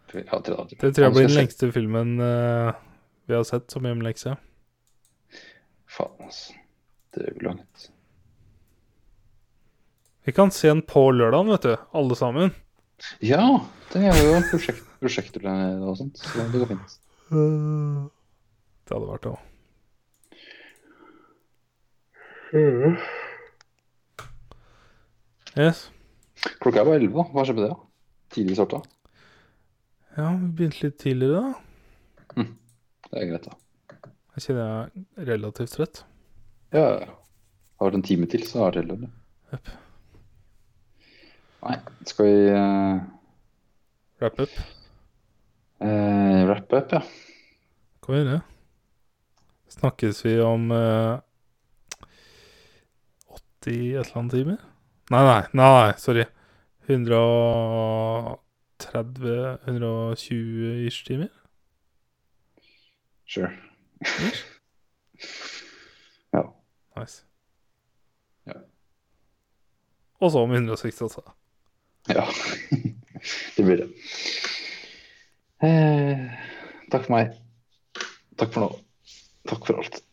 [SPEAKER 2] Tre, tre, ja, tre, dager.
[SPEAKER 1] Det tror jeg blir
[SPEAKER 2] skal
[SPEAKER 1] den
[SPEAKER 2] se-
[SPEAKER 1] lengste filmen eh, vi har sett som hjemmelekse.
[SPEAKER 2] Faen, altså. Det er jo langt.
[SPEAKER 1] Vi kan se den på lørdagen, vet du. Alle sammen.
[SPEAKER 2] Ja, det er jo prosjekt, prosjekter og sånt, så det går fint.
[SPEAKER 1] Det hadde vært det òg. Yes.
[SPEAKER 2] Klokka er bare 11, hva skjer med det? da? Tidlig starta.
[SPEAKER 1] Ja, vi begynte litt tidligere, da.
[SPEAKER 2] Det er greit, da.
[SPEAKER 1] Jeg kjenner jeg er relativt trøtt.
[SPEAKER 2] Ja, ja, ja. Har det en time til, så er det heller det.
[SPEAKER 1] Jepp.
[SPEAKER 2] Nei, skal vi eh,
[SPEAKER 1] Wrap up.
[SPEAKER 2] eh, wrappe opp, ja?
[SPEAKER 1] Kan vi gjøre det? Snakkes vi om eh, 80 et eller annet timer? Nei, nei, nei, nei, sorry. 130-120-ish timer?
[SPEAKER 2] Sure. ja.
[SPEAKER 1] Nice.
[SPEAKER 2] Ja.
[SPEAKER 1] Og så om 160, altså.
[SPEAKER 2] ja. (laughs) det blir det. Eh, takk for meg. Takk for nå. Takk for alt.